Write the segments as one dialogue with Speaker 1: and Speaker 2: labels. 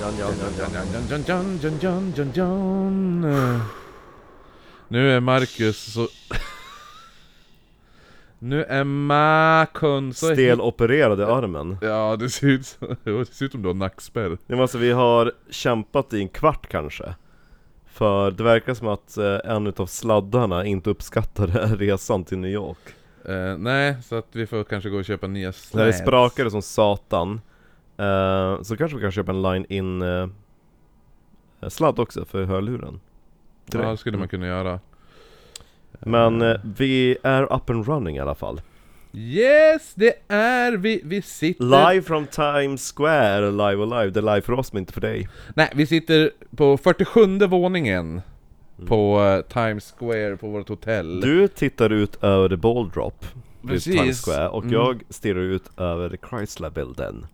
Speaker 1: Dun, dun, dun, dun, dun, dun. Eh. Nu är Marcus så... nu är Makon så...
Speaker 2: Stelopererade armen.
Speaker 1: Ja, det ser ut som, jo, det ser ut som du har nackspärr.
Speaker 2: Ja, men alltså, vi har kämpat i en kvart kanske. För det verkar som att eh, en utav sladdarna inte uppskattade resan till New York.
Speaker 1: Eh, nej, så att vi får kanske gå och köpa nya släp.
Speaker 2: När det sprakade som satan. Eh, så kanske vi kan köpa en line-in eh, sladd också för hörluren.
Speaker 1: Ja, det skulle
Speaker 2: Mm.
Speaker 1: man kunna göra.
Speaker 2: Men eh, vi är up and running i alla fall.
Speaker 1: Yes, det är vi! Vi sitter...
Speaker 2: Live from Times Square, live och live. Det är live för oss men inte för dig.
Speaker 1: Nej, vi sitter på 47 våningen på eh, Times Square på vårt hotell.
Speaker 2: Mm. Du tittar ut över the ball drop vid
Speaker 1: Precis.
Speaker 2: Times Square och
Speaker 1: Mm.
Speaker 2: jag stirrar ut över the Chrysler-bilden.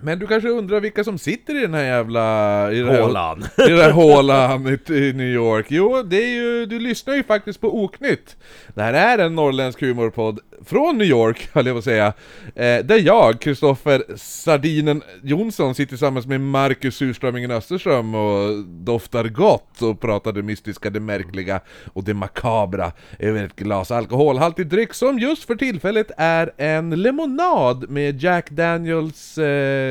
Speaker 1: Men du kanske undrar vilka som sitter i den här jävla... I den här,
Speaker 2: Hålan!
Speaker 1: I den här hålan i, i New York. Jo, det är ju, du lyssnar ju faktiskt på Oknytt. Det här är en norrländsk humorpodd från New York, höll jag på att säga. Eh, där jag, Kristoffer Sardinen Jonsson, sitter tillsammans med Marcus Surströmmingen Österström och doftar gott och pratar det mystiska, det märkliga och det makabra över ett glas alkoholhaltig dryck som just för tillfället är en lemonad med Jack Daniels... Eh,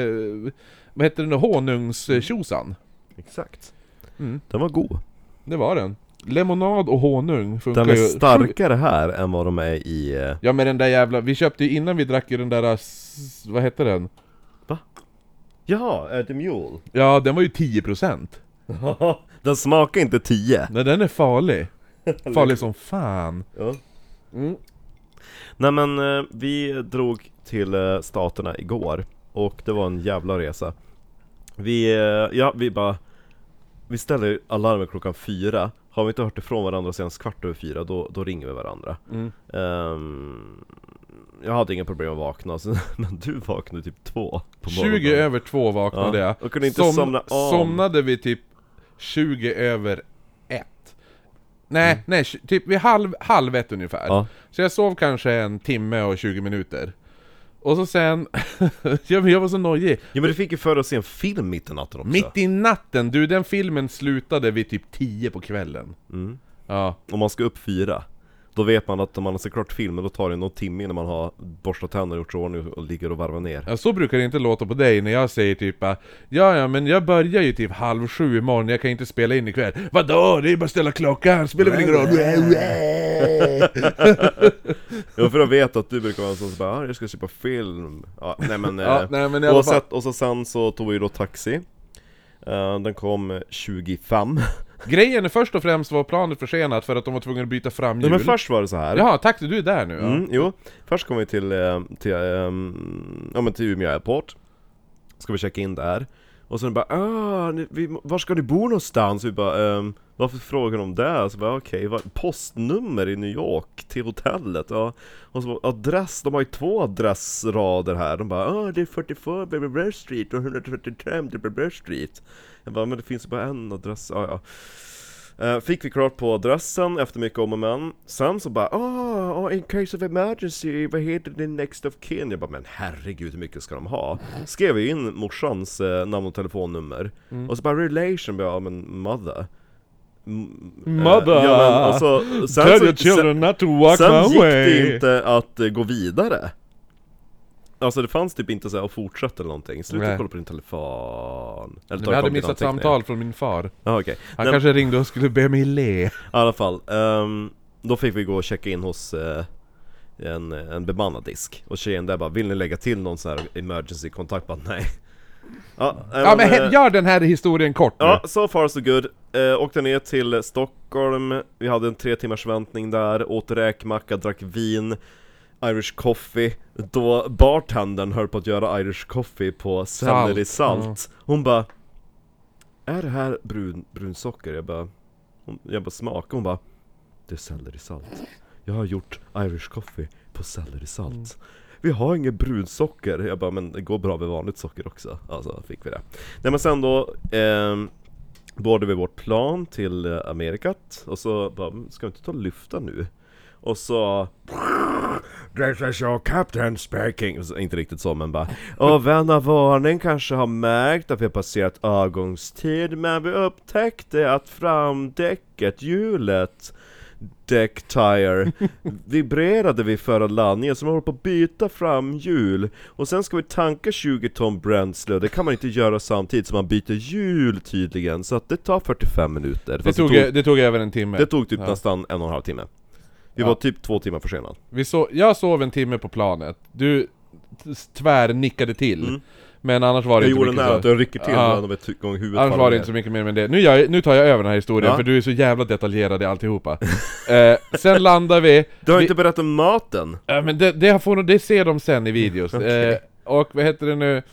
Speaker 1: vad heter den? Honungstjosan.
Speaker 2: Exakt.
Speaker 1: Mm.
Speaker 2: Den var god.
Speaker 1: Det var den. Lemonad och honung funkar
Speaker 2: Den är
Speaker 1: ju-
Speaker 2: starkare här än vad de är i... eh,
Speaker 1: Ja men den där jävla, vi köpte ju innan vi drack ju den där, s- vad hette den?
Speaker 2: Ja, eh, The Mule.
Speaker 1: Ja den var ju 10%
Speaker 2: den smakar inte 10.
Speaker 1: Nej den är farlig. Farlig som fan.
Speaker 2: Ja.
Speaker 1: Mm.
Speaker 2: Nej men eh, vi drog till eh, staterna igår och det var en jävla resa. Vi, eh, ja vi bara, vi ställer alarmet klockan fyra. Har vi inte hört ifrån varandra sen kvart över fyra då, då ringer vi varandra.
Speaker 1: Mm.
Speaker 2: Ehm, jag hade inga problem att vakna, så, men du vaknade typ två på morgonen.
Speaker 1: 20 över två vaknade
Speaker 2: Ja,
Speaker 1: jag.
Speaker 2: och kunde inte somna om.
Speaker 1: Somnade vi typ 20 över ett. Nej, nej, tj- typ vid halv, halv ett ungefär.
Speaker 2: Mm. Ja.
Speaker 1: Så jag sov kanske en timme och 20 minuter. Och så sen, jag, jag var så nojig.
Speaker 2: Ja men du fick ju för att se en film mitt i natten också.
Speaker 1: Mitt i natten! Du, den filmen slutade vid typ 10 på kvällen. Ja.
Speaker 2: Om man ska upp fyra, då vet man att om man har sett klart filmen då tar det någon timme innan man har borstat tänderna och gjort sig i ordning och ligger och varvar ner.
Speaker 1: ja, så brukar det inte låta på dig när jag säger typ äh, Ja, ja, men jag börjar ju typ halv sju imorgon, jag kan inte spela in ikväll. Vadå? Det är ju bara att ställa klockan, spelar väl ingen roll?
Speaker 2: Ja för jag vet att du brukar vara en sån som bara "Ah, jag ska köpa film' ja, nej, men,
Speaker 1: Ja,
Speaker 2: eh,
Speaker 1: nej, men i alla
Speaker 2: och,
Speaker 1: fall.
Speaker 2: sen, och så sen så tog vi då taxi Eh, Den kom eh, 25
Speaker 1: Grejen är först och främst var planet försenat för att de var tvungna att byta fram
Speaker 2: Nej,
Speaker 1: hjul.
Speaker 2: Men först var det så här
Speaker 1: Jaha, tack, du är där nu? Ja.
Speaker 2: Mm, jo, först kom vi till, eh, till, ehm, ja, men till Umeå Airport Ska vi checka in där Och sen bara ah, ni, vi, var ska ni bo någonstans? Vi bara ehm, varför frågar de det? Så bara okej, vad- postnummer i New York till hotellet? Ja. Och så bara, adress, de har ju två adressrader här De bara ah, det är 44 Blablabla Street och 135 Blablabla Street Jag bara, men det finns ju bara en adress, ja, ja. Eh, Fick vi klart på adressen efter mycket om och men Sen så bara ah, oh, in case of emergency, vad heter din next of kin? Jag bara men herregud hur mycket ska de ha? Skrev ju in morsans eh, namn och telefonnummer
Speaker 1: Mm.
Speaker 2: Och så bara relation, bara, ja men mother M- eh,
Speaker 1: Mother!
Speaker 2: ja, men, och så, sen,
Speaker 1: Tell
Speaker 2: så,
Speaker 1: your children not to walk
Speaker 2: sen, sen
Speaker 1: my
Speaker 2: gick
Speaker 1: way!
Speaker 2: det inte att eh, gå vidare Alltså det fanns typ inte så här att fortsätta eller någonting, sluta
Speaker 1: Nej.
Speaker 2: kolla på din telefon Eller
Speaker 1: Jag hade
Speaker 3: kom
Speaker 1: missat
Speaker 2: anteckningar.
Speaker 1: samtal från min far.
Speaker 2: ah, okej
Speaker 1: Han
Speaker 2: Nej,
Speaker 1: kanske ringde och skulle be mig le.
Speaker 2: i alla fall, ehm, då fick vi gå och checka in hos eh, en, en bemannad disk Och tjejen där bara, vill ni lägga till någon sån här emergency kontakt? Bara nej Ja, eh,
Speaker 1: Ja men
Speaker 2: eh,
Speaker 1: he- gör den här historien kort nu.
Speaker 2: ja, so far so good eh, Åkte ner till Stockholm, vi hade en tre timmars väntning där Åt räkmacka, drack vin Irish coffee, då bartendern höll på att göra Irish coffee på selleri
Speaker 1: Salt,
Speaker 2: salt,
Speaker 1: ja.
Speaker 2: Hon bara Är det här brun, brunsocker? Jag bara hon, Jag bara smaka, hon bara Det är sellerisalt Jag har gjort Irish coffee på sellerisalt Vi har inget brunsocker Jag bara, men det går bra med vanligt socker också Alltså fick vi det Nej men sen då ehm, Boardade vi vårt plan till eh, "Mm, Amerikat Och så bara, "Men ska vi inte ta och lyfta nu? Och så This is your captain speaking. Så- Inte riktigt så men bara. Och vän av ordning kanske har märkt att vi har passerat avgångstid men vi upptäckte att framdäcket, hjulet Deck Tire vibrerade vid förra landningen så man håller på att byta fram hjul och sen ska vi tanka 20 ton bränsle det kan man inte göra samtidigt som man byter hjul tydligen så att det tar 45 minuter.
Speaker 1: Det
Speaker 2: Fast
Speaker 1: tog, det tog över en timme.
Speaker 2: det tog typ
Speaker 1: Ja.
Speaker 2: nästan en och en halv timme. Vi
Speaker 1: Ja.
Speaker 2: var typ två timmar försenade.
Speaker 1: Vi so jag sov en timme på planet. Du t- tvärnickade till.
Speaker 2: Mm.
Speaker 1: Men annars var det
Speaker 2: Jag
Speaker 1: inte
Speaker 2: gjorde den
Speaker 1: mycket
Speaker 2: här att
Speaker 1: så.
Speaker 2: jag rycker till
Speaker 1: Ja.
Speaker 2: ja. med ett gång huvudet
Speaker 1: Annars
Speaker 2: faller
Speaker 1: var det
Speaker 2: ner.
Speaker 1: inte så mycket mer med det. Nu, gör jag, nu tar jag över den här historien
Speaker 2: Ja.
Speaker 1: för du är så jävla detaljerad i alltihopa. eh, sen landar vi...
Speaker 2: Du har
Speaker 1: vi
Speaker 2: inte berättat om maten!
Speaker 1: Ja, men det, det, får, nog- det ser de sen i videos. eh, och vad heter det nu?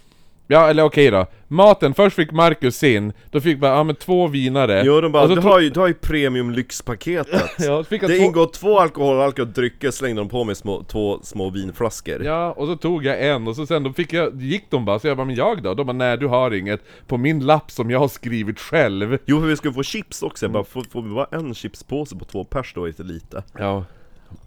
Speaker 1: Ja, eller okej då. Maten, först fick Marcus sin, då fick man, ja men två vinare.
Speaker 2: Jo de bara,
Speaker 1: Och så
Speaker 2: du,
Speaker 1: tog-
Speaker 2: har ju, du har ju premium lyxpaketet
Speaker 1: Alltså, Ja, så fick jag
Speaker 2: Det
Speaker 1: två...
Speaker 2: ingår två alkoholhaltiga drycker, slängde de på mig små, två små vinflaskor
Speaker 1: Ja, och så tog jag en och så sen då fick jag, gick de bara, så jag bara 'Men jag då?' De bara 'Nej, du har inget' På min lapp som jag har skrivit själv
Speaker 2: Jo för vi skulle få chips också, jag
Speaker 1: Mm.
Speaker 2: bara, får, får vi bara en chipspåse på två pers då är det lite
Speaker 1: Ja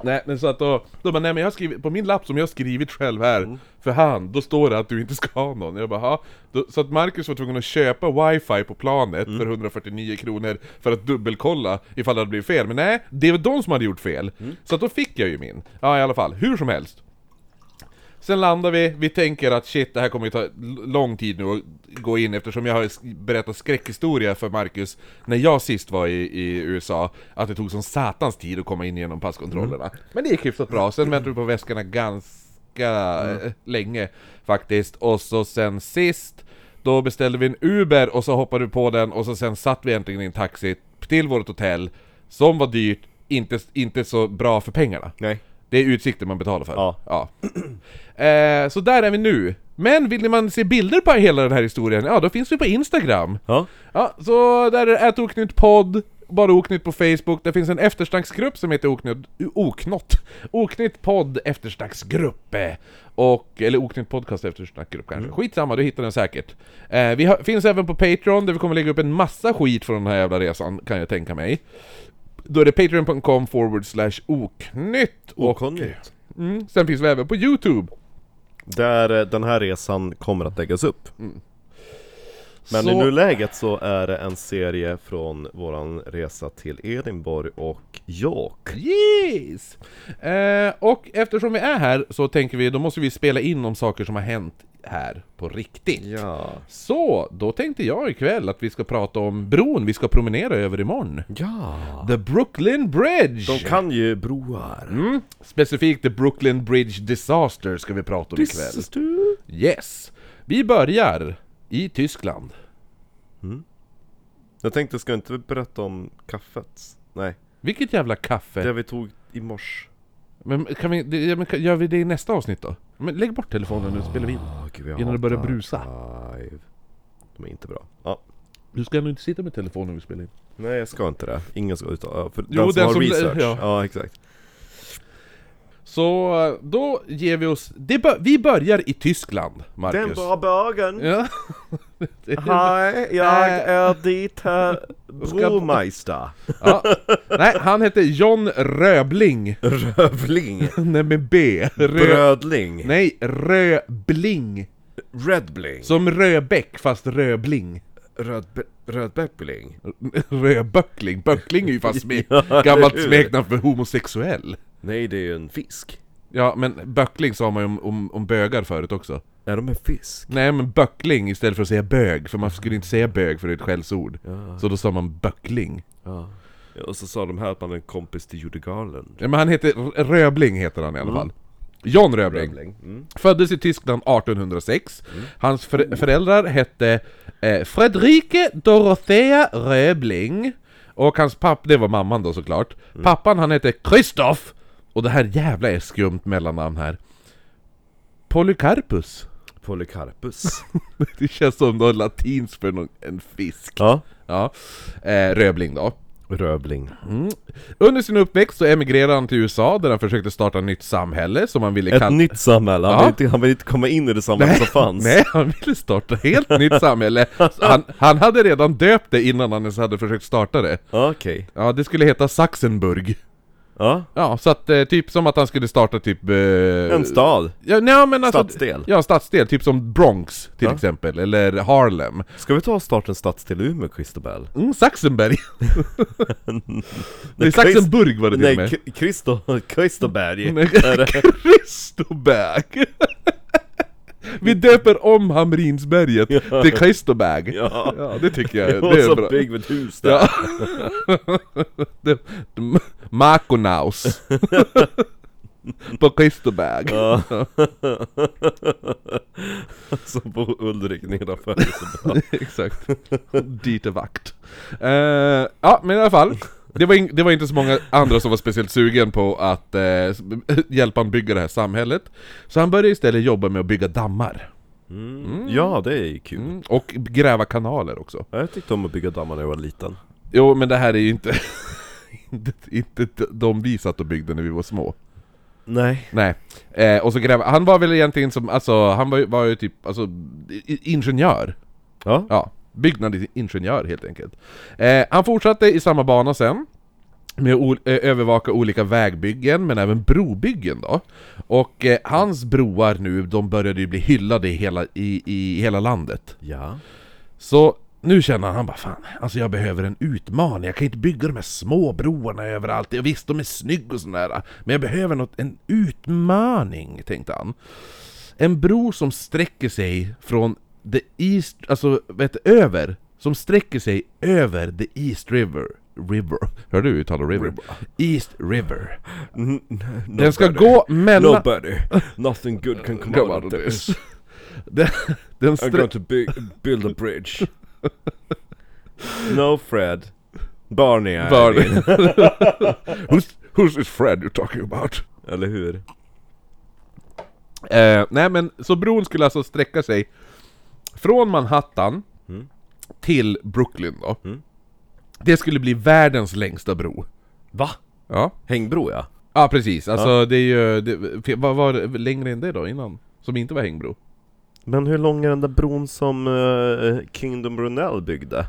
Speaker 1: Nej men så att då, de bara 'Nej men jag har skrivit, på min lapp som jag har skrivit själv här För hand, då står det att du inte ska ha någon Jag bara 'Ha?' Då- Så att Marcus var tvungen att köpa wifi på planet för 149 kronor För att dubbelkolla ifall det hade blivit fel Men nej, det var de som hade gjort fel Så att då fick jag ju min Ja i alla fall, hur som helst Sen landar vi, vi tänker att shit, det här kommer ju ta l- lång tid nu att gå in eftersom jag har sk- berättat skräckhistoria för Marcus när jag sist var i, i USA, att det tog som satans tid att komma in genom passkontrollerna. Men det gick hyfsat bra, sen väntade vi på väskorna ganska eh, länge faktiskt. Och så sen sist, då beställde vi en Uber och så hoppade vi på den och så sen satt vi äntligen i en taxi till vårt hotell, som var dyrt, inte, inte så bra för pengarna.
Speaker 2: Nej
Speaker 1: Det är utsikten man betalar för.
Speaker 2: Ja.
Speaker 1: Eh, så där är vi nu. Men vill man se bilder på hela den här historien, ja då finns vi på Instagram.
Speaker 2: Ja,
Speaker 1: Ja, så där är det Oknytt podd, bara Oknytt på Facebook. Det finns en eftersnacksgrupp som heter Oknytt... Oknott. Oknytt podd eftersnacksgrupp. eh, Och, eller Oknytt podcast eftersnacksgrupp kanske. Skitsamma, du hittar den säkert. Eh, vi har, finns även på Patreon där vi kommer lägga upp en massa skit från den här jävla resan, kan jag tänka mig. Då är det patreon.com forward slash oknytt. Och,
Speaker 2: okunnigt
Speaker 1: mm, sen finns vi även på Youtube.
Speaker 2: Där eh, den här resan kommer att läggas upp Men i
Speaker 1: Så-
Speaker 2: nuläget Mm. så är det en serie från våran resa till Edinburgh och York
Speaker 1: Yes! Eh, och eftersom vi är här så tänker vi, då måste vi spela in om saker som har hänt här på riktigt.
Speaker 2: Ja
Speaker 1: Så, då tänkte jag ikväll att vi ska prata om bron vi ska promenera över imorgon.
Speaker 2: Ja!
Speaker 1: The Brooklyn Bridge!
Speaker 2: De kan ju broar.
Speaker 1: Mm. Specifikt The Brooklyn Bridge Disaster ska vi prata om ikväll. Yes! Vi börjar i Tyskland.
Speaker 2: Jag tänkte, ska jag inte berätta om kaffet? Nej,
Speaker 1: Vilket jävla kaffe!
Speaker 2: det vi tog i morse.
Speaker 1: Men kan vi, det, ja, men kan- gör vi det i nästa avsnitt då? Men lägg bort telefonen nu spelar vi in.
Speaker 2: Oh, gud,
Speaker 1: Innan
Speaker 2: jag
Speaker 1: det
Speaker 2: hatar
Speaker 1: börjar brusa.
Speaker 2: Live. De är inte bra. Ja.
Speaker 1: Du ska nog inte sitta med telefonen när vi spelar in.
Speaker 2: Nej, jag ska inte det. Ingen ska utan... ja, För
Speaker 1: Jo,
Speaker 2: den som
Speaker 1: den
Speaker 2: har
Speaker 1: som-
Speaker 2: research.
Speaker 1: ja.
Speaker 2: Ja. exakt.
Speaker 1: Så eh, då ger vi oss... Det bör, vi börjar i Tyskland, Marcus.
Speaker 2: bögen.
Speaker 1: Ja.
Speaker 2: Hej,
Speaker 1: jag
Speaker 2: är ditt herr bromeister.
Speaker 1: ja. Nej, han heter John Röbling.
Speaker 2: Rövling.
Speaker 1: Nej, med B. Rö...
Speaker 2: Brödling.
Speaker 1: Nej, Röbling.
Speaker 2: Redbling.
Speaker 1: Som Röbäck, fast Röbling.
Speaker 2: Rödbe... Rödbeppling.
Speaker 1: Röböckling. Böckling är ju fast smek...
Speaker 2: Ja, eller
Speaker 1: gammalt
Speaker 2: hur?
Speaker 1: smeknamn för homosexuell.
Speaker 2: Nej, det är ju en fisk.
Speaker 1: Ja, men böckling sa man ju om, om, om bögar förut också.
Speaker 2: Är de en fisk?
Speaker 1: Nej, men böckling istället för att säga bög, för man skulle inte säga bög för det är ett skällsord.
Speaker 2: Ja.
Speaker 1: Så då sa man böckling.
Speaker 2: Ja. Och så sa de här att man är en kompis till Judy Garland.
Speaker 1: Ja, men han heter R- Röbling heter han i alla fall. John Röbling.
Speaker 2: Mm.
Speaker 1: Föddes i Tyskland 1806. Hans för- föräldrar hette eh, Fredrike Dorothea Röbling. Och hans papp, det var mamman då såklart. Pappan han hette Kristoff. Och det här jävla är skumt mellannamn här. Polycarpus.
Speaker 2: Polycarpus.
Speaker 1: Det känns som något latins för någon, en fisk.
Speaker 2: ja.
Speaker 1: Ja. Eh, Röbling då.
Speaker 2: Röbling.
Speaker 1: Under sin uppväxt så emigrerade han till USA där han försökte starta ett nytt samhälle som han ville
Speaker 2: Ett
Speaker 1: kalla...
Speaker 2: nytt samhälle. Han,
Speaker 1: Ja.
Speaker 2: vill inte, han vill inte komma in i det samhälle som fanns.
Speaker 1: Nej, han ville starta ett helt nytt samhälle. Han, han hade redan döpt det innan han ens hade försökt starta det.
Speaker 2: Okej.
Speaker 1: Ja, det skulle heta Sachsenburg.
Speaker 2: Ja,
Speaker 1: Ja, så att eh, typ som att han skulle starta typ... Eh,
Speaker 2: en stad.
Speaker 1: Ja, nej, men alltså,
Speaker 2: Stadsdel.
Speaker 1: Ja, stadsdel. Typ som Bronx till
Speaker 2: Ja.
Speaker 1: exempel, eller Harlem.
Speaker 2: Ska vi ta och starta en stadsdel i Umeå, Christobel?
Speaker 1: Mm, Saxenberg. nej, Saxenburg var det till och
Speaker 2: Nej,
Speaker 1: med.
Speaker 2: K- Christo, Christoberg.
Speaker 1: Nej,
Speaker 2: Är det-
Speaker 1: Kristoberg! Vi döper om Hamrinsberget till Kristoberg.
Speaker 2: Ja.
Speaker 1: Ja, det tycker jag.
Speaker 2: Det
Speaker 1: Det
Speaker 2: var
Speaker 1: är
Speaker 2: så
Speaker 1: bra.
Speaker 2: bygg med ett hus där.
Speaker 1: Ja. Det- det- Makonaus. På Kristoberg.
Speaker 2: Ja. så bor Ulrik nedanför Christoberg.
Speaker 1: Exakt. Dit är vakt. Eh, ja, men i alla fall. Det var, in, det var inte så många andra som var speciellt sugen på att eh, s- hjälpa honom bygga det här samhället. Så han började istället jobba med att bygga dammar.
Speaker 2: Mm. Ja, det är ju kul.
Speaker 1: Mm, och gräva kanaler också.
Speaker 2: Ja, Jag tyckte om att bygga dammar när jag var liten.
Speaker 1: Jo, men det här är ju inte... inte, inte de vi satt och byggde när vi var små.
Speaker 2: Nej.
Speaker 1: Nej. Eh, och så gräva... Han var väl egentligen som, alltså, han var, ju- var ju typ, alltså, i- i- ingenjör.
Speaker 2: Ja.
Speaker 1: Ja, byggnadsingenjör helt enkelt. Eh, han fortsatte i samma bana sen. Med att ol- eh, övervaka olika vägbyggen, men även brobyggen då. Och eh, hans broar nu, de började ju bli hyllade i hela, i, i hela landet.
Speaker 2: Ja.
Speaker 1: Så nu känner han, han bara fan, alltså jag behöver en utmaning. Jag kan inte bygga de här små broarna överallt. Jag visst, de är snygga och sådär. Men jag behöver något, en utmaning, tänkte han. En bro som sträcker sig från the East, alltså vet du, över. Som sträcker sig över the East River. River. Hör du hur jag uttalar river?
Speaker 2: River.
Speaker 1: East River.
Speaker 2: N- n-
Speaker 1: Den ska
Speaker 2: nobody.
Speaker 1: gå mellan...
Speaker 2: Nobody. Nothing good can come
Speaker 1: Come
Speaker 2: out of this.
Speaker 1: Den, den
Speaker 2: I'm
Speaker 1: strä-
Speaker 2: going to big, build a bridge. no Fred. Barney är
Speaker 1: Barney.
Speaker 2: det.
Speaker 1: who's, who's is Fred you're talking about?
Speaker 2: Eller hur?
Speaker 1: Eh, nej men, så bron skulle alltså sträcka sig från Manhattan
Speaker 2: Mm.
Speaker 1: till Brooklyn då.
Speaker 2: Mm.
Speaker 1: Det skulle bli världens längsta bro.
Speaker 2: Va?
Speaker 1: Ja,
Speaker 2: Hängbro ja.
Speaker 1: ja precis. Alltså det är ju... Det, fe- vad var det längre än det då innan? Som inte var hängbro?
Speaker 2: Men hur lång är den där bron som eh, Kingdom Brunell byggde?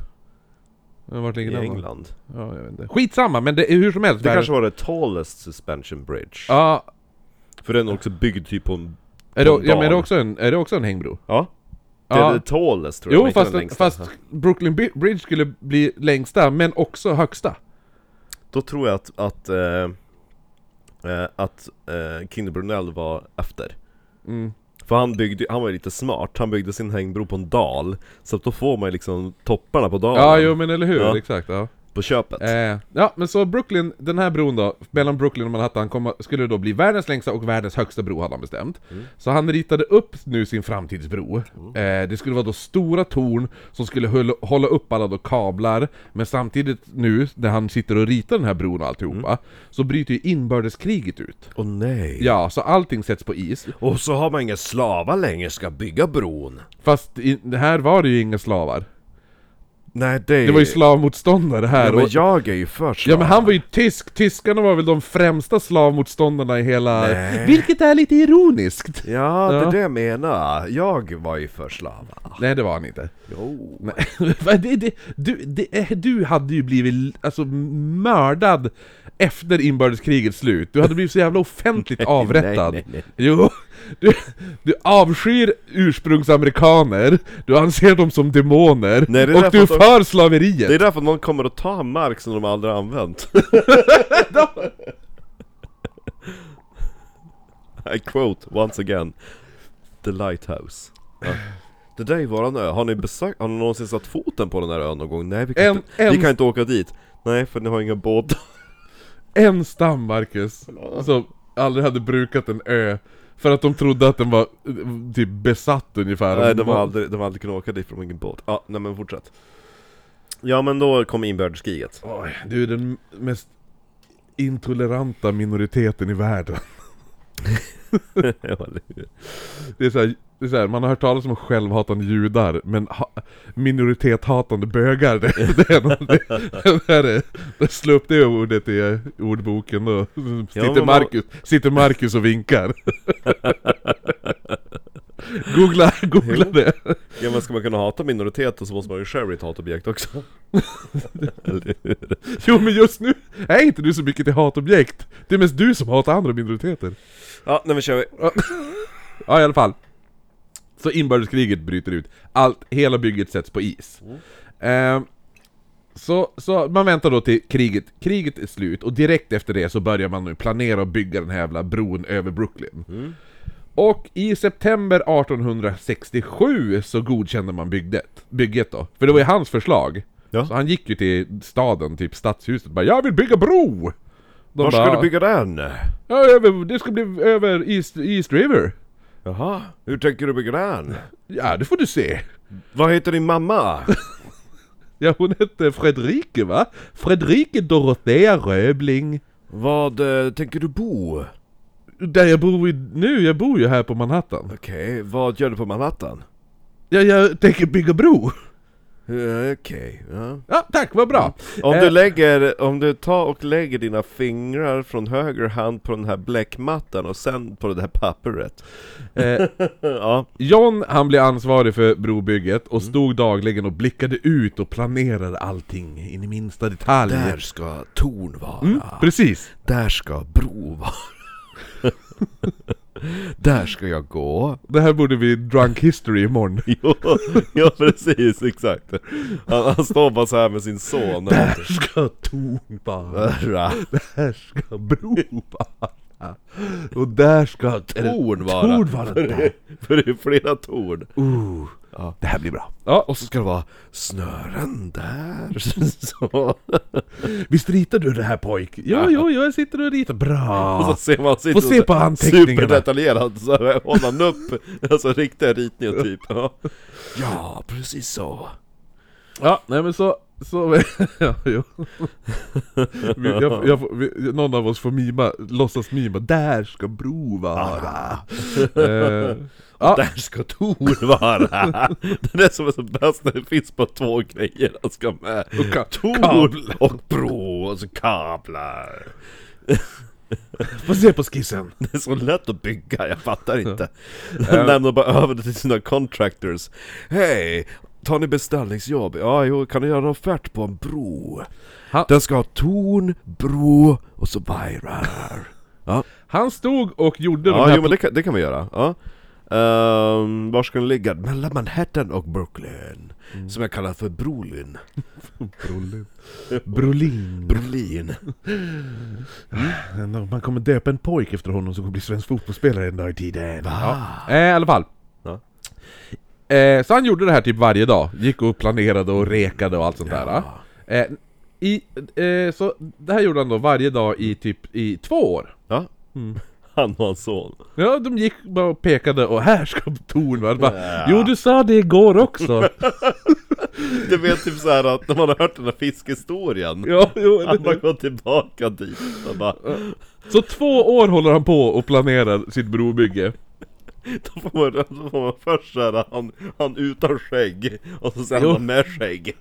Speaker 1: Men Vart
Speaker 2: I
Speaker 1: ligger den då?
Speaker 2: England.
Speaker 1: Ja, jag vet inte. Skitsamma, men det är hur som helst.
Speaker 2: Det
Speaker 1: världens-
Speaker 2: kanske var det tallest suspension bridge.
Speaker 1: Ja,
Speaker 2: För den är också byggd typ på en...
Speaker 1: är det,
Speaker 2: På en
Speaker 1: ja men är det,
Speaker 2: dal.
Speaker 1: också en, är det också en hängbro?
Speaker 2: Ja. Det
Speaker 1: Ja.
Speaker 2: är det tallest tror jag,
Speaker 1: Jo,
Speaker 2: men inte den
Speaker 1: fast,
Speaker 2: längsta.
Speaker 1: fast Brooklyn Bi- Bridge skulle bli längsta, men också högsta.
Speaker 2: Då tror jag att, att, eh, eh, att eh, Kinder Brunell var efter.
Speaker 1: Mm.
Speaker 2: För han byggde, han var ju lite smart, han byggde sin hängbro på en dal. Så att då får man ju liksom topparna på dalen
Speaker 1: Ja, jo men eller hur?
Speaker 2: Ja.
Speaker 1: Exakt, ja.
Speaker 2: på köpet.
Speaker 1: Eh, ja, men så Brooklyn, den här bron då, mellan Brooklyn och Manhattan, kom, skulle då bli världens längsta och världens högsta bro hade han bestämt.
Speaker 2: Mm.
Speaker 1: Så han ritade upp nu sin framtidsbro. Eh, det skulle vara då stora torn som skulle hull, hålla upp alla då kablar, men samtidigt nu, när han sitter och ritar den här bron och alltihopa,
Speaker 2: Mm.
Speaker 1: så bryter ju inbördeskriget ut.
Speaker 2: Åh nej!
Speaker 1: Ja, så allting sätts på is.
Speaker 2: Och så har man inga slavar längre, ska bygga bron.
Speaker 1: Fast i, här var det ju inga slavar.
Speaker 2: Nej det är
Speaker 1: Det var ju slavmotståndare här.
Speaker 2: Eh. Ja, men
Speaker 1: och-
Speaker 2: jag är ju för slav.
Speaker 1: Ja men han var ju tysk, tyskarna var väl de främsta slavmotståndarna i hela...
Speaker 2: Nej.
Speaker 1: Vilket är lite ironiskt!
Speaker 2: Ja, det
Speaker 1: Ja.
Speaker 2: är det jag menar. Jag var ju för slava.
Speaker 1: Nej det var han inte.
Speaker 2: Jo.
Speaker 1: Nej. Vad det, det, du, det, eh, du hade ju blivit alltså mördad efter inbördeskrigets slut. Du hade blivit så jävla offentligt avrättad.
Speaker 2: nej, nej.
Speaker 1: Jo, du, du avskyr ursprungsamerikaner, du anser dem som demoner,
Speaker 2: Nej, det är
Speaker 1: och
Speaker 2: därför
Speaker 1: du är
Speaker 2: att de-
Speaker 1: för slaveriet.
Speaker 2: Det är därför någon kommer att ta mark som de aldrig har använt. I quote once again. The lighthouse. Ja. Det där är våran ö. Har ni besökt, har ni någonsin satt foten på den här ön någon gång? Nej vi kan,
Speaker 1: En-
Speaker 2: inte, vi
Speaker 1: en-
Speaker 2: kan inte åka dit. Nej för ni har inga båtar.
Speaker 1: en stam, Marcus, som aldrig hade brukat en ö för att de trodde att den var eh, typ besatt ungefär
Speaker 2: Nej de har aldrig, de har aldrig kunnat åka dit för de har ingen båt. Ja, nej men fortsätt. Ja men då kom inbördeskriget.
Speaker 1: Oj, Du är den mest intoleranta minoriteten i världen Det är såhär, det är så här, man har hört talas om självhatande judar Men ha, minoritetshatande bögar Det, det är någon, det, det, här är, det Slå upp det ordet i ordboken då
Speaker 2: men
Speaker 1: Sitter
Speaker 2: man-
Speaker 1: Marcus, sitter Marcus och vinkar Googla, googla det.
Speaker 2: Ja men ska man kunna hata minoriteter så måste man ju själv bli ett hatobjekt också. Eller hur?
Speaker 1: Jo men just nu är inte du så mycket till hatobjekt. Det är mest du som hatar andra minoriteter.
Speaker 2: Ja, nej men kör vi.
Speaker 1: Ja i alla fall. Så inbördeskriget bryter ut. Allt, hela bygget sätts på is. Ehm, så, så man väntar då till kriget, kriget är slut och direkt efter det så börjar man nu planera och bygga den här jävla bron över Brooklyn. Och i september 1867 så godkände man bygget, bygget då. För det var ju hans förslag.
Speaker 2: Ja.
Speaker 1: Så han gick ju till staden, typ stadshuset, bara 'Jag vill bygga bro!' De
Speaker 2: Var ska
Speaker 1: bara,
Speaker 2: du bygga den?
Speaker 1: Ja, över, det ska bli över East, East River.
Speaker 2: Jaha, hur tänker du bygga den?
Speaker 1: Ja, det får du se.
Speaker 2: Vad heter din mamma?
Speaker 1: Ja, hon hette Fredrike va? Fredrike Dorothea Röbling.
Speaker 2: Vad eh, tänker du bo?
Speaker 1: Där jag bor i, nu, jag bor ju här på Manhattan.
Speaker 2: Okej, vad gör du på Manhattan?
Speaker 1: Ja, jag tänker bygga bro.
Speaker 2: Eh, Okej, ja.
Speaker 1: Ja, tack, vad bra.
Speaker 2: Om
Speaker 1: Eh,
Speaker 2: du lägger, om du tar och lägger dina fingrar från höger hand på den här bläckmattan och sen på det här pappret.
Speaker 1: Eh,
Speaker 2: ja,
Speaker 1: John, han blev ansvarig för brobygget
Speaker 2: Mm.
Speaker 1: och stod dagligen och blickade ut och planerade allting in i minsta detalj.
Speaker 2: där ska torn vara.
Speaker 1: Mm, precis.
Speaker 2: Där ska bro vara. där ska jag gå.
Speaker 1: Det här borde vi drunk history imorgon.
Speaker 2: Jo, ja precis, exakt. Han, han står bara så här med sin son.
Speaker 1: Där ska torn vara.
Speaker 2: Hörra,
Speaker 1: Där ska bro vara. Och där ska
Speaker 2: torn vara.
Speaker 1: Torn vara
Speaker 2: För
Speaker 1: där.
Speaker 2: det- För det är flera torn.
Speaker 1: Ooh,
Speaker 2: Ja.
Speaker 1: Det här blir bra. Ja, och
Speaker 2: Och så ska det vara snören där. Så.
Speaker 1: visst ritar du det här pojk? Ja,
Speaker 2: Ja.
Speaker 1: jo, jag sitter och ritar.
Speaker 2: Och så
Speaker 1: Bra!
Speaker 2: ser man sitt
Speaker 1: Få se på anteckningarna.
Speaker 2: Superdetaljerat, så här håller han upp alltså, riktiga ritningar typ. Ja. ja, precis så.
Speaker 1: Ja, nej men så... så ja, jo. Vi, jag, jag, får- vi, någon av oss får mima, låtsas mima. Där ska bro vara. Eh, Ja.
Speaker 2: Där ska Tor vara! Det är det som är så bäst när det finns bara två grejer han ska med.
Speaker 1: ka-
Speaker 2: Tor och bro och så kablar.
Speaker 1: Få se på skissen.
Speaker 2: Det är så lätt att bygga, jag fattar inte. Han lämnar bara över det till sina contractors. Hej! Tar ni beställningsjobb? Ja, jo, kan ni göra en offert på en bro?
Speaker 1: Ha-
Speaker 2: Den ska ha torn, bro och så vajrar. Ja,
Speaker 1: Han stod och gjorde de
Speaker 2: ja
Speaker 1: här...
Speaker 2: jo, men det kan, det kan vi göra. Ja. Ehm, var ska den ligga? Mellan Manhattan och Brooklyn.
Speaker 1: Mm.
Speaker 2: Som jag kallar för Brolin.
Speaker 1: Brolin. Brolin.
Speaker 2: Brolin.
Speaker 1: Man kommer döpa en pojke efter honom som kommer bli svensk fotbollsspelare en dag i tiden.
Speaker 2: Va?
Speaker 1: Ja. Eh, I alla fall.
Speaker 2: Ja.
Speaker 1: Eh, så han gjorde det här typ varje dag. Gick och planerade och rekade och allt sånt där. Eh, i, eh, så det här gjorde han då varje dag i typ i två år.
Speaker 2: Ja. Han och hans son.
Speaker 1: Ja, de gick bara och pekade och här ska torn vara. Bara, Jo, du sa det igår också.
Speaker 2: Du vet typ såhär att när man har hört den här fiskhistorien.
Speaker 1: ja, jo, eller
Speaker 2: Han bara
Speaker 1: hur?
Speaker 2: går tillbaka dit och bara,
Speaker 1: så två år håller han på och planerar sitt brobygge.
Speaker 2: då, får man, då får man först såhär, han, han utan skägg och så sen
Speaker 1: Jo.
Speaker 2: han med skägg.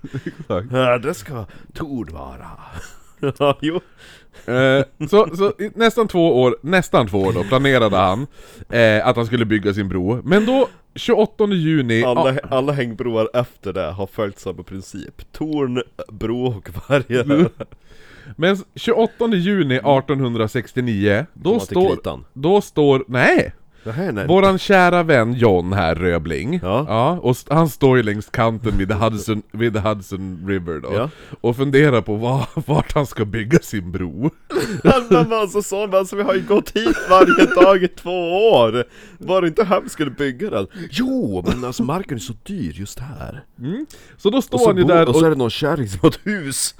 Speaker 2: Ja, det ska Tord vara. Ja, jo.
Speaker 1: Eh, så, så i nästan två år, nästan två år då, planerade han eh, att han skulle bygga sin bro. Men då, 28 juni...
Speaker 2: Alla,
Speaker 1: ja,
Speaker 2: alla hängbroar efter det har följt samma princip. Torn, bro och
Speaker 1: Mm.
Speaker 2: varje.
Speaker 1: men 28 juni 1869, då
Speaker 2: man till
Speaker 1: står...
Speaker 2: kritan.
Speaker 1: Då står... Nej!
Speaker 2: Det här är nej.
Speaker 1: Våran kära vän John här, Röbling.
Speaker 2: Ja.
Speaker 1: och st- han står ju längs kanten vid the Hudson, vid the Hudson River då.
Speaker 2: Ja.
Speaker 1: Och funderar på var, vart han ska bygga sin bro.
Speaker 2: Han han var så sån, alltså vi har ju gått hit varje dag i två år! Var det inte här vi skulle bygga den? Jo, men alltså marken är så dyr just här.
Speaker 1: Så då står
Speaker 2: Och så,
Speaker 1: han ju
Speaker 2: bo,
Speaker 1: där
Speaker 2: och så
Speaker 1: och
Speaker 2: är det någon kärring som har ett hus!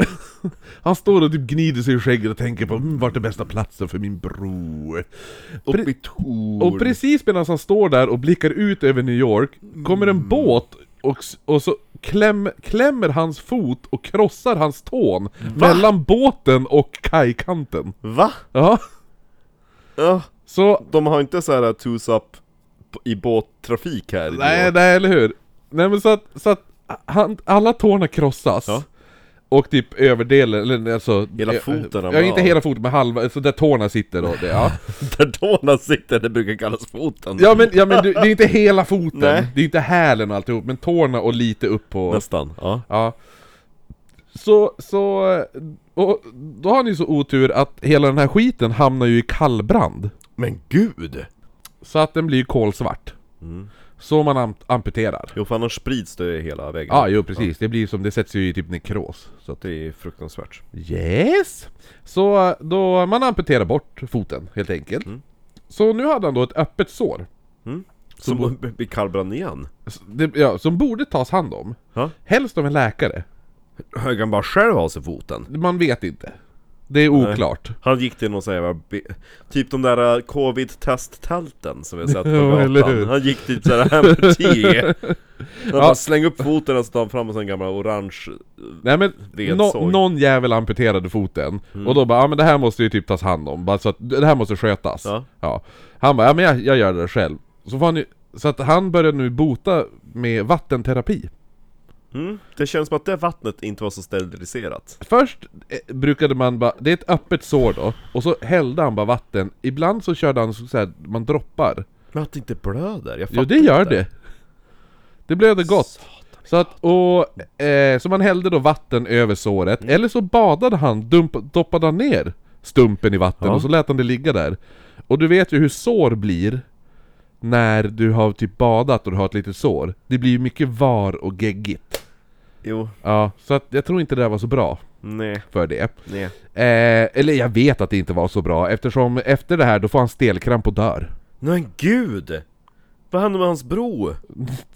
Speaker 1: han står och typ gnider sig i skägget och tänker på mm, vart är bästa platsen för min bro?
Speaker 2: Uppe i Torn.
Speaker 1: Och precis medan han står där och blickar ut över New York kommer en båt och, s- och så kläm, klämmer hans fot och krossar hans tån mellan båten och kajkanten.
Speaker 2: Va?
Speaker 1: Ja,
Speaker 2: Ja,
Speaker 1: så...
Speaker 2: de har inte så här tus up p- i båttrafik här i New
Speaker 1: Nej,
Speaker 2: York.
Speaker 1: nej, eller hur? Nej men så att, så att han, alla tårna krossas.
Speaker 2: Ja.
Speaker 1: Och typ överdelen, eller alltså...
Speaker 2: Hela
Speaker 1: eh,
Speaker 2: foten ramlar
Speaker 1: Ja, inte
Speaker 2: av.
Speaker 1: hela foten men halva, så där tårna sitter då. Det, ja.
Speaker 2: Där tårna sitter, det brukar kallas foten.
Speaker 1: ja men, ja, men du, det är inte hela foten,
Speaker 2: Nej.
Speaker 1: det är inte hälen och alltihop, men tårna och lite upp på...
Speaker 2: Nästan, ja.
Speaker 1: Ja. Så, så... eh, Och då har ni så otur att hela den här skiten hamnar ju i kallbrand.
Speaker 2: Men gud!
Speaker 1: Så att den blir ju kolsvart.
Speaker 2: Mm.
Speaker 1: Så man am- amputerar.
Speaker 2: Jo för annars sprids det hela vägen.
Speaker 1: Ja, jo precis. Det blir som, det sätts ju i typ nekros. Så att,
Speaker 2: Det är fruktansvärt.
Speaker 1: yes! Så då, man amputerar bort foten helt enkelt.
Speaker 2: Mm.
Speaker 1: Så nu hade han då ett öppet sår.
Speaker 2: Som att bli kallbrand igen.
Speaker 1: S- Det, ja, som borde tas hand om.
Speaker 2: Ja.
Speaker 1: Helst av en läkare.
Speaker 2: Högg han bara själv av sig foten?
Speaker 1: Man vet inte. Det är oklart.
Speaker 2: Han gick till någon sån här jävla bi- Typ de där eh, covid-testtälten som vi har sett på
Speaker 1: Jo, eller hur?
Speaker 2: gatan Han gick dit såhär, här med te Han
Speaker 1: Ja.
Speaker 2: bara slängde upp foten och så tar han fram en sån gammal orange
Speaker 1: Nej men,
Speaker 2: Vedsåg.
Speaker 1: nå- någon jävel amputerade foten. Och då bara, ja men det här måste ju typ tas hand om. Bara så att, det här måste skötas.
Speaker 2: Ja.
Speaker 1: Han bara, ja men jag, jag gör det själv. Så, får han ju, så att han började nu bota med vattenterapi.
Speaker 2: mm. Det känns som att det vattnet inte var så steriliserat
Speaker 1: Först eh, brukade man bara, det är ett öppet sår då, och så hällde han bara vatten. Ibland så körde han så så här, man droppar.
Speaker 2: Men att det inte blöder, jag fattar
Speaker 1: Jo det gör
Speaker 2: inte.
Speaker 1: det! Det blöder gott. Så att, och, eh, så man hällde då vatten över såret,
Speaker 2: Mm.
Speaker 1: eller så badade han, dump, doppade han ner stumpen i vatten
Speaker 2: Ja.
Speaker 1: och så lät han det ligga där. Och du vet ju hur sår blir när du har typ badat och du har ett litet sår. Det blir ju mycket var och geggigt.
Speaker 2: Jo,
Speaker 1: Ja, så att jag tror inte det där var så bra
Speaker 2: nej,
Speaker 1: för det.
Speaker 2: nej
Speaker 1: Eh, eller jag vet att det inte var så bra eftersom efter det här då får han stelkramp och dör.
Speaker 2: Men gud! Vad hände med hans bro?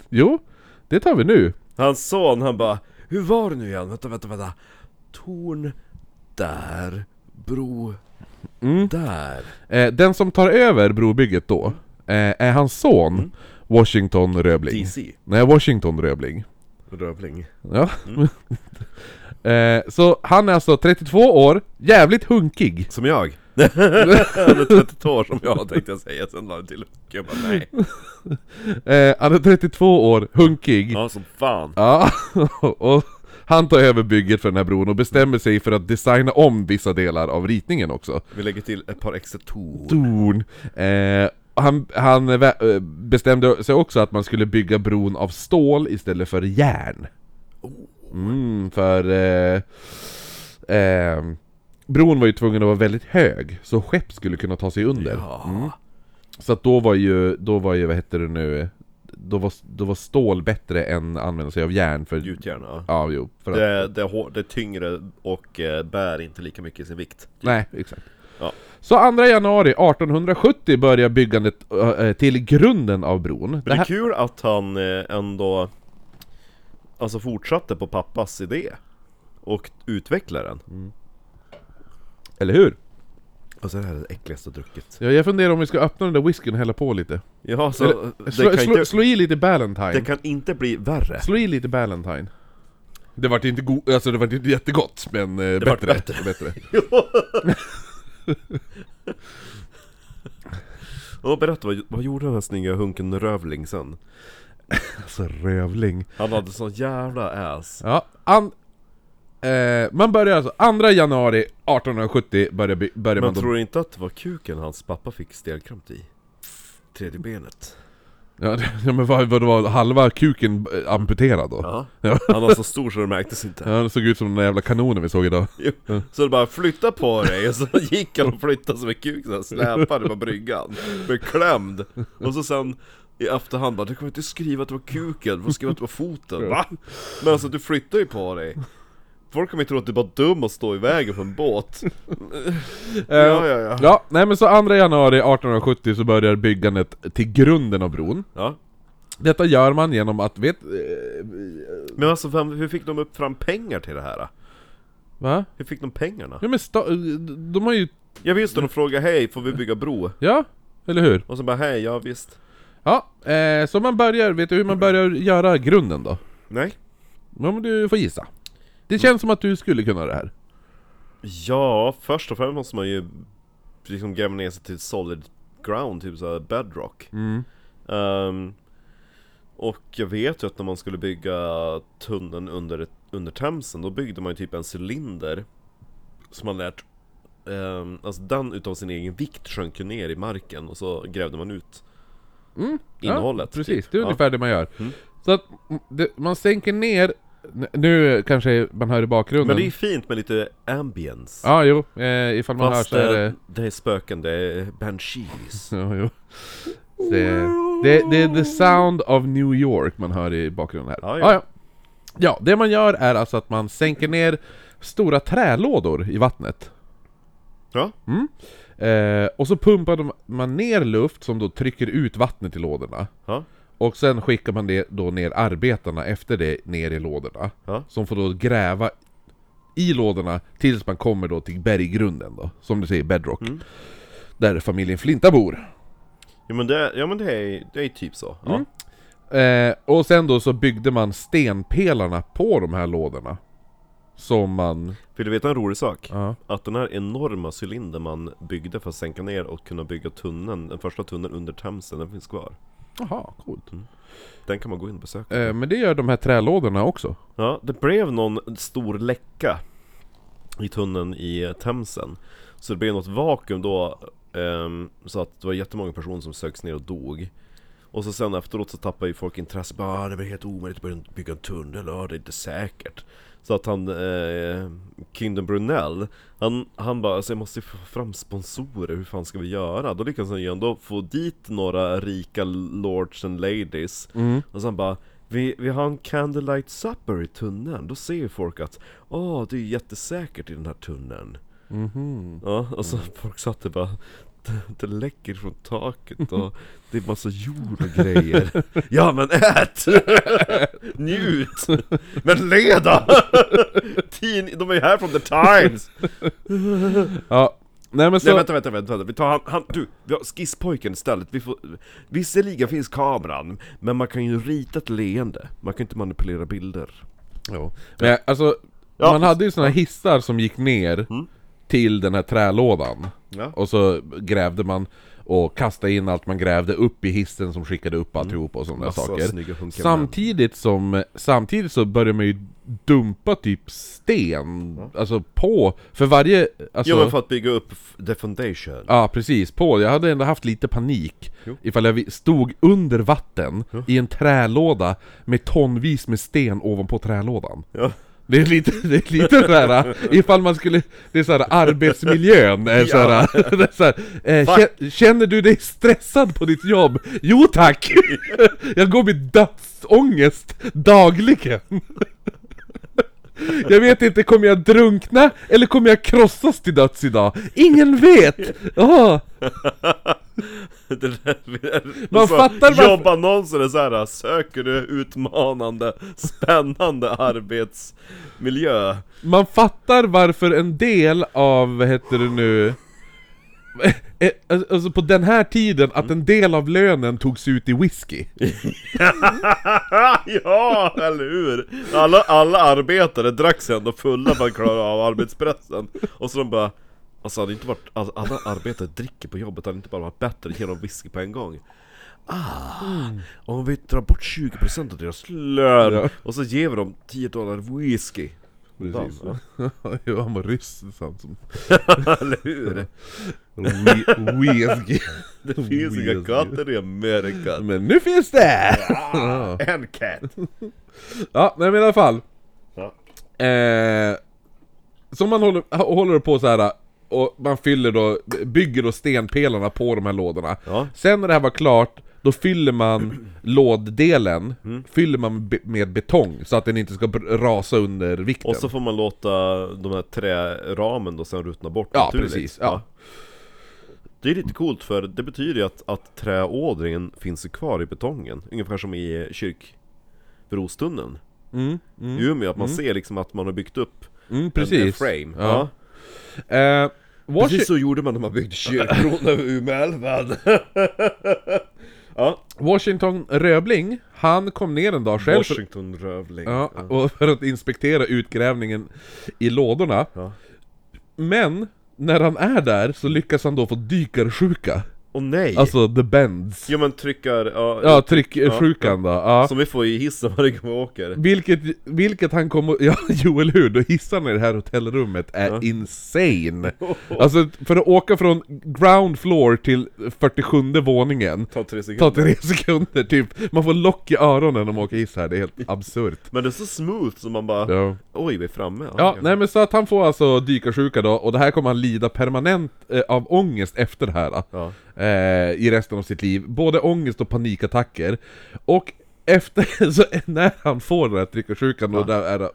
Speaker 1: Jo, det tar vi nu.
Speaker 2: Hans son han bara Hur var det nu igen? Vänta, vänta, vänta Torn där Bro
Speaker 1: Mm.
Speaker 2: där
Speaker 1: Eh, den som tar över brobygget då eh, är hans son Washington Röbling.
Speaker 2: DC
Speaker 1: Nej, Washington Röbling.
Speaker 2: Rövling
Speaker 1: Ja. eh, så han är alltså 32 år, jävligt hunkig.
Speaker 2: Som jag? Han är 32 år som jag tänkte jag säga, sen la jag till jag bara, nej
Speaker 1: Eh, han är 32 år, hunkig.
Speaker 2: Ja som fan
Speaker 1: Ja, och han tar över bygget för den här bron och bestämmer sig för att designa om vissa delar av ritningen också.
Speaker 2: Vi lägger till ett par extra torn
Speaker 1: Torn. Eh, han han vä- eh, bestämde sig också att man skulle bygga bron av stål istället för järn. Mm, för... Eh, eh, bron var ju tvungen att vara väldigt hög, så skepp skulle kunna ta sig under.
Speaker 2: Ja,
Speaker 1: Så att då var ju, då var ju, vad heter det nu, då var, då var stål bättre än att använda sig av järn för...
Speaker 2: gjutjärn ja
Speaker 1: Ja, jo, för att,
Speaker 2: det, det, är hår, det är tyngre och eh, bär inte lika mycket i sin vikt
Speaker 1: Nej, exakt.
Speaker 2: Ja.
Speaker 1: Så 2 januari 1870 börjar byggandet ö, ö, till grunden av bron. Det
Speaker 2: Men det är
Speaker 1: här,
Speaker 2: kul att han eh, ändå Alltså fortsatte på pappas idé Och utvecklade den
Speaker 1: eller hur?
Speaker 2: Alltså det här är det äckligaste drucket
Speaker 1: Ja, jag funderar om vi ska öppna den där whiskyn och hälla på lite.
Speaker 2: Ja
Speaker 1: Eller,
Speaker 2: alltså,
Speaker 1: slå,
Speaker 2: det kan,
Speaker 1: slå,
Speaker 2: inte,
Speaker 1: slå i lite Ballantine.
Speaker 2: det kan inte bli värre
Speaker 1: Slå i lite Ballantine. Det vart inte go- alltså det vart inte jättegott, men eh,
Speaker 2: vart
Speaker 1: bättre. bättre.
Speaker 2: Och berätta, vad, vad gjorde den här snygga hunken Rövling sen?
Speaker 1: Alltså rövling.
Speaker 2: Han hade sån jävla ass
Speaker 1: Ja, an- eh, man börjar alltså 2 januari 1870 börjar, by- börjar
Speaker 2: Men
Speaker 1: man då...
Speaker 2: tror du inte att det var kuken hans pappa fick stelkramp i? Tredje benet
Speaker 1: Ja, ja, men vad, vad det var halva kuken eh, amputerad då?
Speaker 2: Ja
Speaker 1: Ja.
Speaker 2: Han var så stor så det märktes inte
Speaker 1: Ja, det såg ut som den där jävla kanonen vi såg idag.
Speaker 2: Jo, Så det bara flytta på dig, och så gick han och flyttade som en kuk så här, släpade på bryggan Beklämd Och så sen i efterhand bara, du kommer inte skriva att det var kuken, du får skriva att det var foten Va? Men alltså du flyttar ju på dig Folk kommer ju tro att du är bara dum och står i vägen för en båt Ja ja ja
Speaker 1: Ja, nej men så 2 januari 1870 så börjar byggandet till grunden av bron.
Speaker 2: Ja,
Speaker 1: Detta gör man genom att, vet... eh,
Speaker 2: men alltså vem, hur fick de upp fram pengar till det här? då?
Speaker 1: Va?
Speaker 2: Hur fick de pengarna?
Speaker 1: Ja men sta- eh, de har ju...
Speaker 2: Jag visste de frågade hej, får vi bygga bro?
Speaker 1: Ja, eller hur?
Speaker 2: Och så bara hej, ja visst
Speaker 1: Ja, eh, så man börjar, vet du hur man börjar göra grunden då?
Speaker 2: Nej
Speaker 1: Ja men du får gissa. Det känns som att du skulle kunna det här.
Speaker 2: Ja, först och främst måste man ju liksom gräva ner sig till solid ground, typ såhär bedrock.
Speaker 1: Mm.
Speaker 2: Ehm, och jag vet ju att när man skulle bygga tunneln under ett under Themsen, då byggde man ju typ en cylinder som man lät ehm, Alltså den utav sin egen vikt sjönk ju ner i marken och så grävde man ut innehållet.
Speaker 1: Mm. Ja, precis,
Speaker 2: typ.
Speaker 1: det är
Speaker 2: Ja.
Speaker 1: ungefär det man gör. Så att mm, det, man sänker ner, n- nu kanske man hör i bakgrunden.
Speaker 2: Men det är ju fint med lite ambience.
Speaker 1: Ja, jo, eh, ifall man
Speaker 2: Fast
Speaker 1: hör så är
Speaker 2: det,
Speaker 1: det...
Speaker 2: det är spöken, det är banshees.
Speaker 1: Ja, jo. Det, det, det är the sound of New York man hör i bakgrunden här.
Speaker 2: Ja,
Speaker 1: Ja,
Speaker 2: ja.
Speaker 1: ja. ja. det man gör är alltså att man sänker ner stora trälådor i vattnet.
Speaker 2: Ja,
Speaker 1: Eh, och så pumpar de- man ner luft som då trycker ut vattnet i lådorna.
Speaker 2: ja,
Speaker 1: Och sen skickar man det då ner arbetarna efter det ner i lådorna.
Speaker 2: ja.
Speaker 1: Som får då gräva i lådorna tills man kommer då till berggrunden då, som du säger, bedrock.
Speaker 2: Mm.
Speaker 1: Där familjen Flinta bor.
Speaker 2: Ja men det, ja, men det, är, det är typ så. Ja.
Speaker 1: Eh, och sen då så byggde man stenpelarna på de här lådorna. Som man...
Speaker 2: Vill du veta en rolig sak?
Speaker 1: Ja.
Speaker 2: Att den här enorma cylindern man byggde för att sänka ner och kunna bygga tunneln, den första tunneln under Themsen, den finns kvar.
Speaker 1: Jaha, coolt.
Speaker 2: Den kan man gå in och besöka.
Speaker 1: Eh, men det gör de här trälådorna också.
Speaker 2: Ja, det blev någon stor läcka i tunneln i Themsen. Så det blev något vakuum då, ehm, så att det var jättemånga personer som sögs ner och dog. Och så sen efteråt så tappade ju folk intresse, bara "Ah, det blir helt omöjligt att börja bygga en tunnel, ja det är inte säkert. Så att han, eh, Kingdom Brunell, han, han bara alltså jag måste ju få fram sponsorer, hur fan ska vi göra? Då lyckades han ju ändå få dit några rika lords and ladies Och sen bara vi, vi har en candlelight supper i tunneln, då ser ju folk att Åh, det är ju jättesäkert i den här tunneln Ja, och så folk satt där bara "Det- det läcker från taket och det är massa jord och grejer Ja men ät! Njut! Men leda! Tid, de är ju här från the times!
Speaker 1: Ja. Nej men så...
Speaker 2: Nej vänta, vänta, vänta, vänta. vi tar han, han du, vi har skisspojken istället, vi får... Visserligen finns kameran, men man kan ju rita ett leende, man kan inte manipulera bilder
Speaker 1: Jo. Men jag- alltså,
Speaker 2: Ja. Mm.
Speaker 1: man hade ju såna här hissar som gick ner till den här trälådan.
Speaker 2: Ja.
Speaker 1: Och så grävde man och kastade in allt man grävde upp i hissen som skickade upp alltihop och sådana där
Speaker 2: Mm. Massa snygga
Speaker 1: saker.
Speaker 2: hunkar
Speaker 1: Samtidigt som, samtidigt så började man ju dumpa typ sten, alltså på, för varje... Alltså,
Speaker 2: Jo men för att bygga upp f- the foundation
Speaker 1: Ja precis, på. Jag hade ändå haft lite panik ifall jag vi- stod under vatten i en trälåda med tonvis med sten ovanpå trälådan.
Speaker 2: Ja,
Speaker 1: Det är lite, det är lite såhär, ifall man skulle, det är såhär arbetsmiljön är såhär, det är såhär eh,
Speaker 2: Fuck.
Speaker 1: kä- Känner du dig stressad på ditt jobb? Jo tack! Jag går med dödsångest dagligen. Jag vet inte, kommer jag drunkna eller kommer jag krossas till döds idag? Ingen vet! Ja,
Speaker 2: det där,
Speaker 1: Man fattar varför-
Speaker 2: Jobbannonser är såhär, söker du utmanande, spännande arbetsmiljö?
Speaker 1: man fattar varför en del av, vad heter det nu, Eh, alltså på den här tiden, att en del av lönen togs ut i whisky.
Speaker 2: ja, eller hur? Alla, alla arbetare drack sig ändå fulla för att klara av arbetspressen Och så de bara Alltså hade inte varit, alltså, alla arbetare dricker på jobbet hade inte bara varit bättre genom whisky på en gång Ah, om vi drar bort 20% av deras lön
Speaker 1: Mm. Ja.
Speaker 2: och så ger vi dem 10 dollar whisky
Speaker 1: Precis. Jo, han var ryss, sant som...
Speaker 2: Eller hur?
Speaker 1: Whi- Whisky.
Speaker 2: Det finns inga
Speaker 1: Whisky.
Speaker 2: katter i Amerika
Speaker 1: Men nu finns det!
Speaker 2: ah, En cat!
Speaker 1: Ja, nej men i alla fall.
Speaker 2: Ja.
Speaker 1: Eh, så man håller, håller på så här och man fyller då, bygger då stenpelarna på de här lådorna.
Speaker 2: Ja.
Speaker 1: Sen när det här var klart, då fyller man låddelen,
Speaker 2: Mm.
Speaker 1: fyller man be- med betong så att den inte ska br- rasa under vikten.
Speaker 2: Och så får man låta de här träramen då sen ruttna bort
Speaker 1: ja,
Speaker 2: naturligt.
Speaker 1: precis. Ja.
Speaker 2: Det är lite coolt för det betyder ju att, att träådringen finns ju kvar i betongen. Ungefär som i kyrkbrostunneln. Mm, I Umeå, att man ser liksom att man har byggt upp
Speaker 1: Mm,
Speaker 2: en, en
Speaker 1: precis.
Speaker 2: frame.
Speaker 1: Ja. Eh, Washi-
Speaker 2: Precis så gjorde man när man byggde kyrkbron över Umeälven. ja,
Speaker 1: Washington Röbling, han kom ner en dag själv för-
Speaker 2: Washington Rövling.
Speaker 1: Ja, och för att inspektera utgrävningen i lådorna.
Speaker 2: Ja.
Speaker 1: Men, när han är där så lyckas han då få dykarsjuka.
Speaker 2: Åh nej!
Speaker 1: Alltså the bends.
Speaker 2: Jo men trycker, ja,
Speaker 1: Ja, trycksjukan då. Ja.
Speaker 2: Som vi får i hissen varje gång vi åker
Speaker 1: Vilket, vilket han kommer... Ja, jo eller hur? Då hissarna i det här hotellrummet är
Speaker 2: Ja.
Speaker 1: insane! Alltså, för att åka från ground floor till 47 våningen
Speaker 2: Ta
Speaker 1: tar
Speaker 2: tre sekunder
Speaker 1: tre sekunder typ. Man får lock i öronen om man åker hiss här, det är helt absurt.
Speaker 2: Men det är så smooth som man bara
Speaker 1: Ja.
Speaker 2: Oj vi är framme
Speaker 1: Ja, nej men så att han får alltså dykarsjuka då, och det här kommer han lida permanent eh, av ångest efter det här. Då.
Speaker 2: Ja.
Speaker 1: eh, i resten av sitt liv. Både ångest och panikattacker. Och efter, så när han får den här tryckersjukan och där är, eh,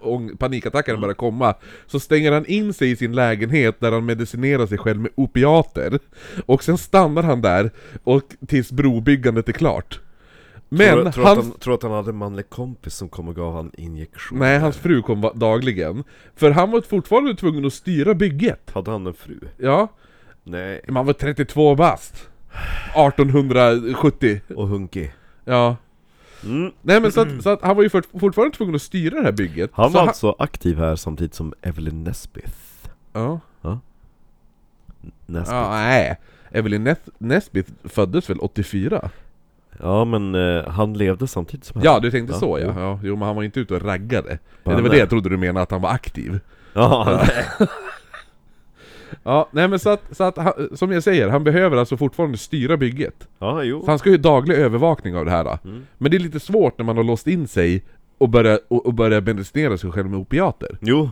Speaker 1: ång, panikattackerna börjar komma, så stänger han in sig i sin lägenhet där han medicinerar sig själv med opiater. Och sen stannar han där och tills brobyggandet är klart. Men
Speaker 2: tror, tror,
Speaker 1: hans...
Speaker 2: att han, tror att han hade en manlig kompis som kom och gav han injektion?
Speaker 1: Nej, hans fru kom va- dagligen. För han var fortfarande tvungen att styra bygget.
Speaker 2: Hade han en fru?
Speaker 1: Ja,
Speaker 2: Nej
Speaker 1: man var 32 bast. 1870.
Speaker 2: Och hunky
Speaker 1: Ja.
Speaker 2: mm.
Speaker 1: Nej men så att, så att han var ju fort, fortfarande tvungen att styra det här bygget.
Speaker 2: Han
Speaker 1: så
Speaker 2: var alltså aktiv här samtidigt som Evelyn Nesbith
Speaker 1: Ja.
Speaker 2: Nesbith
Speaker 1: ja,
Speaker 2: Ja,
Speaker 1: nej. Evelyn Nes- Nesbith föddes väl 84?
Speaker 2: men eh, han levde samtidigt som henne
Speaker 1: Ja, du tänkte
Speaker 2: Ja,
Speaker 1: så ja.
Speaker 2: jo.
Speaker 1: ja. Jo men han var inte ute och raggade.
Speaker 2: Bara,
Speaker 1: det var det
Speaker 2: nej.
Speaker 1: jag trodde du menade, att han var aktiv.
Speaker 2: Ja,
Speaker 1: Ja, nej men så att, så att han, som jag säger, han behöver alltså fortfarande styra bygget.
Speaker 2: ja jo
Speaker 1: Så han ska ju daglig övervakning av det här. då.
Speaker 2: Mm.
Speaker 1: Men det är lite svårt när man har låst in sig och börjar, och, och börjar medicinera sig själv med opiater.
Speaker 2: Jo,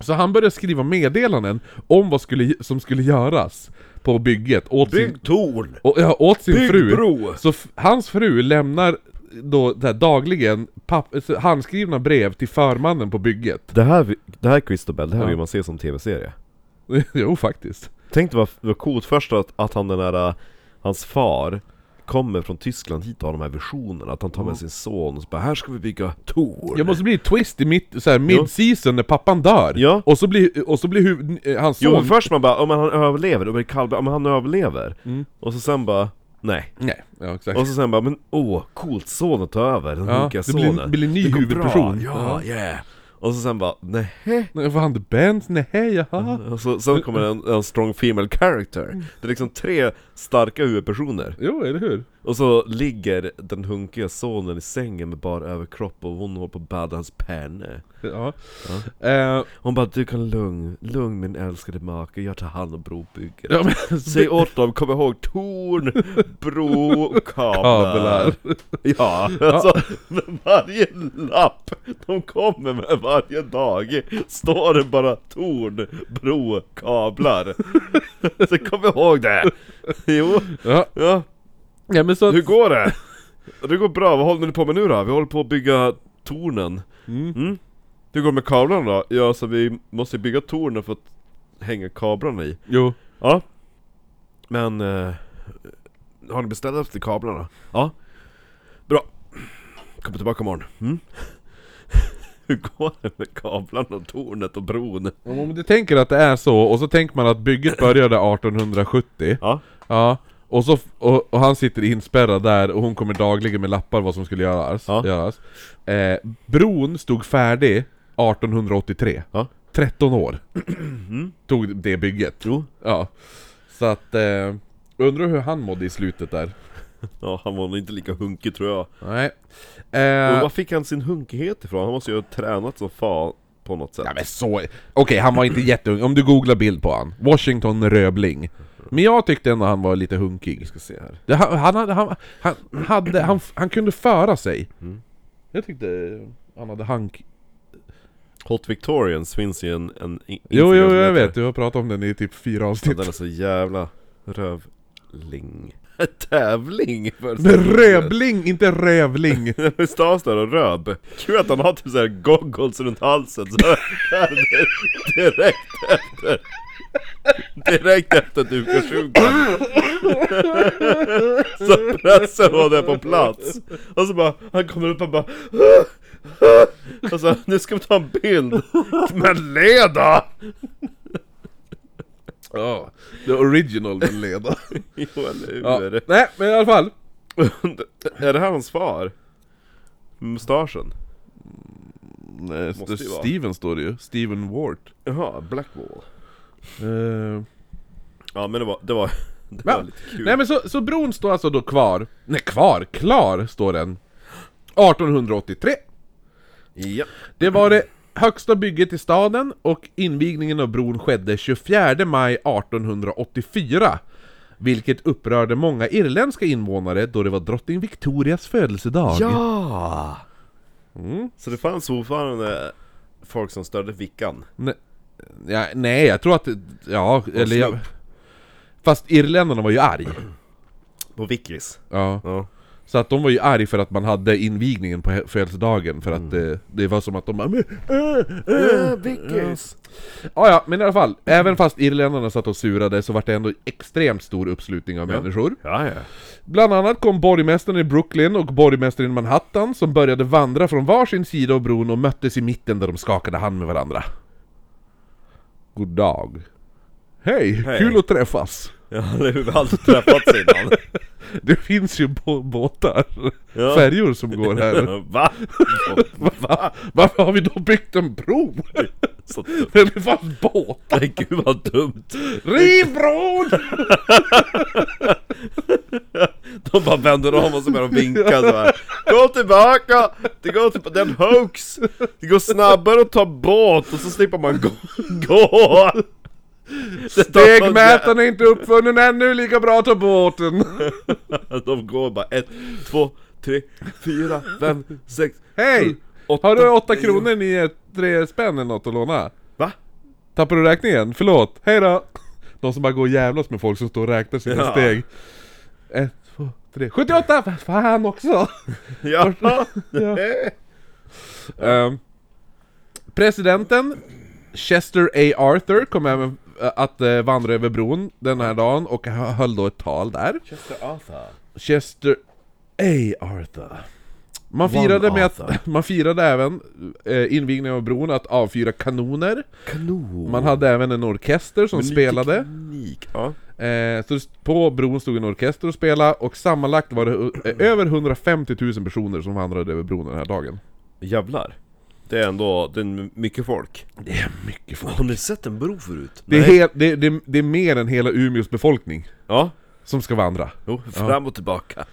Speaker 1: Så han började skriva meddelanden om vad skulle, som skulle göras på bygget åt sin,
Speaker 2: torn!
Speaker 1: å, ja, åt sin fru.
Speaker 2: bro!
Speaker 1: Så f- hans fru lämnar då där dagligen papp, så handskrivna brev till förmannen på bygget.
Speaker 2: Det här, det här Christobel, det här
Speaker 1: Ja.
Speaker 2: vill man se som tv-serie
Speaker 1: jo faktiskt.
Speaker 2: Tänk dig vad, vad coolt först att, att han den där, äh, hans far kommer från Tyskland hit och har de här visionerna, att han tar med sin son och så bara 'Här ska vi bygga Tor'
Speaker 1: Jag måste bli ett twist i mitt, så här, mid-season när pappan dör.
Speaker 2: Ja.
Speaker 1: Och så blir, och så blir huv, eh, hans
Speaker 2: Jo
Speaker 1: son...
Speaker 2: men först man bara, om han överlever, då blir det kallbad, om han överlever
Speaker 1: Mm.
Speaker 2: Och så sen bara, nej
Speaker 1: Nej, ja exakt.
Speaker 2: Och så sen bara, men åh, coolt, sonen tar över, den
Speaker 1: Ja,
Speaker 2: hunkiga
Speaker 1: det blir-
Speaker 2: sonen
Speaker 1: blir en ny
Speaker 2: Det går
Speaker 1: huvudperson.
Speaker 2: bra. ja, yeah Och så sen bara, nej
Speaker 1: Nej, Vad han The Benz? Nej, jaha.
Speaker 2: och så, sen kommer en, en strong female
Speaker 1: Mm.
Speaker 2: character Det är liksom tre starka huvudpersoner
Speaker 1: Jo, eller hur?
Speaker 2: Och så ligger den hunkiga sonen i sängen med bara överkropp och hon håller på att bäda hans penne
Speaker 1: Ja. Eh,
Speaker 2: Hon bara 'Du kan lugn, lugn min älskade make, jag tar hand om brobygget'
Speaker 1: ja men,
Speaker 2: Säg åt dem, kom ihåg torn, bro och kablar.
Speaker 1: Kablar.
Speaker 2: Ja, alltså med varje lapp de kommer med varje dag står det bara torn, bro, kablar. Så kom ihåg det! Jo,
Speaker 1: ja.
Speaker 2: ja,
Speaker 1: ja men så att...
Speaker 2: hur går det? Det går bra, vad håller ni på med nu då? Vi håller på att bygga tornen.
Speaker 1: Mm.
Speaker 2: Mm. Hur går det med kablarna då? Ja, så vi måste bygga tornen för att hänga kablarna i.
Speaker 1: Jo.
Speaker 2: Ja Men eh, Har ni beställt efter kablarna? Ja Bra Kommer tillbaka imorgon mm? Hur går det med kablarna och tornet och bron?
Speaker 1: Om du tänker att det är så, och så tänker man att bygget började 1870
Speaker 2: Ja
Speaker 1: Ja och, så, f- och, och han sitter inspärrad där och hon kommer dagligen med lappar vad som skulle göras,
Speaker 2: Ja.
Speaker 1: göras. Eh, Bron stod färdig 1883
Speaker 2: Ja.
Speaker 1: 13 år Tog det bygget
Speaker 2: Jo
Speaker 1: Ja Så att, eh, undrar hur han mådde i slutet där
Speaker 2: Ja han var nog inte lika hunkig tror jag
Speaker 1: Nej
Speaker 2: Men
Speaker 1: eh,
Speaker 2: var fick han sin hunkighet ifrån? Han måste ju ha tränat som fan på något sätt
Speaker 1: Ja men så... Okej, han var inte jätteung. Om du googlar bild på han. Washington Röbling. Men jag tyckte ändå han var lite hunkig.
Speaker 2: ska se här
Speaker 1: Det, han, han, hade, han, han, hade, han, han kunde föra sig. Mm. Jag tyckte han hade hank...
Speaker 2: Hot Victorians finns ju en, en
Speaker 1: Jo,
Speaker 2: i- Instagram
Speaker 1: jo,
Speaker 2: som
Speaker 1: jag
Speaker 2: heter-
Speaker 1: vet. Du har pratat om den i typ fyra
Speaker 2: Ja,
Speaker 1: avsnitt.
Speaker 2: Den är så jävla rövling Tävling! för-
Speaker 1: Men röbling, inte rövling!
Speaker 2: Hur stavas det då? Röb? Kul att han har typ såhär goggles runt halsen så här, di- direkt efter Direkt efter dykarsjukan Så pressar hon det på plats Och så bara, han kommer upp och bara Och så, nu ska vi ta en bild Men leda!
Speaker 1: Ja, the original vill leda.
Speaker 2: Jo eller hur?
Speaker 1: Ja. Nej, men i alla fall.
Speaker 2: Är det här hans far? Mustaschen? Måste ju vara.
Speaker 1: Steven står det ju. Steven Ward.
Speaker 2: Jaha, Blackwall
Speaker 1: Eh,
Speaker 2: Ja men det var, det var, Det
Speaker 1: Ja.
Speaker 2: var lite kul.
Speaker 1: Nej men så, så bron står alltså då kvar, nej kvar, klar står den 1883
Speaker 2: Ja.
Speaker 1: Det var det högsta bygget i staden och invigningen av bron skedde 24 maj 1884 Vilket upprörde många irländska invånare då det var drottning Victorias födelsedag
Speaker 2: ja! Mm. Så det fanns fortfarande folk som störde Vickan?
Speaker 1: Ne- ja, Nej, jag tror att, ja, eller jag,
Speaker 2: slump.
Speaker 1: Fast irländarna var ju arg
Speaker 2: På Vickis?
Speaker 1: Ja
Speaker 2: Ja.
Speaker 1: Så att de var ju arg för att man hade invigningen på he- födelsedagen för att
Speaker 2: Mm.
Speaker 1: eh, det var som att de bara "Men, eh, eh."
Speaker 2: Äh, Vickis!
Speaker 1: ja, ja, men i alla fall, även fast irländarna satt och surade så var det ändå extremt stor uppslutning av människor
Speaker 2: Ja, ja.
Speaker 1: Bland annat kom borgmästaren i Brooklyn och borgmästaren i Manhattan som började vandra från varsin sida av bron och möttes i mitten där de skakade hand med varandra God dag Hej,
Speaker 2: Hej.
Speaker 1: kul att träffas!
Speaker 2: Ja, det har vi aldrig träffats innan.
Speaker 1: Det finns ju bå- båtar,
Speaker 2: Ja.
Speaker 1: färjor som går här
Speaker 2: Va?
Speaker 1: Va? Varför har vi då byggt en bro?
Speaker 2: Så dumt.
Speaker 1: Den är fan båt!
Speaker 2: Nej, gud vad dumt.
Speaker 1: Riv bron!
Speaker 2: De bara vänder om och så börjar de vinka så här. Gå tillbaka! Det går tillbaka, det är en hoax! Det går snabbare att ta båt och så slipper man gå! gå. Det tar-
Speaker 1: Stegmätaren är inte uppfunnen ännu, lika bra att ta båten!
Speaker 2: De går bara ett, två, tre, fyra, fem, sex,
Speaker 1: Hej!
Speaker 2: sju, Mm. åtta,
Speaker 1: Har du åtta
Speaker 2: nio.
Speaker 1: kronor, nio, tre spänn eller något att låna?
Speaker 2: Va?
Speaker 1: Tappar du räkningen? Förlåt, hej då! De som bara går och jävlas med folk som står och räknar sina
Speaker 2: Ja.
Speaker 1: steg Ett, två, tre, 78! Vad Fan också!
Speaker 2: Ja!
Speaker 1: Ja. Ehm, presidenten Chester A. Arthur kom även eh, att eh, vandra över bron den här dagen och hö- höll då ett tal där.
Speaker 2: Chester Arthur
Speaker 1: Chester A. Arthur. Man
Speaker 2: One
Speaker 1: firade, med att,
Speaker 2: Arthur.
Speaker 1: man firade även eh, invigningen av bron att avfyra kanoner.
Speaker 2: Kanon!
Speaker 1: Man hade även en orkester som
Speaker 2: Men ny
Speaker 1: spelade.
Speaker 2: Teknik. Ja.
Speaker 1: Eh, så st- på bron stod en orkester och spelade och sammanlagt var det eh, över 150 000 personer som vandrade över bron den här dagen.
Speaker 2: Jävlar. Det är ändå, det är mycket folk.
Speaker 1: Det är mycket folk.
Speaker 2: Har ni sett en bro förut?
Speaker 1: Det är,
Speaker 2: Nej.
Speaker 1: hel, det, det, det är mer än hela Umeås befolkning
Speaker 2: Ja.
Speaker 1: som ska vandra.
Speaker 2: Jo, fram och tillbaka.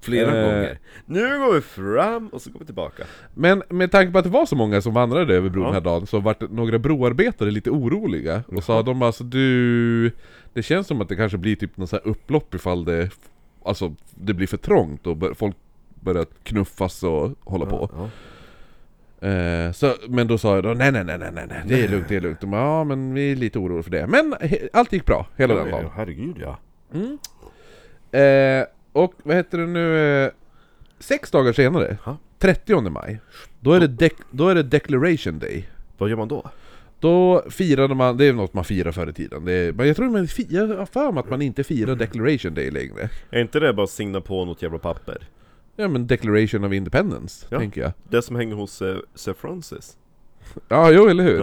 Speaker 2: Flera
Speaker 1: Eh.
Speaker 2: gånger. Nu går vi fram och så går vi tillbaka.
Speaker 1: Men med tanke på att det var så många som vandrade över bron
Speaker 2: Ja.
Speaker 1: den här dagen så vart några broarbetare lite oroliga och sa de alltså du... Det känns som att det kanske blir typ något så här upplopp ifall det... Alltså det blir för trångt och bör, folk börjar knuffas och hålla på.
Speaker 2: Ja.
Speaker 1: Eh, så, men då sa jag då nej nej nej nej nej, nej det är lugnt, det är lugnt. De bara, ja men vi är lite oroliga för det. Men he, allt gick bra hela den dagen.
Speaker 2: herregud ja.
Speaker 1: Eh, och vad heter det nu? eh, Sex dagar senare,
Speaker 2: Ja.
Speaker 1: 30 maj, då är, det dec- då är det Declaration Day.
Speaker 2: Vad gör man då?
Speaker 1: Då firade man, det är något man firar förr i tiden. Det är, men jag tror man fi- jag har för mig att man inte firar Declaration Day längre.
Speaker 2: Är inte det bara att signa på något jävla papper?
Speaker 1: Ja men Declaration of Independence,
Speaker 2: Ja.
Speaker 1: tänker jag.
Speaker 2: Det som hänger hos eh, Sir Francis?
Speaker 1: Ja, jo eller hur?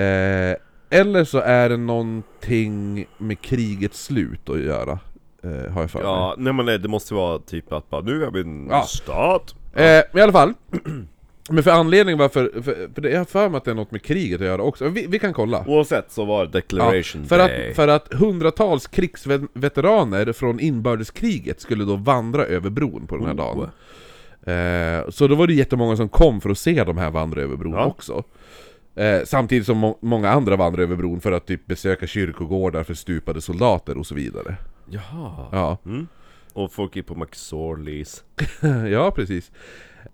Speaker 1: Eh, eller så är det någonting med krigets slut att göra, eh, har jag för mig.
Speaker 2: Ja, nej men nej, det måste vara typ att bara, nu är vi en
Speaker 1: Ja.
Speaker 2: stat.
Speaker 1: Eh, men i alla fall. Men för anledningen varför, för, för det, jag har för mig att det är något med kriget att göra också. Vi, vi kan kolla.
Speaker 2: Oavsett så var det
Speaker 1: Ja,
Speaker 2: Declaration
Speaker 1: för,
Speaker 2: Day.
Speaker 1: att, för att hundratals krigsveteraner från inbördeskriget skulle då vandra över bron på den
Speaker 2: Oh.
Speaker 1: här dagen. Eh, så då var det jättemånga som kom för att se de här vandra över bron
Speaker 2: Ja.
Speaker 1: också. Eh, samtidigt som må- många andra vandrade över bron för att typ besöka kyrkogårdar för stupade soldater och så vidare.
Speaker 2: Jaha.
Speaker 1: Ja.
Speaker 2: Och folk gick på McSorleys.
Speaker 1: ja, precis.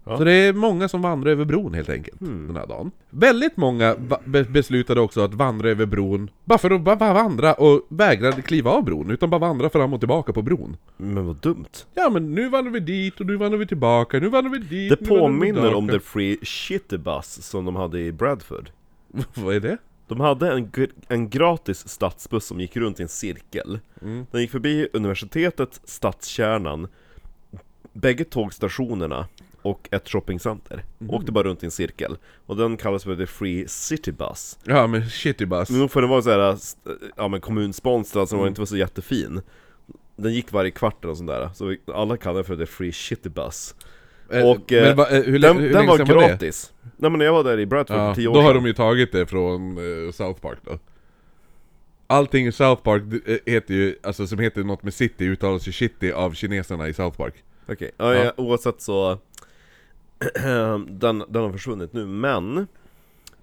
Speaker 1: Så det är många som vandrar över bron helt enkelt
Speaker 2: Hmm.
Speaker 1: den här dagen. Väldigt många va- be- beslutade också att vandra över bron, bara för att bara bara vandra och vägrade kliva av bron, utan bara vandra fram och tillbaka på bron.
Speaker 2: Men vad dumt.
Speaker 1: Ja men nu vandrar vi dit och nu vandrar vi tillbaka, nu vandrar vi dit,
Speaker 2: Det
Speaker 1: nu vandrar vi
Speaker 2: påminner om
Speaker 1: tillbaka.
Speaker 2: The Free Shitty Bus som de hade i Bradford.
Speaker 1: Vad är det?
Speaker 2: De hade en, gr- en gratis stadsbuss som gick runt i en cirkel.
Speaker 1: Mm.
Speaker 2: Den gick förbi universitetet, stadskärnan, bägge tågstationerna och ett shoppingcenter.
Speaker 1: Mm.
Speaker 2: Åkte bara runt i en cirkel. Och den kallas för The Free City Bus.
Speaker 1: Ja men shitty bus.
Speaker 2: Men nog för den var så här, st- ja men kommunsponsrad så
Speaker 1: Mm.
Speaker 2: den var inte var så jättefin. Den gick varje kvart och sånt där, så vi- alla kallade den för The Free City Bus.
Speaker 1: Eh,
Speaker 2: och, eh,
Speaker 1: men va- eh, hur, lä-
Speaker 2: Den,
Speaker 1: hur
Speaker 2: den
Speaker 1: länge
Speaker 2: var
Speaker 1: sedan det?
Speaker 2: gratis. Nej men när jag var där i Bradford för
Speaker 1: Ja,
Speaker 2: tio år
Speaker 1: då har
Speaker 2: sedan.
Speaker 1: de ju tagit det från eh, South Park då. Allting i South Park eh, heter ju, alltså som heter något med city uttalas ju shitty av kineserna i South Park.
Speaker 2: Okej, ja, ja. oavsett så den, den har försvunnit nu, men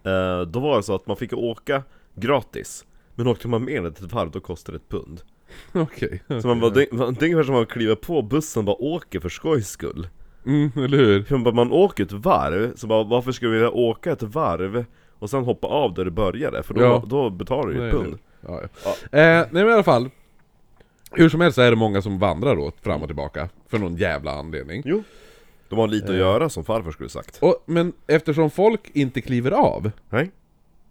Speaker 2: eh, Då var det så att man fick åka gratis Men åkte man med ett varv då kostade det ett pund
Speaker 1: Okej.
Speaker 2: Så man bara, det, man- det är ungefär som att man kliver på bussen och bara åker för skojs skull
Speaker 1: Mm, eller hur?
Speaker 2: För Man, bara, man åker ett varv, så bara, varför ska vi vilja åka ett varv och sen hoppa av där det började? För då,
Speaker 1: Ja.
Speaker 2: då betalar du ju
Speaker 1: Nej,
Speaker 2: ett pund
Speaker 1: Ja, ja. Eh, nej men i alla fall. Hur som helst så är det många som vandrar åt fram och tillbaka. För någon jävla anledning.
Speaker 2: Jo De har
Speaker 1: Eh.
Speaker 2: lite att göra som farfar skulle sagt
Speaker 1: Och, men eftersom folk inte kliver av,
Speaker 2: Nej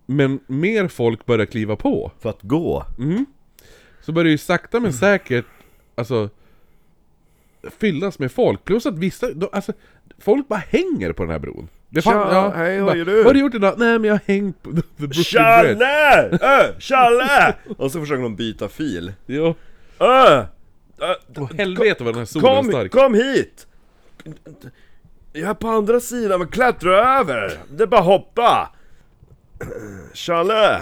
Speaker 1: men mer folk börjar kliva på.
Speaker 2: För att gå
Speaker 1: Så börjar det ju sakta men säkert, alltså fyllas med folk. Plus att vissa, de, alltså, folk bara hänger på den här bron. Det fan-
Speaker 2: Tja, hej, vad
Speaker 1: bara,
Speaker 2: gör du?
Speaker 1: Vad har du gjort idag? Nej men jag har hängt på the Brooklyn Bridge.
Speaker 2: Challe! Ö! Challe! Och så försöker de byta fil
Speaker 1: Ja.
Speaker 2: Ö! Ö!
Speaker 1: Och helvete vad den här solen är
Speaker 2: Kom,
Speaker 1: stark.
Speaker 2: kom hit! Jag är på andra sidan, men klättra över! Det är bara att hoppa! Challe!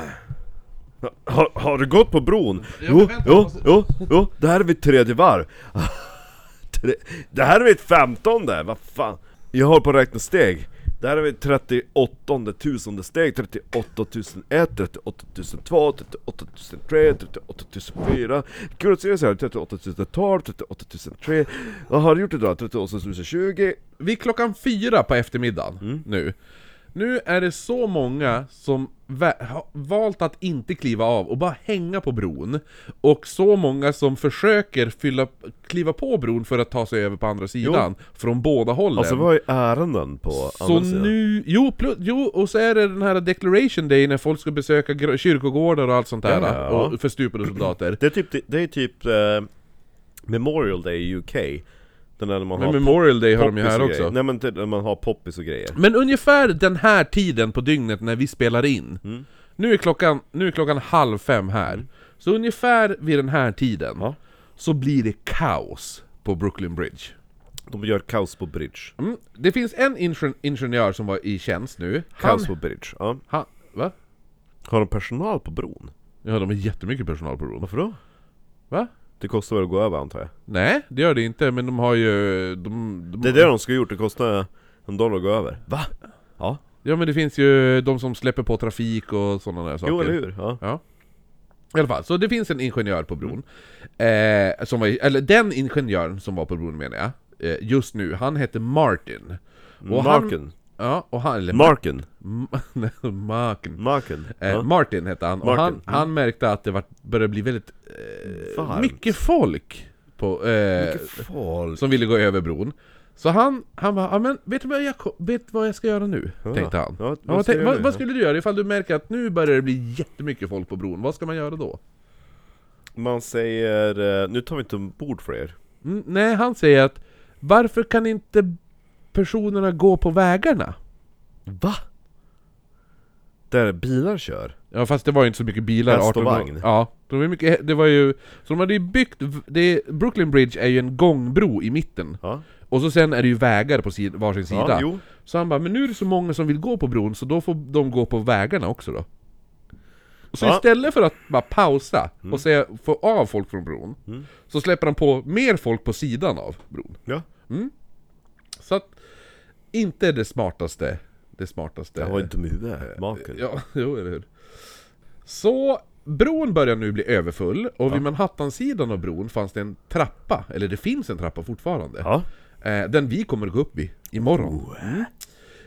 Speaker 2: Har, har du gått på bron? Jo,
Speaker 1: vänta, jag
Speaker 2: jo,
Speaker 1: måste-
Speaker 2: jo, jo, det här är mitt tredje varv. Tre- Det här är mitt femtonde, vad fan. Jag håller på att räkna steg. Det här är mitt 38 tusende steg, 38 001, 38 002, 38 003, 38 004 Kul att se dig här, 38 012, 38 003 Vad har du gjort idag? 38 020
Speaker 1: Vid klockan fyra på eftermiddagen
Speaker 2: Mm.
Speaker 1: nu. Nu är det så många som vä- har valt att inte kliva av och bara hänga på bron. Och så många som försöker fylla, kliva på bron för att ta sig över på andra sidan. Från båda hållen.
Speaker 2: Alltså vad är ärenden på
Speaker 1: Så
Speaker 2: andra sidan?
Speaker 1: nu, jo, plus, jo, och så är det den här declaration day när folk ska besöka gr- kyrkogårdar och allt sånt där,
Speaker 2: Ja, ja.
Speaker 1: och för stupade soldater.
Speaker 2: Det är typ, det är typ eh, Memorial Day i UK Den där när man
Speaker 1: Men
Speaker 2: har
Speaker 1: Memorial day har de ju
Speaker 2: poppis och
Speaker 1: här
Speaker 2: grejer.
Speaker 1: också.
Speaker 2: Nej men typ när man har poppis och grejer
Speaker 1: Men ungefär den här tiden på dygnet när vi spelar in,
Speaker 2: Mm.
Speaker 1: nu, är klockan, nu är klockan halv fem här, så ungefär vid den här tiden,
Speaker 2: Ja.
Speaker 1: så blir det kaos på Brooklyn Bridge.
Speaker 2: De gör kaos på bridge
Speaker 1: Mm. Det finns en ingen- ingenjör som var i tjänst nu, han...
Speaker 2: Kaos på bridge, ja
Speaker 1: han va?
Speaker 2: Har de personal på bron?
Speaker 1: Ja, de har jättemycket personal på bron.
Speaker 2: Varför då?
Speaker 1: Va?
Speaker 2: Det kostar väl att gå över antar jag?
Speaker 1: Nej, det gör det inte, men de har ju... De, de,
Speaker 2: Det är det de ska ha gjort, det kostar en dollar att gå över Va? Ja,
Speaker 1: Ja men det finns ju de som släpper på trafik och sådana där saker.
Speaker 2: jo eller hur? Ja.
Speaker 1: Ja. I alla fall, så det finns en ingenjör på bron. Eh, som var, eller den ingenjören som var på bron menar jag, eh, just nu, han hette Martin. Och han- Eh,
Speaker 2: Marken,
Speaker 1: Ja, och han... Eller
Speaker 2: Marken,
Speaker 1: Ma- Martin.
Speaker 2: Marken
Speaker 1: Eh,
Speaker 2: ja.
Speaker 1: Martin hette han, och
Speaker 2: Martin,
Speaker 1: han,
Speaker 2: mm.
Speaker 1: han märkte att det var, började bli väldigt eh,
Speaker 2: Varmt.
Speaker 1: mycket folk på, eh,
Speaker 2: Mycket folk
Speaker 1: som ville gå över bron. Så han, han bara, "Ja, men vet du vad jag, ko- vet vad jag ska göra nu?
Speaker 2: Ja.
Speaker 1: Tänkte han.
Speaker 2: Ja,
Speaker 1: Ja,
Speaker 2: vad
Speaker 1: vad,
Speaker 2: ska
Speaker 1: tänk-
Speaker 2: jag
Speaker 1: vad,
Speaker 2: göra?
Speaker 1: vad skulle du göra ifall du märker att nu börjar det bli jättemycket folk på bron? Vad ska man göra då?
Speaker 2: Man säger, eh, nu tar vi inte ombord för er
Speaker 1: Mm, nej, han säger att varför kan inte personerna gå på vägarna?
Speaker 2: Va? Där bilar kör?
Speaker 1: Ja fast det var ju inte så mycket bilar
Speaker 2: Häst och
Speaker 1: 1800
Speaker 2: vagn.
Speaker 1: Ja, det var, ju mycket, det var ju... Så de hade ju byggt... v- Det, Brooklyn Bridge är ju en gångbro i mitten
Speaker 2: Ja,
Speaker 1: Och så sen är det ju vägar på sid, varsin sida
Speaker 2: ja jo
Speaker 1: Så han bara, men nu är det så många som vill gå på bron så då får de gå på vägarna också då. Så
Speaker 2: Ja. Mm.
Speaker 1: istället för att bara pausa och säga, få av folk från bron, så släpper han på mer folk på sidan av bron.
Speaker 2: Ja.
Speaker 1: Så att, inte det smartaste, det smartaste.
Speaker 2: Jag har inte med huvudet, maken
Speaker 1: eh, Ja, jo eller hur. Så bron börjar nu bli överfull och vid Manhattan-sidan av bron fanns det en trappa, eller det finns en trappa fortfarande.
Speaker 2: Ja, Oh.
Speaker 1: Eh, Den vi kommer att gå upp vid imorgon.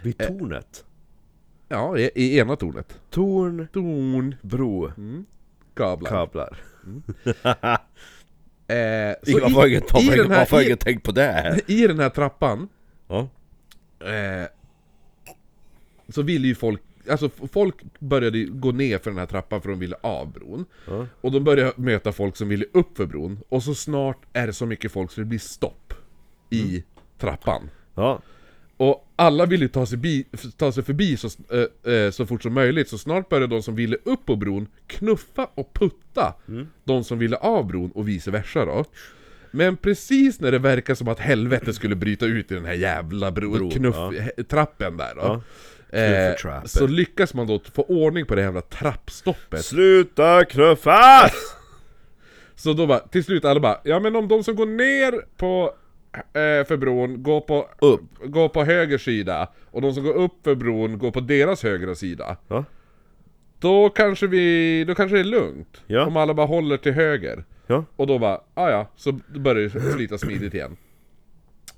Speaker 2: vid tornet
Speaker 1: Ja, i, i ena tornet.
Speaker 2: Torn, Mm.
Speaker 1: Torn,
Speaker 2: bro,
Speaker 1: kablar.
Speaker 2: kablar
Speaker 1: Eh, så
Speaker 2: Varför har jag inget-
Speaker 1: i,
Speaker 2: varför har jag-
Speaker 1: den
Speaker 2: varför
Speaker 1: här,
Speaker 2: har jag
Speaker 1: i,
Speaker 2: inget tänkt på det? här?
Speaker 1: I den här trappan
Speaker 2: Ja.
Speaker 1: eh, så ville ju folk Alltså f- folk började ju gå ner för den här trappan för de ville av bron.
Speaker 2: Ja.
Speaker 1: Och de började möta folk som ville upp för bron. Och så snart är det så mycket folk så det blir stopp i
Speaker 2: Mm.
Speaker 1: trappan.
Speaker 2: Ja,
Speaker 1: Och alla ville ju ta sig, bi, f- ta sig förbi så, s- eh, eh, så fort som möjligt, så snart började de som ville upp på bron knuffa och putta
Speaker 2: Mm.
Speaker 1: de som ville av bron och vice versa då. Men precis när det verkar som att helvetet skulle bryta ut i den här jävla bro,
Speaker 2: Bron,
Speaker 1: knuff,
Speaker 2: ja.
Speaker 1: he- trappen där då. eh,
Speaker 2: Ja. Knuffa trappen.
Speaker 1: så lyckas man då få ordning på det jävla trappstoppet.
Speaker 2: Sluta knuffas!
Speaker 1: Så då bara, till slut alla bara, ja men om de som går ner på eh, för bron går på,
Speaker 2: Upp.
Speaker 1: går på höger sida och de som går upp för bron går på deras högra sida.
Speaker 2: Va?
Speaker 1: Då kanske vi, då kanske det är lugnt.
Speaker 2: Ja.
Speaker 1: Om alla bara håller till höger.
Speaker 2: Ja.
Speaker 1: Och då bara, ah ja, så börjar det flyta smidigt igen.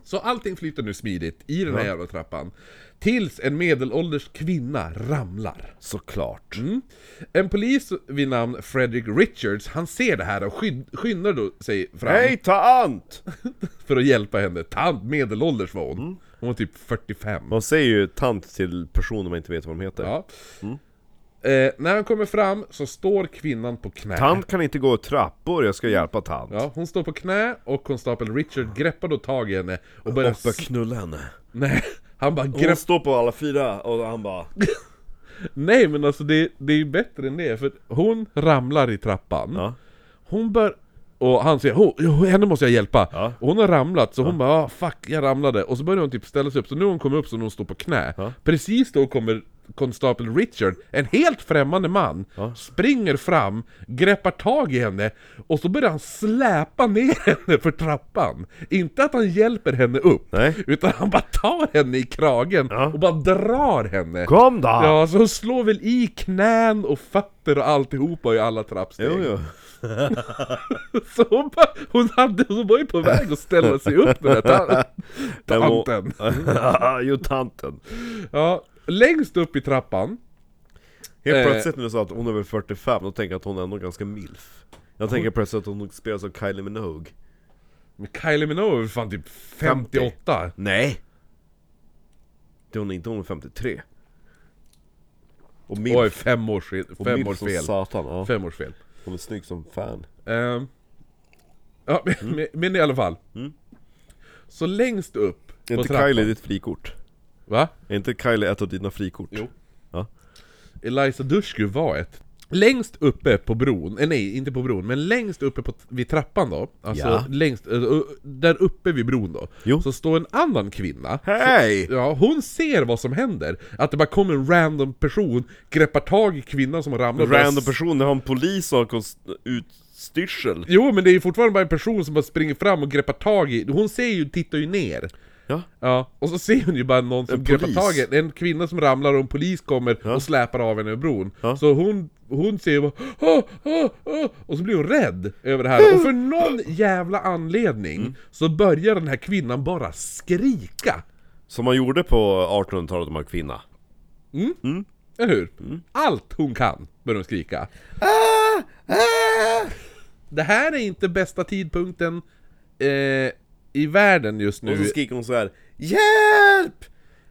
Speaker 1: Så allting flyter nu smidigt i den här jävla trappan. Tills en medelålders kvinna ramlar.
Speaker 2: Såklart.
Speaker 1: Mm. En polis vid namn Frederick Richards, han ser det här och skynd, skyndar då sig fram
Speaker 2: Hej tant!
Speaker 1: för att hjälpa henne. Tant, medelålders var hon. Hon var typ 45.
Speaker 2: Man säger ju tant till personer man inte vet vad de heter.
Speaker 1: Ja. Eh, när han kommer fram så står kvinnan på knä.
Speaker 2: Tant kan inte gå trappor, Mm. jag ska hjälpa tant.
Speaker 1: Ja, hon står på knä och konstapel Richard greppar då tag i henne och börjar...
Speaker 2: Och börja knulla henne.
Speaker 1: nej, han bara
Speaker 2: Hon
Speaker 1: grepp...
Speaker 2: står på alla fyra och han bara...
Speaker 1: Nej men alltså det, det är ju bättre än det, för hon ramlar i trappan.
Speaker 2: Ja.
Speaker 1: Hon bör... Och han säger "Hon- jo, henne måste jag hjälpa!
Speaker 2: Ja.
Speaker 1: Och hon har ramlat, så hon bara ah, 'fuck, jag ramlade' Och så börjar hon typ ställa sig upp, så nu har hon kommit upp så hon står på knä
Speaker 2: Ja.
Speaker 1: Precis då kommer konstapel Richard, en helt främmande man, springer fram, greppar tag i henne och så börjar han släpa ner henne för trappan Inte att han hjälper henne upp,
Speaker 2: Nej.
Speaker 1: utan han bara tar henne i kragen
Speaker 2: Ja.
Speaker 1: och bara drar henne
Speaker 2: Kom då!
Speaker 1: Ja, så hon slår väl i knän och fötter och alltihopa i alla trappsteg
Speaker 2: Jo, jo.
Speaker 1: så hon, bara, hon, hade, hon var ju på väg att ställa sig upp den där tan- tanten.
Speaker 2: jo, tanten.
Speaker 1: Ja, längst upp i trappan,
Speaker 2: Helt
Speaker 1: Eh.
Speaker 2: plötsligt när du sa att hon är väl 45, då tänker jag att hon är ändå ganska milf. Jag tänker plötsligt att hon spelar som Kylie Minogue.
Speaker 1: men Kylie Minogue är fan typ 58.
Speaker 2: Nej! Det är hon inte, hon är 53. Och milf.
Speaker 1: Oj, fem års, fel-
Speaker 2: och
Speaker 1: fem
Speaker 2: milf
Speaker 1: års
Speaker 2: som
Speaker 1: fel.
Speaker 2: satan. Ja.
Speaker 1: Fem års fel.
Speaker 2: Hon är snygg som fan.
Speaker 1: Ehm, ja, men,
Speaker 2: Mm.
Speaker 1: men i alla fall. Så längst upp
Speaker 2: Är
Speaker 1: på
Speaker 2: inte
Speaker 1: trappan.
Speaker 2: Kylie ditt frikort?
Speaker 1: Va?
Speaker 2: Är inte Kylie ett av dina frikort?
Speaker 1: Jo.
Speaker 2: Ja.
Speaker 1: Eliza Dushku var ett. Längst uppe på bron, eh, nej inte på bron, men längst uppe på, vid trappan då, alltså
Speaker 2: Ja.
Speaker 1: längst, eh, där uppe vid bron då,
Speaker 2: Jo.
Speaker 1: så står en annan kvinna
Speaker 2: Hej!
Speaker 1: Ja, hon ser vad som händer. Att det bara kommer en random person, greppar tag i kvinnan som har ramlat och börjar
Speaker 2: Random
Speaker 1: s-
Speaker 2: person, har en polis och en konst- utstyrsel.
Speaker 1: Jo, men det är ju fortfarande bara en person som bara springer fram och greppar tag i... Hon ser ju, tittar ju ner.
Speaker 2: Ja.
Speaker 1: Ja, och så ser hon ju bara någon som
Speaker 2: En
Speaker 1: greppar
Speaker 2: polis.
Speaker 1: tag i en kvinna som ramlar och en polis kommer och släpar av henne över bron.
Speaker 2: Ja.
Speaker 1: Så hon, hon ser ju bara "Åh, åh, åh", Och så blir hon rädd över det här. Och för någon jävla anledning
Speaker 2: Mm.
Speaker 1: så börjar den här kvinnan bara skrika.
Speaker 2: Som man gjorde på 1800-talet om man var kvinna.
Speaker 1: Eller hur?
Speaker 2: Mm.
Speaker 1: Allt hon kan börjar hon skrika.
Speaker 2: Ah,
Speaker 1: Det här är inte bästa tidpunkten eh, i världen just
Speaker 2: Och så
Speaker 1: nu.
Speaker 2: skriker hon så här. Hjälp!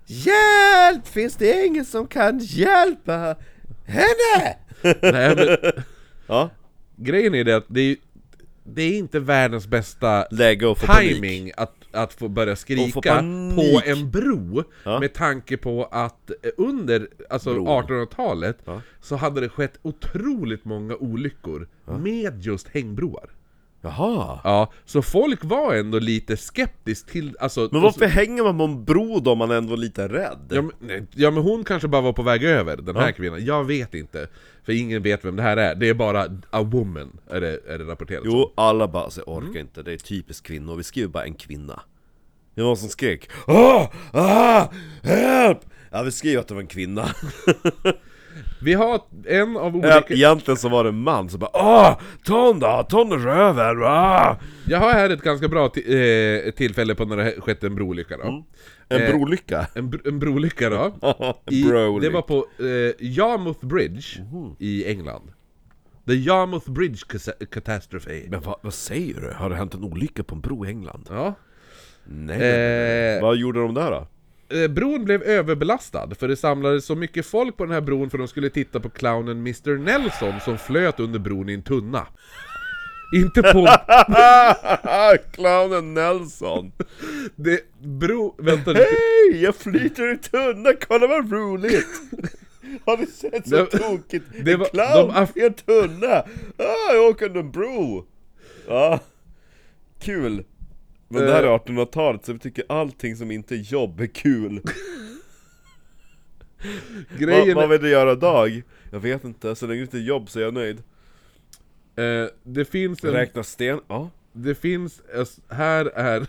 Speaker 2: Hjälp! Finns det ingen som kan hjälpa henne?
Speaker 1: Nej, men,
Speaker 2: Ja,
Speaker 1: grejen är det att det är, det är inte världens bästa
Speaker 2: läge och få panik.
Speaker 1: timing att, att få börja
Speaker 2: få
Speaker 1: skrika på
Speaker 2: panik.
Speaker 1: en bro
Speaker 2: Ja.
Speaker 1: med tanke på att eh, under alltså
Speaker 2: Bron.
Speaker 1: 1800-talet så hade det skett otroligt många olyckor med just hängbroar.
Speaker 2: Jaha.
Speaker 1: Ja, så folk var ändå lite skeptisk till, alltså...
Speaker 2: Men
Speaker 1: och så-
Speaker 2: varför hänger man på en bro då om man ändå är lite rädd?
Speaker 1: Ja men, nej, ja men hon kanske bara var på väg över, den här kvinnan. Jag vet inte. För ingen vet vem det här är. Det är bara a woman, är det, är det rapporterat som.
Speaker 2: Jo, alla bara så orkar
Speaker 1: Mm.
Speaker 2: inte, det är typiskt kvinnor, vi skriver bara en kvinna Det var någon som skrek Åh! Ah! Hjälp! Ja vi skriver att det var en kvinna
Speaker 1: Vi har en av
Speaker 2: Äh, Ja,
Speaker 1: olika...
Speaker 2: Egentligen så var det en man som bara Åh! Ta hon då! Ta hon röven! Ah!
Speaker 1: Jag har här ett ganska bra ti- eh, tillfälle på när det har skett en broolycka då.
Speaker 2: Mm. En
Speaker 1: Eh.
Speaker 2: brolycka?
Speaker 1: En, br- en broolycka då. I, det var på eh, Yarmouth Bridge
Speaker 2: Mhm.
Speaker 1: i England. The Yarmouth Bridge cas- Catastrophe.
Speaker 2: Men vad, vad säger du? Har det hänt en olycka på en bro i England?
Speaker 1: Ja.
Speaker 2: Nej
Speaker 1: Eh,
Speaker 2: Vad gjorde de där då?
Speaker 1: Eh, Bron blev överbelastad, för det samlades så mycket folk på den här bron för de skulle titta på clownen Mr Nelson som flöt under bron i en tunna. Inte på...
Speaker 2: Clownen Nelson!
Speaker 1: Det, bro... Vänta nu.
Speaker 2: Hej! Jag flyter i tunna, kolla vad roligt! Har ni sett så
Speaker 1: Det-
Speaker 2: tokigt?
Speaker 1: det
Speaker 2: En
Speaker 1: var-
Speaker 2: clown
Speaker 1: de aff-
Speaker 2: i en tunna! Ah, jag åker under en bro! Ja, kul! Men det här
Speaker 1: Eh.
Speaker 2: är 1800-talet så vi tycker allting som inte är jobb är kul
Speaker 1: Grejen
Speaker 2: vad, vad vill du göra idag? Jag vet inte, så länge det inte är jobb så är jag nöjd.
Speaker 1: är- eh, det finns en...
Speaker 2: Räkna sten, ja.
Speaker 1: Det finns... alltså, Här är...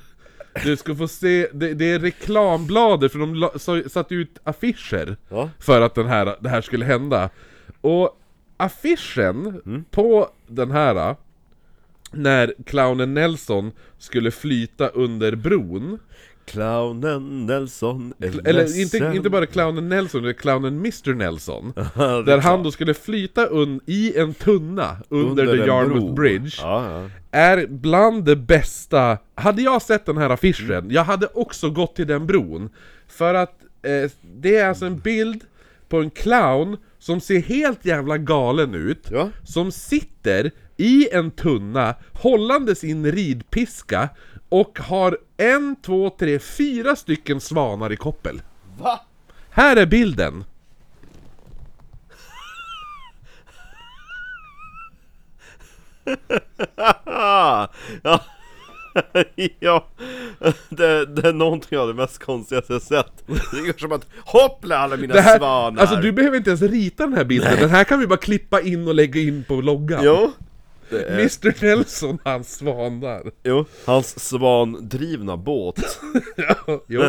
Speaker 1: Du ska få se, det, det är reklambladet för de la, så, satte ut affischer
Speaker 2: Ja.
Speaker 1: för att den här, det här skulle hända. Och affischen
Speaker 2: Mm.
Speaker 1: på den här, när clownen Nelson skulle flyta under bron,
Speaker 2: Clownen Nelson är
Speaker 1: eller
Speaker 2: ledsen.
Speaker 1: inte, inte bara clownen Nelson, utan clownen Mr Nelson.
Speaker 2: Ja, det är
Speaker 1: Där han
Speaker 2: klart.
Speaker 1: då skulle flyta un, i en tunna under,
Speaker 2: en
Speaker 1: the Yarmouth
Speaker 2: bro.
Speaker 1: Bridge.
Speaker 2: Ja, ja.
Speaker 1: Är bland det bästa... Hade jag sett den här affischen,
Speaker 2: Mm.
Speaker 1: jag hade också gått till den bron. För att eh, det är alltså en bild på en clown som ser helt jävla galen ut.
Speaker 2: Ja.
Speaker 1: Som sitter i en tunna, hållande sin ridpiska och har en, två, tre, fyra stycken svanar i koppel.
Speaker 2: Va?
Speaker 1: Här är bilden!
Speaker 2: Ah, ja. ja. Det, det är någonting av det mest konstiga jag sett. Det är som att hoppla alla mina
Speaker 1: Det här,
Speaker 2: svanar.
Speaker 1: alltså du behöver inte ens rita den här bilden, den här kan vi bara klippa in och lägga in på loggan.
Speaker 2: Jo. Eh.
Speaker 1: Mr Nelson och hans svanar.
Speaker 2: Jo. Hans svandrivna båt.
Speaker 1: Jo.
Speaker 2: Jo.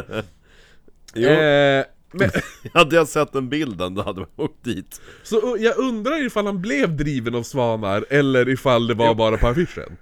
Speaker 1: Eh, men,
Speaker 2: Hade jag sett den bilden då hade man åkt dit.
Speaker 1: så u- jag undrar ifall han blev driven av svanar eller ifall det var bara på affischen.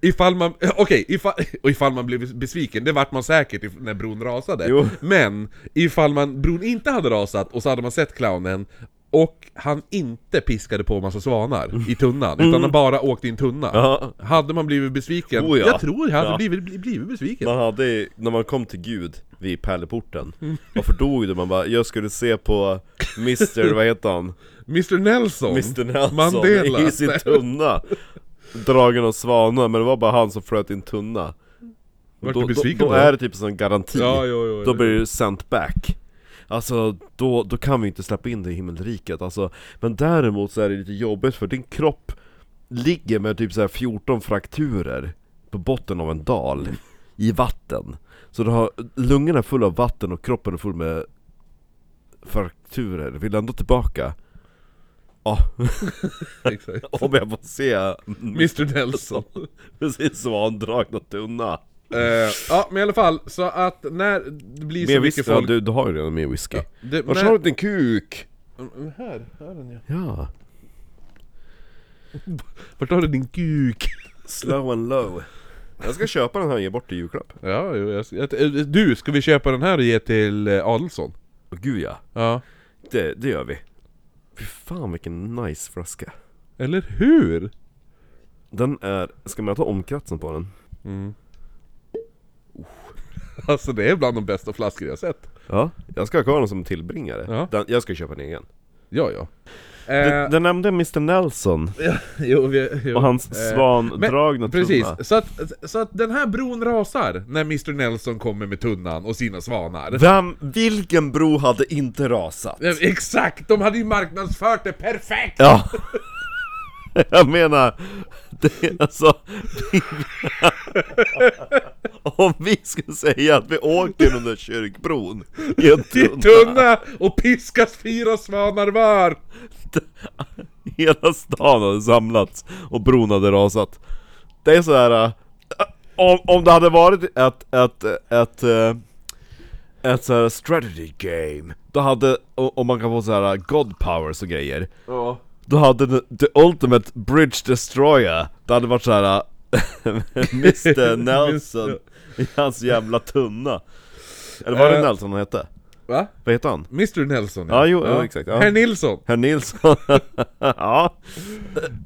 Speaker 1: Ifall man, eh, okej, ifall, och ifall man blev besviken, det vart man säkert if- när bron rasade.
Speaker 2: Jo.
Speaker 1: Men ifall man, bron inte hade rasat och så hade man sett clownen och han inte piskade på massa svanar i tunnan, utan han bara åkte i en tunna.
Speaker 2: Mm. Ja.
Speaker 1: Hade man blivit besviken?
Speaker 2: Oh ja.
Speaker 1: Jag tror jag hade
Speaker 2: Ja.
Speaker 1: blivit, bli- blivit besviken.
Speaker 2: Man hade, ju- när man kom till Gud vid pärleporten,
Speaker 1: Mm.
Speaker 2: varför dog du? Man bara, jag skulle se på Mr, vad heter han?
Speaker 1: Mr Nelson,
Speaker 2: Mr Nelson
Speaker 1: Mandela.
Speaker 2: i sin tunna Dragen av svanar, men det var bara han som flöt i en tunna
Speaker 1: Vart
Speaker 2: då,
Speaker 1: du besviken
Speaker 2: då, då
Speaker 1: då?
Speaker 2: är det typ en sån garanti,
Speaker 1: Ja, jo, jo,
Speaker 2: då
Speaker 1: jo.
Speaker 2: blir det sent back Alltså, då, då kan vi inte släppa in det i himmelriket alltså, Men däremot så är det lite jobbigt för din kropp ligger med typ så här 14 frakturer på botten av en dal I vatten Så du har lungorna fulla av vatten och kroppen är full med frakturer, vill du ändå tillbaka? Ja,
Speaker 1: Exakt.
Speaker 2: om jag får se
Speaker 1: Mr Nelson.
Speaker 2: precis svandragna tunna
Speaker 1: Eh, ja, men i alla fall, så att när det blir så
Speaker 2: Mer
Speaker 1: mycket
Speaker 2: whisky, ja,
Speaker 1: folk...
Speaker 2: du, du har ju redan mer whisky
Speaker 1: det,
Speaker 2: Vart
Speaker 1: när-
Speaker 2: har du din kuk?
Speaker 1: Mm, Här, här är den ja.
Speaker 2: Ja
Speaker 1: Vart har du din kuk?
Speaker 2: Slow and low Jag ska köpa den här och ge bort i julklapp
Speaker 1: Ja, jo, jag, jag, eh, du, ska vi köpa den här och ge till eh, Adelsson?
Speaker 2: Åh, Gud ja,
Speaker 1: Ja.
Speaker 2: det, det gör vi Fy fan vilken nice flaska
Speaker 1: Eller hur?
Speaker 2: Den är, ska man ta omkratsen på den?
Speaker 1: Alltså det är bland de bästa flaskor jag sett.
Speaker 2: Ja Jag ska ha kvar den som tillbringare,
Speaker 1: Ja.
Speaker 2: den, jag ska köpa en egen
Speaker 1: Ja, ja.
Speaker 2: Du,
Speaker 1: Eh,
Speaker 2: du nämnde Mr Nelson
Speaker 1: jo, vi, jo.
Speaker 2: och hans
Speaker 1: Eh,
Speaker 2: svandragna tunna
Speaker 1: Precis, så att, så att den här bron rasar när Mr Nelson kommer med tunnan och sina svanar.
Speaker 2: Vem, vilken bro hade inte rasat?
Speaker 1: Eh, Exakt! De hade ju marknadsfört det perfekt!
Speaker 2: Ja Jag menar, det är alltså Om vi skulle säga att vi åker under kyrkbron i en
Speaker 1: I
Speaker 2: tunna,
Speaker 1: tunna och piskas fyra svanar var!
Speaker 2: Hela stan hade samlats och bron hade rasat Det är sådär, äh, om, om det hade varit ett, ett, ett, äh, ett sådär strategy game Då hade, och- om man kan få såhär god powers och grejer
Speaker 1: Ja.
Speaker 2: Då hade den- The Ultimate Bridge Destroyer Det hade varit såhär Mr Nelson i hans jävla tunna Eller var det
Speaker 1: Eh.
Speaker 2: Nelson han hette?
Speaker 1: Va?
Speaker 2: Vad hette han?
Speaker 1: Mr Nelson
Speaker 2: Ja, jo, ja, exakt, ja.
Speaker 1: Herr Nilsson!
Speaker 2: Herr Nilsson? ja,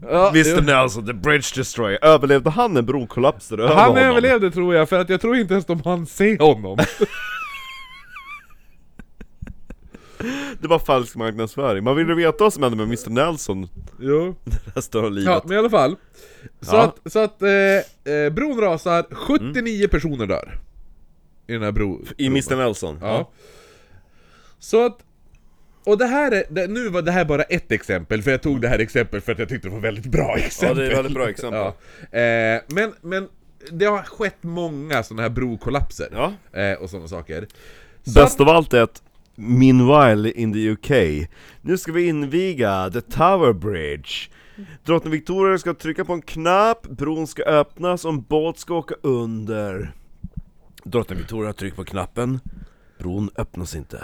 Speaker 1: Ja,
Speaker 2: Mr
Speaker 1: jo.
Speaker 2: Nelson, The Bridge Destroyer Överlevde han en brokollaps där över
Speaker 1: Han
Speaker 2: honom?
Speaker 1: överlevde tror jag, för att jag tror inte ens de hann se honom.
Speaker 2: Det var falsk marknadsföring, man ville veta vad som hände med Mr Nelson
Speaker 1: jo.
Speaker 2: resten av livet
Speaker 1: Ja, men i alla fall. Så
Speaker 2: Ja.
Speaker 1: att, så att eh, eh, bron rasar, 79
Speaker 2: Mm.
Speaker 1: personer dör. I den här bron.
Speaker 2: I Mr Nelson?
Speaker 1: Ja. Så att... Och det här är, det, nu var det här bara ett exempel, för jag tog det här exemplet för att jag tyckte det var väldigt bra
Speaker 2: ja
Speaker 1: exempel.
Speaker 2: det är ett väldigt bra exempel
Speaker 1: Ja. Eh, men, men det har skett många sådana här brokollapser.
Speaker 2: Ja.
Speaker 1: Eh, och sådana saker. Så
Speaker 2: Bäst av allt är att Meanwhile in the UK Nu ska vi inviga The Tower Bridge Drottning Victoria ska trycka på en knapp, bron ska öppnas och en båt ska åka under Drottning Victoria trycker på knappen Bron öppnas inte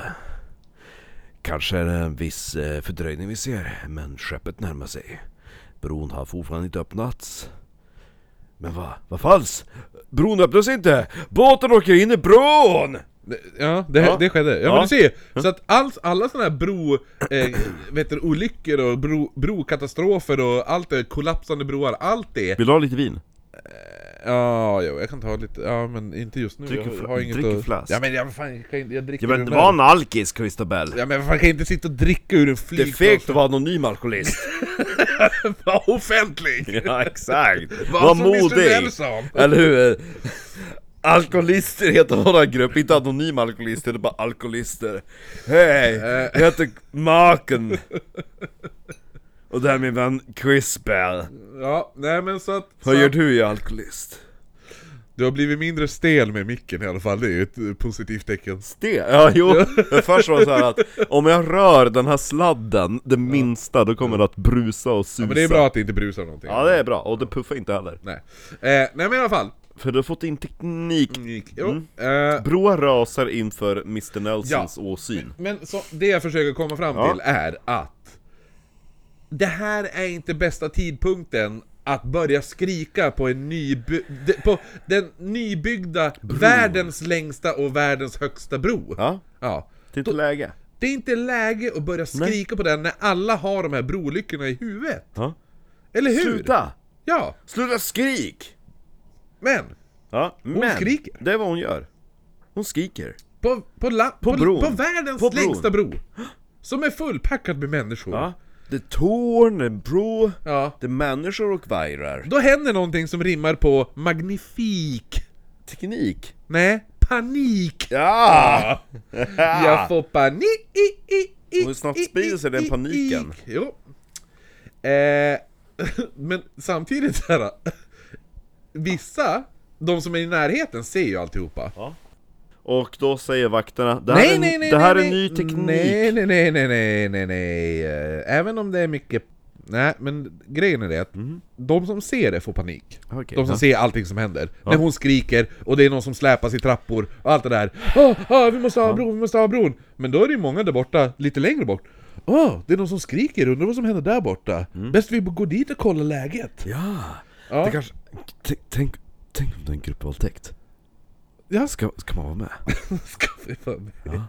Speaker 2: Kanske är det en viss eh, fördröjning vi ser, men skeppet närmar sig Bron har fortfarande inte öppnats Men vad, vad falskt? Bron öppnas inte! Båten åker in i bron!
Speaker 1: Ja, det,
Speaker 2: Ja.
Speaker 1: det skedde. Ja,
Speaker 2: Ja.
Speaker 1: men du ser! Så att alls, alla sådana här bro... Eh, vet du, olyckor och bro, brokatastrofer och allt det, kollapsande broar, allt det.
Speaker 2: Vill du ha lite vin?
Speaker 1: Ja, jo, jag kan ta lite, ja men inte just nu.
Speaker 2: Drick en
Speaker 1: jag
Speaker 2: fla- drick en flask.
Speaker 1: Ja men jag, fan, jag, kan, inte- jag dricker
Speaker 2: Jag vill
Speaker 1: ur
Speaker 2: inte
Speaker 1: den
Speaker 2: vara
Speaker 1: här.
Speaker 2: en alkis, Christobel!
Speaker 1: Ja men fan, jag kan inte sitta och dricka ur en
Speaker 2: Det är
Speaker 1: flygplats.
Speaker 2: fegt att vara anonym alkoholist!
Speaker 1: vara offentlig!
Speaker 2: ja, exakt!
Speaker 1: Var
Speaker 2: Var
Speaker 1: som Mr.
Speaker 2: modig!
Speaker 1: Nelson.
Speaker 2: Eller hur? Alkoholister heter vår grupp, inte anonyma alkoholister, det är bara alkoholister. Hej! Jag heter Maken! Och det här är min vän Chris Bell.
Speaker 1: Ja, nej men så att... Så
Speaker 2: Vad gör
Speaker 1: att
Speaker 2: du, jag är alkoholist?
Speaker 1: du har blivit mindre stel med micken i alla fall, det är ju ett eh, positivt tecken.
Speaker 2: Det? Ja, jo. Men Först var det så här att om jag rör den här sladden det minsta, då kommer det att brusa och susa.
Speaker 1: Men det är bra att det inte brusar någonting.
Speaker 2: Ja, det är bra. Och det puffar inte heller.
Speaker 1: Nej. Eh, nej men i alla fall.
Speaker 2: För du har fått in teknik.
Speaker 1: Jo.
Speaker 2: Mm.
Speaker 1: Eh,
Speaker 2: Broar rasar inför Mr Nelsons åsyn.
Speaker 1: men så, det jag försöker komma fram
Speaker 2: Ja.
Speaker 1: till är att det här är inte bästa tidpunkten att börja skrika på, en nyby- de, på den nybyggda världens längsta och världens högsta bro.
Speaker 2: Ja,
Speaker 1: Ja.
Speaker 2: det är inte läge.
Speaker 1: Det är inte läge att börja skrika på den när alla har de här broolyckorna i huvudet.
Speaker 2: Ja.
Speaker 1: Eller hur?
Speaker 2: Sluta!
Speaker 1: Ja,
Speaker 2: Sluta skrik!
Speaker 1: men
Speaker 2: Ja, men
Speaker 1: skriker.
Speaker 2: det är vad hon gör. Hon skriker.
Speaker 1: på, på, la, på,
Speaker 2: bron.
Speaker 1: på världens
Speaker 2: På bron.
Speaker 1: längsta bro. Som är fullpackad med människor.
Speaker 2: Ja. Det är torn, det är bro,
Speaker 1: Ja.
Speaker 2: det är människor och vajrar.
Speaker 1: Då händer någonting som rimmar på magnifik.
Speaker 2: Teknik.
Speaker 1: Nej, panik.
Speaker 2: Ja!
Speaker 1: Jag får panik. i- i- i-
Speaker 2: Ah. Och hur snabbt sprider sig den
Speaker 1: i- i-
Speaker 2: paniken?
Speaker 1: i- Jo. Eh, men samtidigt så här. Vissa, de som är i närheten, ser ju alltihopa.
Speaker 2: Och då säger vakterna, det här
Speaker 1: Nej,
Speaker 2: är,
Speaker 1: nej, nej,
Speaker 2: det här
Speaker 1: nej,
Speaker 2: är
Speaker 1: nej.
Speaker 2: ny teknik.
Speaker 1: Nej, nej, nej, nej, nej, nej, nej. Eh, Även om det är mycket... Nej, men grejen är det att de som ser det får panik.
Speaker 2: Mhm. Okej,
Speaker 1: de som
Speaker 2: ja.
Speaker 1: ser allting som händer. När hon skriker och det är någon som släpas i trappor och allt det där. Åh, åh, vi måste ha bron, vi måste ha bron! Men då är det ju många där borta, lite längre bort. Åh, det är någon som skriker, undrar vad som händer där borta. Bäst vi går dit och kollar läget.
Speaker 2: Ja.
Speaker 1: Ja.
Speaker 2: Mm. Det kanske, t- tänk, tänk om det är en gruppvåldtäkt.
Speaker 1: Ja.
Speaker 2: Ska, ska man vara med?
Speaker 1: Ska vi fan ja.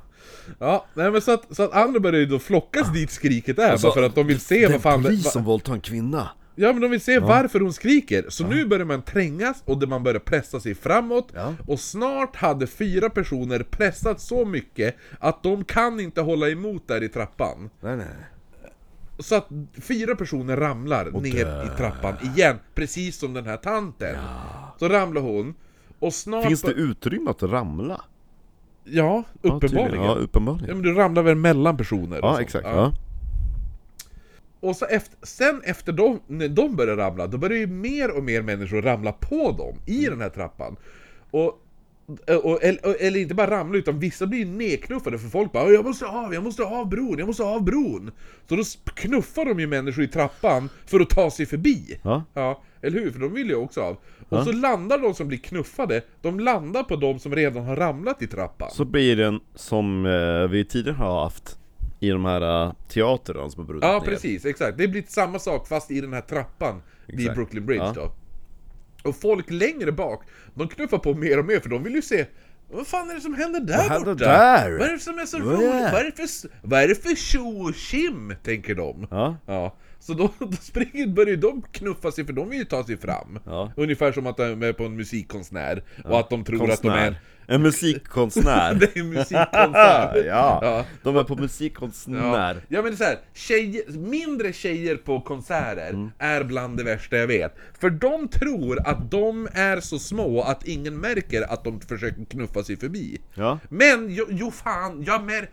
Speaker 1: ja, nej men så att, så att andra börjar ju då flockas dit skriket är,
Speaker 2: Alltså,
Speaker 1: bara för att de vill se vad fan...
Speaker 2: det är
Speaker 1: va-
Speaker 2: polis som våldtar en kvinna.
Speaker 1: Ja men de vill se varför hon skriker, så nu börjar man trängas och det- man börjar pressa sig framåt
Speaker 2: Ja.
Speaker 1: Och snart hade fyra personer pressat så mycket att de kan inte hålla emot där i trappan
Speaker 2: Nej, nej, nej.
Speaker 1: Så att fyra personer ramlar ner i trappan igen, precis som den här tanten Så ramlar hon, och snart...
Speaker 2: Finns det utrymme att ramla?
Speaker 1: Ja, uppenbarligen
Speaker 2: Ja,
Speaker 1: ja,
Speaker 2: uppenbarligen.
Speaker 1: men du ramlar väl mellan personer? och
Speaker 2: Ja,
Speaker 1: sånt.
Speaker 2: exakt. Ja.
Speaker 1: Och så efter, sen efter de, när de börjar ramla, då börjar ju mer och mer människor ramla på dem i den här trappan. Och, och, eller, och- eller inte bara ramla, utan vissa blir ju nedknuffade för folk bara ”Jag måste av, jag måste av bron, jag måste av bron”. Så då sp- knuffar de ju människor i trappan för att ta sig förbi.
Speaker 2: Ja.
Speaker 1: Ja, eller hur? För de vill ju också av. Och så landar de som blir knuffade, de landar på de som redan har ramlat i trappan.
Speaker 2: Så blir den som eh, vi tidigare har haft i de här eh, teaterna som har brunnit
Speaker 1: Ja,
Speaker 2: ner.
Speaker 1: precis. Exakt. Det blir samma sak fast i den här trappan vid
Speaker 2: Exakt.
Speaker 1: Brooklyn Bridge
Speaker 2: Ja.
Speaker 1: då. Och folk längre bak, de knuffar på mer och mer för de vill ju se vad fan är det som händer där borta?
Speaker 2: händer där? Oh,
Speaker 1: Vad är det som är så
Speaker 2: Vad är
Speaker 1: roligt?
Speaker 2: det?
Speaker 1: Vad är det för, s- vad är det för tjo och tjim? Tänker de.
Speaker 2: Ja.
Speaker 1: Ja. Så då, då springer, börjar ju de knuffa sig för de vill ju ta sig fram.
Speaker 2: Ja.
Speaker 1: Ungefär som att de är på en musikkonstnär och att de tror att de är...
Speaker 2: Konstnär. En musikkonstnär. Ah,
Speaker 1: Det är en musikkonstert!
Speaker 2: ja.
Speaker 1: Ja.
Speaker 2: de är på musikkonstnär.
Speaker 1: Ja, ja men det är så här, tjejer, mindre tjejer på konserter
Speaker 2: Mm.
Speaker 1: är bland det värsta jag vet. För de tror att de är så små att ingen märker att de försöker knuffa sig förbi.
Speaker 2: Ja.
Speaker 1: Men jo, jo fan, jag mär...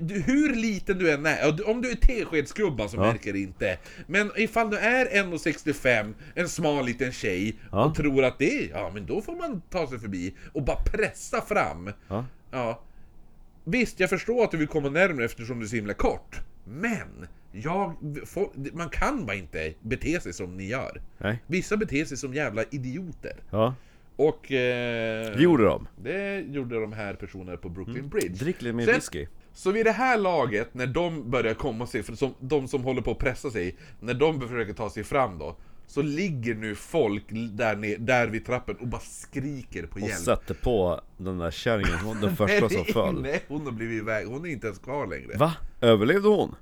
Speaker 1: Du, hur liten du än är, ja, du- om du är teskedsgubba så märker det inte. Men ifall du är 1,65, en smal liten tjej,
Speaker 2: Ja.
Speaker 1: och tror att det är, ja men då får man ta sig förbi och bara pressa fram.
Speaker 2: Ja.
Speaker 1: Ja. Visst, jag förstår att du vill komma närmare eftersom det är så himla kort. Men! Jag, folk, man kan bara inte bete sig som ni gör.
Speaker 2: Nej.
Speaker 1: Vissa beter sig som jävla idioter.
Speaker 2: Ja.
Speaker 1: Och... Eh,
Speaker 2: Det gjorde de.
Speaker 1: det gjorde de här personerna på Brooklyn Bridge.
Speaker 2: Mm. Drick lite mer
Speaker 1: Sen-
Speaker 2: whisky.
Speaker 1: Så vid det här laget, när de börjar komma sig, för som, de som håller på att pressa sig, när de försöker ta sig fram då, så ligger nu folk där, ner, där vid trappen och bara skriker på
Speaker 2: Och
Speaker 1: hjälp.
Speaker 2: satte på den där kärringen, hon- den första som föll.
Speaker 1: Nej, hon har blivit iväg, hon är inte ens kvar längre.
Speaker 2: Va? Överlevde hon?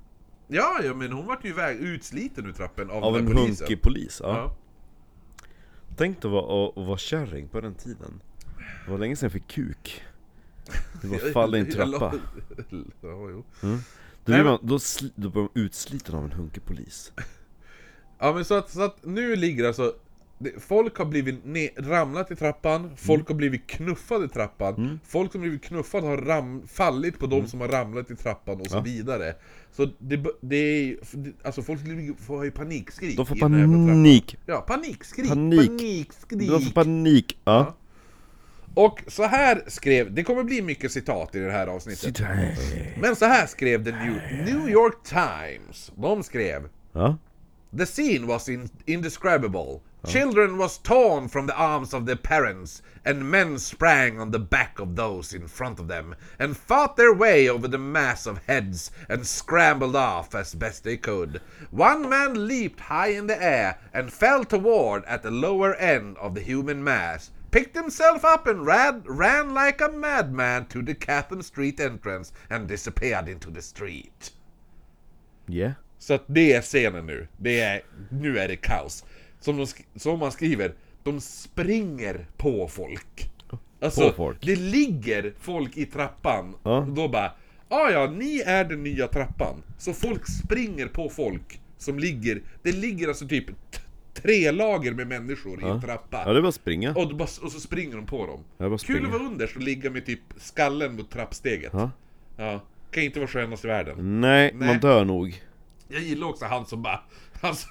Speaker 1: Ja, ja, men hon vart ju iväg, utsliten ur trappen av,
Speaker 2: Av
Speaker 1: den
Speaker 2: en
Speaker 1: där polisen.
Speaker 2: hunkig polis? Ja.
Speaker 1: Ja.
Speaker 2: Tänk dig att vara, att- att vara kärring på den tiden. Det var länge sedan jag fick kuk. Det var fall i en trappa.
Speaker 1: ja, jo.
Speaker 2: Då,
Speaker 1: Nej,
Speaker 2: blir man, då, sli, då blir man utsliten av en hunkig polis.
Speaker 1: Ja men så att, så att nu ligger alltså det- Folk har blivit ne- ramlat i
Speaker 2: Mm.
Speaker 1: trappan, folk har blivit knuffade i trappan, folk som blivit knuffade har ram- fallit på de
Speaker 2: Mm.
Speaker 1: som har ramlat i trappan och så vidare. Så det, b- det är ju- f- det- alltså folk ligger- får ju panikskrik
Speaker 2: De får
Speaker 1: i den här jävla trappan.
Speaker 2: panik!
Speaker 1: Ja, panikskrik!
Speaker 2: Panik.
Speaker 1: Panikskrik!
Speaker 2: De får panik! Ja.
Speaker 1: Och så här skrev, det kommer bli mycket citat i det här avsnittet. Men så här skrev The New, New York Times. De skrev
Speaker 2: Ja.
Speaker 1: The scene was in- indescribable. Children was torn from the arms of their parents, and men sprang on the back of those in front of them, and fought their way over the mass of heads, and scrambled off as best they could. One man leaped high in the air, and fell toward at the lower end of the human mass, picked himself up and ran, ran like a madman to the Catherine Street entrance, and disappeared into the street.
Speaker 2: Yeah.
Speaker 1: Så att det är scenen nu. Det är, nu är det kaos. Som, de, sk- som man skriver, de springer på folk. Alltså,
Speaker 2: På folk.
Speaker 1: det ligger folk i trappan.
Speaker 2: Ja.
Speaker 1: Och då bara, ja ja, ni är den nya trappan. Så folk springer på folk som ligger, det ligger alltså typ t- tre lager med människor i en trappa.
Speaker 2: Ja, det är bara att springa.
Speaker 1: Och, då bara, och så springer de på dem.
Speaker 2: Ja, bara
Speaker 1: Kul
Speaker 2: springer.
Speaker 1: att vara underst och ligga med typ skallen mot trappsteget.
Speaker 2: Ja.
Speaker 1: Ja. Kan inte vara skönast i världen.
Speaker 2: Nej,
Speaker 1: Nej.
Speaker 2: man dör nog.
Speaker 1: Jag gillar också han som bara... Han som,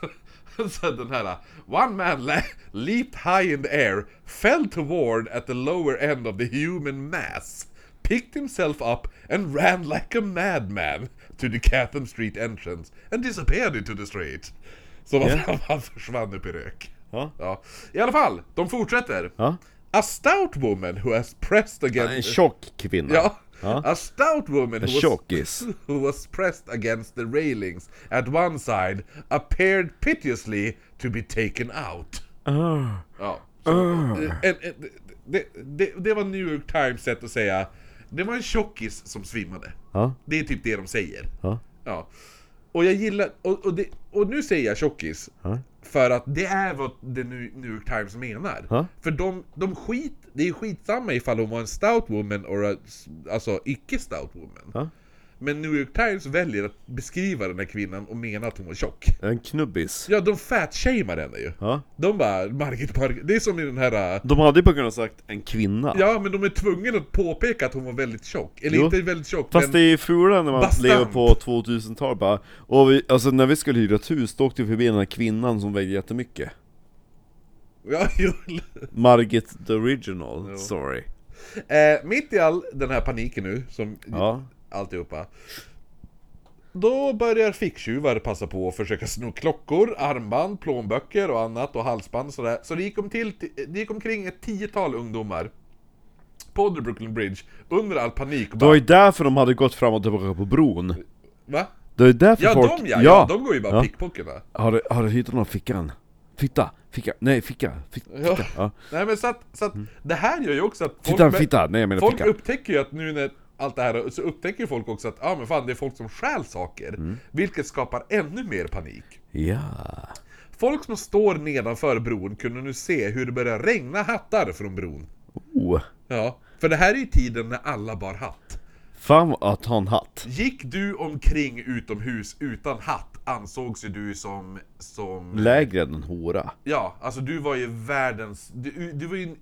Speaker 1: han sa den här... One man le- leaped high in the air, fell toward at the lower end of the human mass, picked himself up and ran like a madman to the Catherine Street entrance and disappeared into the street. Så vad fan, han försvann upp i rök.
Speaker 2: Ja.
Speaker 1: Ja. I alla fall, de fortsätter.
Speaker 2: Ja.
Speaker 1: A stout woman who has pressed
Speaker 2: En
Speaker 1: against...
Speaker 2: tjock kvinna.
Speaker 1: Ja.
Speaker 2: Ja.
Speaker 1: A stout woman who
Speaker 2: tjockis.
Speaker 1: was, who was pressed against the railings at one side appeared piteously to be taken out.
Speaker 2: Ah.
Speaker 1: Ja. Så, eh, en, en, det, det, det var New York Times sätt att säga det var en tjockis som svimmade.
Speaker 2: Ja.
Speaker 1: Det är typ det de säger.
Speaker 2: Ja.
Speaker 1: Ja. Och jag gillar, och, och, det, och nu säger jag tjockis, för att det är vad The New New York Times menar.
Speaker 2: Ja.
Speaker 1: För de, de skit, det är ju skitsamma ifall hon var en stout woman or a, s- alltså icke stout woman.
Speaker 2: Ja.
Speaker 1: Men New York Times väljer att beskriva den här kvinnan och mena att hon var tjock.
Speaker 2: En knubbis.
Speaker 1: Ja, de fatshamar henne ju.
Speaker 2: Ja.
Speaker 1: De bara, Margit, Margit, det är som i den här... äh,
Speaker 2: De hade ju bara kunnat sagt en kvinna.
Speaker 1: Ja, men de är tvungna att påpeka att hon var väldigt tjock. Eller
Speaker 2: Jo.
Speaker 1: inte väldigt tjock,
Speaker 2: Fast
Speaker 1: men...
Speaker 2: det är fulare när man
Speaker 1: Bastant.
Speaker 2: lever på 2000-talet bara och vi, alltså när vi skulle hyra ett hus då åkte vi förbi den här kvinnan som vägde jättemycket
Speaker 1: Ja, jo.
Speaker 2: Margit the original,
Speaker 1: Jo.
Speaker 2: sorry
Speaker 1: Eh, mitt i all den här paniken nu, som
Speaker 2: Ja,
Speaker 1: alltihopa. Då börjar ficktjuvar passa på att försöka sno klockor, armband, plånböcker och annat och halsband och sådär. Så det gick, om till, det gick omkring ett tiotal ungdomar på The Brooklyn Bridge under all panik och
Speaker 2: det var
Speaker 1: bara,
Speaker 2: ju därför de hade gått fram och tillbaka på bron
Speaker 1: Va?
Speaker 2: Det är därför
Speaker 1: Ja,
Speaker 2: folk...
Speaker 1: de ja, ja! De går ju bara
Speaker 2: Ja.
Speaker 1: pickpocketarna.
Speaker 2: Har du, har du hittat någon fickan? Fitta, ficka, nej ficka, fitta,
Speaker 1: Ja.
Speaker 2: ja.
Speaker 1: Nej men så att, så att det här gör ju också att folk,
Speaker 2: Titta,
Speaker 1: med-
Speaker 2: fitta, nej jag menar
Speaker 1: folk
Speaker 2: ficka
Speaker 1: upptäcker ju att nu när allt det här, så upptäcker ju folk också att ja ah, men fan det är folk som stjäl saker.
Speaker 2: Mm.
Speaker 1: Vilket skapar ännu mer panik.
Speaker 2: Ja,
Speaker 1: Folk som står nedanför bron kunde nu se hur det började regna hattar från bron.
Speaker 2: oh.
Speaker 1: Ja, för det här är ju tiden när alla bar hatt.
Speaker 2: Fan vad- att ha en hatt
Speaker 1: Gick du omkring utomhus utan hatt ansågs ju du som... som
Speaker 2: Lägre än en hora
Speaker 1: ja, alltså du var ju världens... Du, du var ju en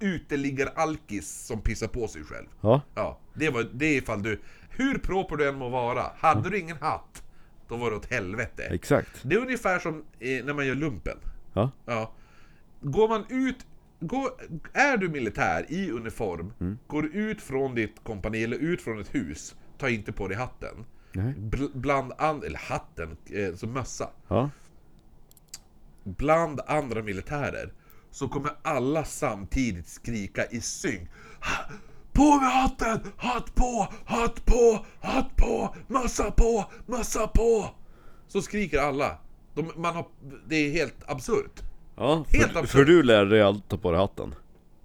Speaker 1: uteliggaralkis som pissar på sig själv.
Speaker 2: Ja,
Speaker 1: Ja, det var det är ifall du... Hur proper du än må vara, hade du ingen hatt, då var det åt helvete.
Speaker 2: exakt
Speaker 1: Det är ungefär som eh, när man gör lumpen.
Speaker 2: Ja,
Speaker 1: Ja. Går man ut gå, är du militär i uniform, går du ut från ditt kompani eller ut från ett hus, ta inte på dig hatten.
Speaker 2: Nej.
Speaker 1: Bl- bland and, eller hatten, eh, som mössa.
Speaker 2: Ja.
Speaker 1: Bland andra militärer, så kommer alla samtidigt skrika i synk. "Ha- På med hatten! Hatt på! Hatt på! Hatt på! Mössa på! Mössa på! Så skriker alla. De, man har, det är helt absurt.
Speaker 2: ja
Speaker 1: Helt
Speaker 2: för,
Speaker 1: absurt.
Speaker 2: för du lärde dig allt ta på dig hatten.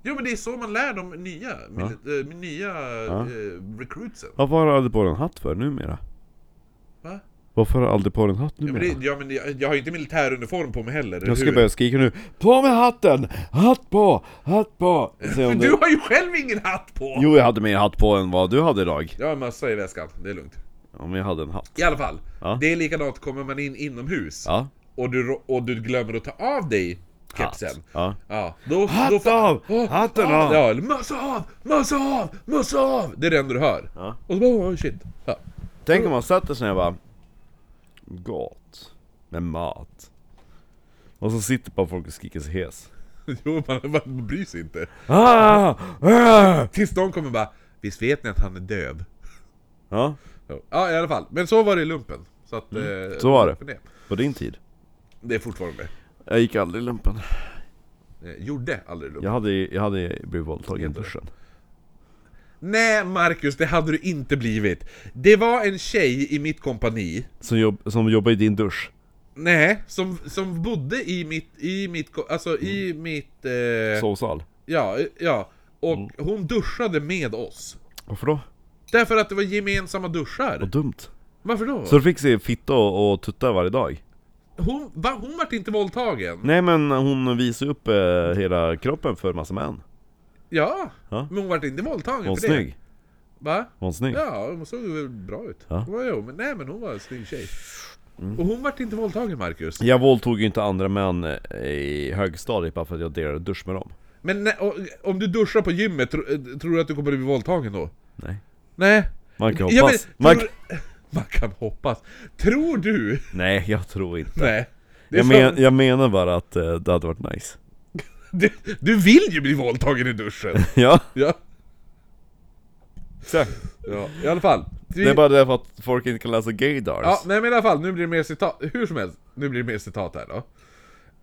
Speaker 1: Jo men det är så man lär de nya, mili- eh, nya eh, recruitsen.
Speaker 2: Varför har du aldrig på dig en hatt för numera?
Speaker 1: Va?
Speaker 2: Varför har du aldrig på dig en hatt
Speaker 1: Ja,
Speaker 2: numera?
Speaker 1: men det, ja, men jag, jag har ju inte militäruniform på mig heller, eller
Speaker 2: Jag ska
Speaker 1: hur?
Speaker 2: börja skrika nu. På med hatten! Hatt på! Hatt på! Se om
Speaker 1: Men du har ju själv ingen hatt på!
Speaker 2: Jo, jag hade mer hatt på än vad du hade idag.
Speaker 1: Jag har en mössa i väskan, det är lugnt.
Speaker 2: Om jag hade en hatt.
Speaker 1: I alla fall,
Speaker 2: Ja.
Speaker 1: det är likadant, kommer man in inomhus
Speaker 2: Ja.
Speaker 1: och, du, rå- och du glömmer att ta av dig kepsen.
Speaker 2: Ja.
Speaker 1: Ja, då,
Speaker 2: Hatt
Speaker 1: då
Speaker 2: av!
Speaker 1: Åh,
Speaker 2: Hatten
Speaker 1: ja,
Speaker 2: av!
Speaker 1: Ja, eller mössa av! Mössa av! Mössa av! Det är det enda du hör.
Speaker 2: Ja.
Speaker 1: Och så bara, oh, shit. Ja.
Speaker 2: Tänk om man sätter sig ner och bara... Gott. Med mat. Och så sitter bara folk och skriker sig hes.
Speaker 1: Jo, man, man bryr sig inte.
Speaker 2: Ah! Ah!
Speaker 1: Tills de kommer bara, visst vet ni att han är döv?
Speaker 2: Ja,
Speaker 1: Ja. Ja, i alla fall. Men så var det i lumpen. Så, att, eh,
Speaker 2: Mm. så var det.
Speaker 1: för det.
Speaker 2: på din tid.
Speaker 1: Det är fortfarande.
Speaker 2: Jag gick aldrig i lumpen.
Speaker 1: Eh, gjorde aldrig lumpen.
Speaker 2: Jag hade, jag hade blivit våldtagen i
Speaker 1: Heter det?
Speaker 2: duschen.
Speaker 1: Nej Marcus, det hade du inte blivit. Det var en tjej i mitt kompani,
Speaker 2: Som, jobb, som jobbar i din dusch.
Speaker 1: nej, som, som bodde i mitt, i mitt, ko- alltså i
Speaker 2: Mm.
Speaker 1: mitt, eh,
Speaker 2: Sovsal.
Speaker 1: ja, ja. Och
Speaker 2: Mm.
Speaker 1: hon duschade med oss.
Speaker 2: Varför då?
Speaker 1: Därför att det var gemensamma duschar.
Speaker 2: Vad dumt.
Speaker 1: Varför då?
Speaker 2: Så du fick se fitta och, och tutta varje dag?
Speaker 1: Hon, va, hon vart inte våldtagen.
Speaker 2: Nej men hon visade upp eh, hela kroppen för massa män.
Speaker 1: Ja,
Speaker 2: Ja.
Speaker 1: men hon vart inte våldtagen
Speaker 2: Var hon
Speaker 1: för
Speaker 2: snygg?
Speaker 1: det. Va?
Speaker 2: Var hon snygg?
Speaker 1: Ja, hon såg väl bra ut.
Speaker 2: Ja. Mm.
Speaker 1: Ja. Jo, men, nej men hon var en snygg tjej. Och hon vart inte våldtagen Marcus.
Speaker 2: Jag våldtog ju inte andra män eh, i högstadiet bara för att jag delade dusch med dem.
Speaker 1: Men när- och, om du duschar på gymmet, tro, eh, tror du att du kommer att bli våldtagen då?
Speaker 2: Nej.
Speaker 1: Nej.
Speaker 2: Man kan
Speaker 1: Ja,
Speaker 2: hoppas.
Speaker 1: men,
Speaker 2: man...
Speaker 1: tror, man kan hoppas. Tror du?
Speaker 2: Nej, jag tror inte.
Speaker 1: Nej. Det är
Speaker 2: Jag,
Speaker 1: så-
Speaker 2: men, jag menar bara att eh, det hade varit nice.
Speaker 1: du, du vill ju bli våldtagen i duschen!
Speaker 2: ja,
Speaker 1: Ja,
Speaker 2: exakt.
Speaker 1: ja. i alla fall. Vi,
Speaker 2: Det är bara därför att folk inte kan läsa gaydars.
Speaker 1: ja, nej men i alla fall, nu blir det mer citat. Hur som helst, nu blir det mer citat här då.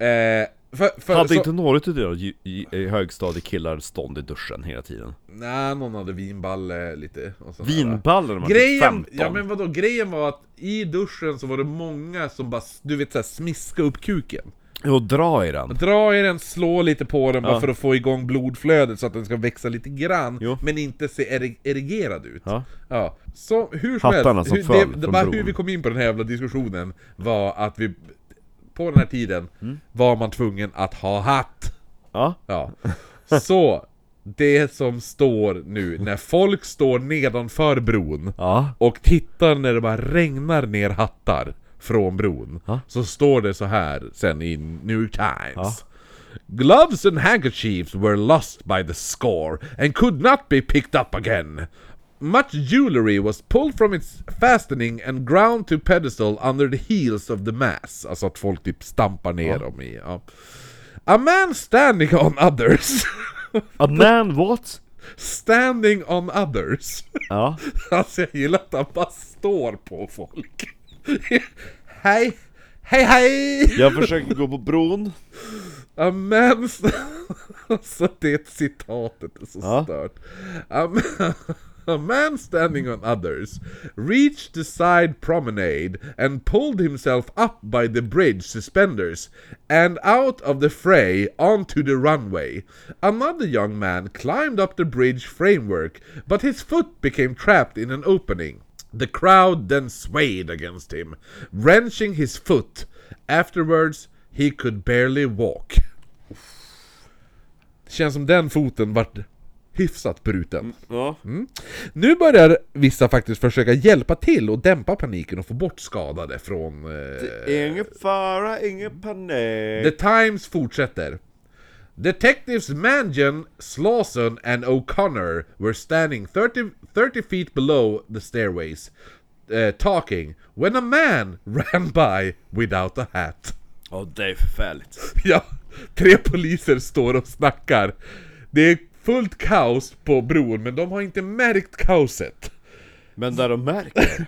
Speaker 1: Eh, för, för,
Speaker 2: hade
Speaker 1: så,
Speaker 2: inte några utav era ju- ju- eh, högstadiekillar stånd i duschen hela tiden?
Speaker 1: Nej, någon hade vinballe lite och sådär.
Speaker 2: Vinballen när man typ Grejen...
Speaker 1: Grejen,
Speaker 2: 15?
Speaker 1: ja men vadå, grejen var att i duschen så var det många som bara, du vet såhär, smiska upp kuken.
Speaker 2: Och dra i den.
Speaker 1: Dra i den, slå lite på den bara
Speaker 2: Ja.
Speaker 1: för att få igång blodflödet så att den ska växa lite grann,
Speaker 2: Jo.
Speaker 1: men inte se ere- erigerad ut.
Speaker 2: Ja.
Speaker 1: Ja. Så hur som
Speaker 2: Hattarna
Speaker 1: helst,
Speaker 2: som
Speaker 1: hur,
Speaker 2: föll
Speaker 1: det, det,
Speaker 2: från
Speaker 1: bara hur
Speaker 2: bron.
Speaker 1: vi kom in på den här jävla diskussionen var att vi på den här tiden
Speaker 2: Mm.
Speaker 1: var man tvungen att ha hatt.
Speaker 2: Ja.
Speaker 1: Ja. Så det som står nu, när folk står nedanför bron
Speaker 2: Ja.
Speaker 1: och tittar när det bara regnar ner hattar från bron
Speaker 2: Ja.
Speaker 1: Så står det så här sen i New York Times Gloves and handkerchiefs were lost by the score and could not be picked up again Much jewelry was pulled from its fastening and ground to pedestal under the heels of the mass Alltså att folk typ stampar ner dem i... Ja. A man standing on others
Speaker 2: A man what?
Speaker 1: Standing on others
Speaker 2: Ja.
Speaker 1: Alltså jag gillar att han bara står på folk. hej! Hej hej!
Speaker 2: Jag försöker gå på bron.
Speaker 1: A man... st- alltså det är ett citatet, det är så
Speaker 2: Ja.
Speaker 1: stört. A man, a man standing on others reached the side promenade and pulled himself up by the bridge suspenders and out of the fray onto the runway. Another young man climbed up the bridge framework, but his foot became trapped in an opening. The crowd then swayed against him, wrenching his foot. Afterwards, he could barely walk. Känns som den foten vart hyfsat bruten.
Speaker 2: Ja.
Speaker 1: Nu börjar vissa faktiskt försöka hjälpa till och dämpa paniken och få bort skadade från... Eh,
Speaker 2: Ingen fara, ingen panik.
Speaker 1: The Times fortsätter. Detectives Mangan, Slauson and O'Connor were standing 30, 30 feet below the stairways, uh, talking, when a man ran by without a hat.
Speaker 2: Ja, det är förfärligt.
Speaker 1: ja, Tre poliser står och snackar. Det är fullt kaos på bron, men de har inte märkt kaoset.
Speaker 2: Men där de märker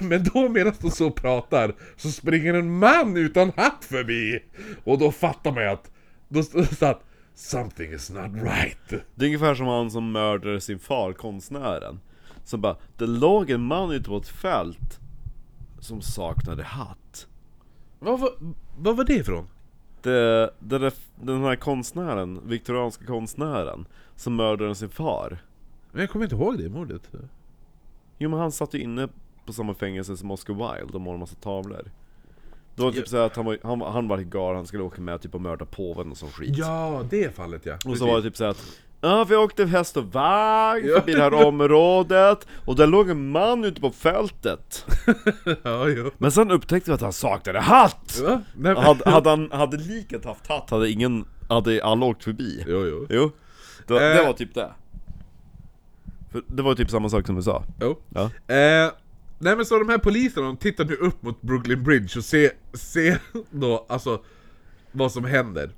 Speaker 1: Men då medan de så pratar, så springer en man utan hatt förbi! Och då fattar man ju att, då stod det så att Something is not right.
Speaker 2: Det är ungefär som han som mördade sin far, konstnären. Som bara, det låg en man ute på ett fält som saknade hatt.
Speaker 1: Vad var, vad var det ifrån?
Speaker 2: Det, det, eh, där- den här konstnären, viktorianska konstnären, som mördade sin far.
Speaker 1: Men jag kommer inte ihåg det mordet.
Speaker 2: Jo men han satt ju inne på samma fängelse som Oscar Wilde och målade massa tavlor. Det var typ såhär att han var, han, han var helt galen, han skulle åka med typ och mörda påven och sån skit.
Speaker 1: Ja, det fallet ja.
Speaker 2: Och
Speaker 1: Precis.
Speaker 2: så var det typ såhär att Ja, vi åkte häst och vagn
Speaker 1: Ja.
Speaker 2: förbi det här området och där låg en man ute på fältet.
Speaker 1: Ja, jo.
Speaker 2: Men sen upptäckte vi att han saknade hatt!
Speaker 1: Va? Nej, men...
Speaker 2: Hade, hade, han, hade liket haft hatt hade ingen, hade alla åkt förbi.
Speaker 1: Jo, jo.
Speaker 2: Jo, det, var- det
Speaker 1: Eh.
Speaker 2: var typ det. För det var typ samma sak som du sa.
Speaker 1: jo.
Speaker 2: Ja.
Speaker 1: Eh, nej men så de här poliserna, de tittar nu upp mot Brooklyn Bridge och ser, ser då alltså vad som händer.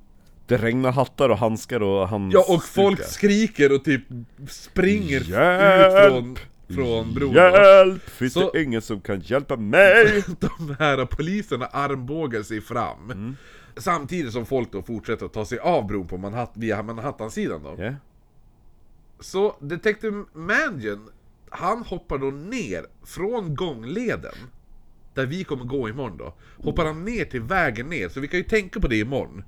Speaker 2: Det regnar hattar och handskar och han
Speaker 1: Ja, och folk skriker och typ springer ut
Speaker 2: Hjälp!
Speaker 1: från, från bron.
Speaker 2: Hjälp! Finns
Speaker 1: Så-
Speaker 2: det ingen som kan hjälpa mig?
Speaker 1: De här poliserna armbågar sig fram.
Speaker 2: Mm.
Speaker 1: Samtidigt som folk då fortsätter att ta sig av bron på Manhattan, via Manhattan-sidan då.
Speaker 2: Ja.
Speaker 1: Så Detective Mangan, han hoppar då ner från gångleden, där vi kommer gå imorgon då, hoppar han ner till vägen ner, så vi kan ju tänka på det imorgon.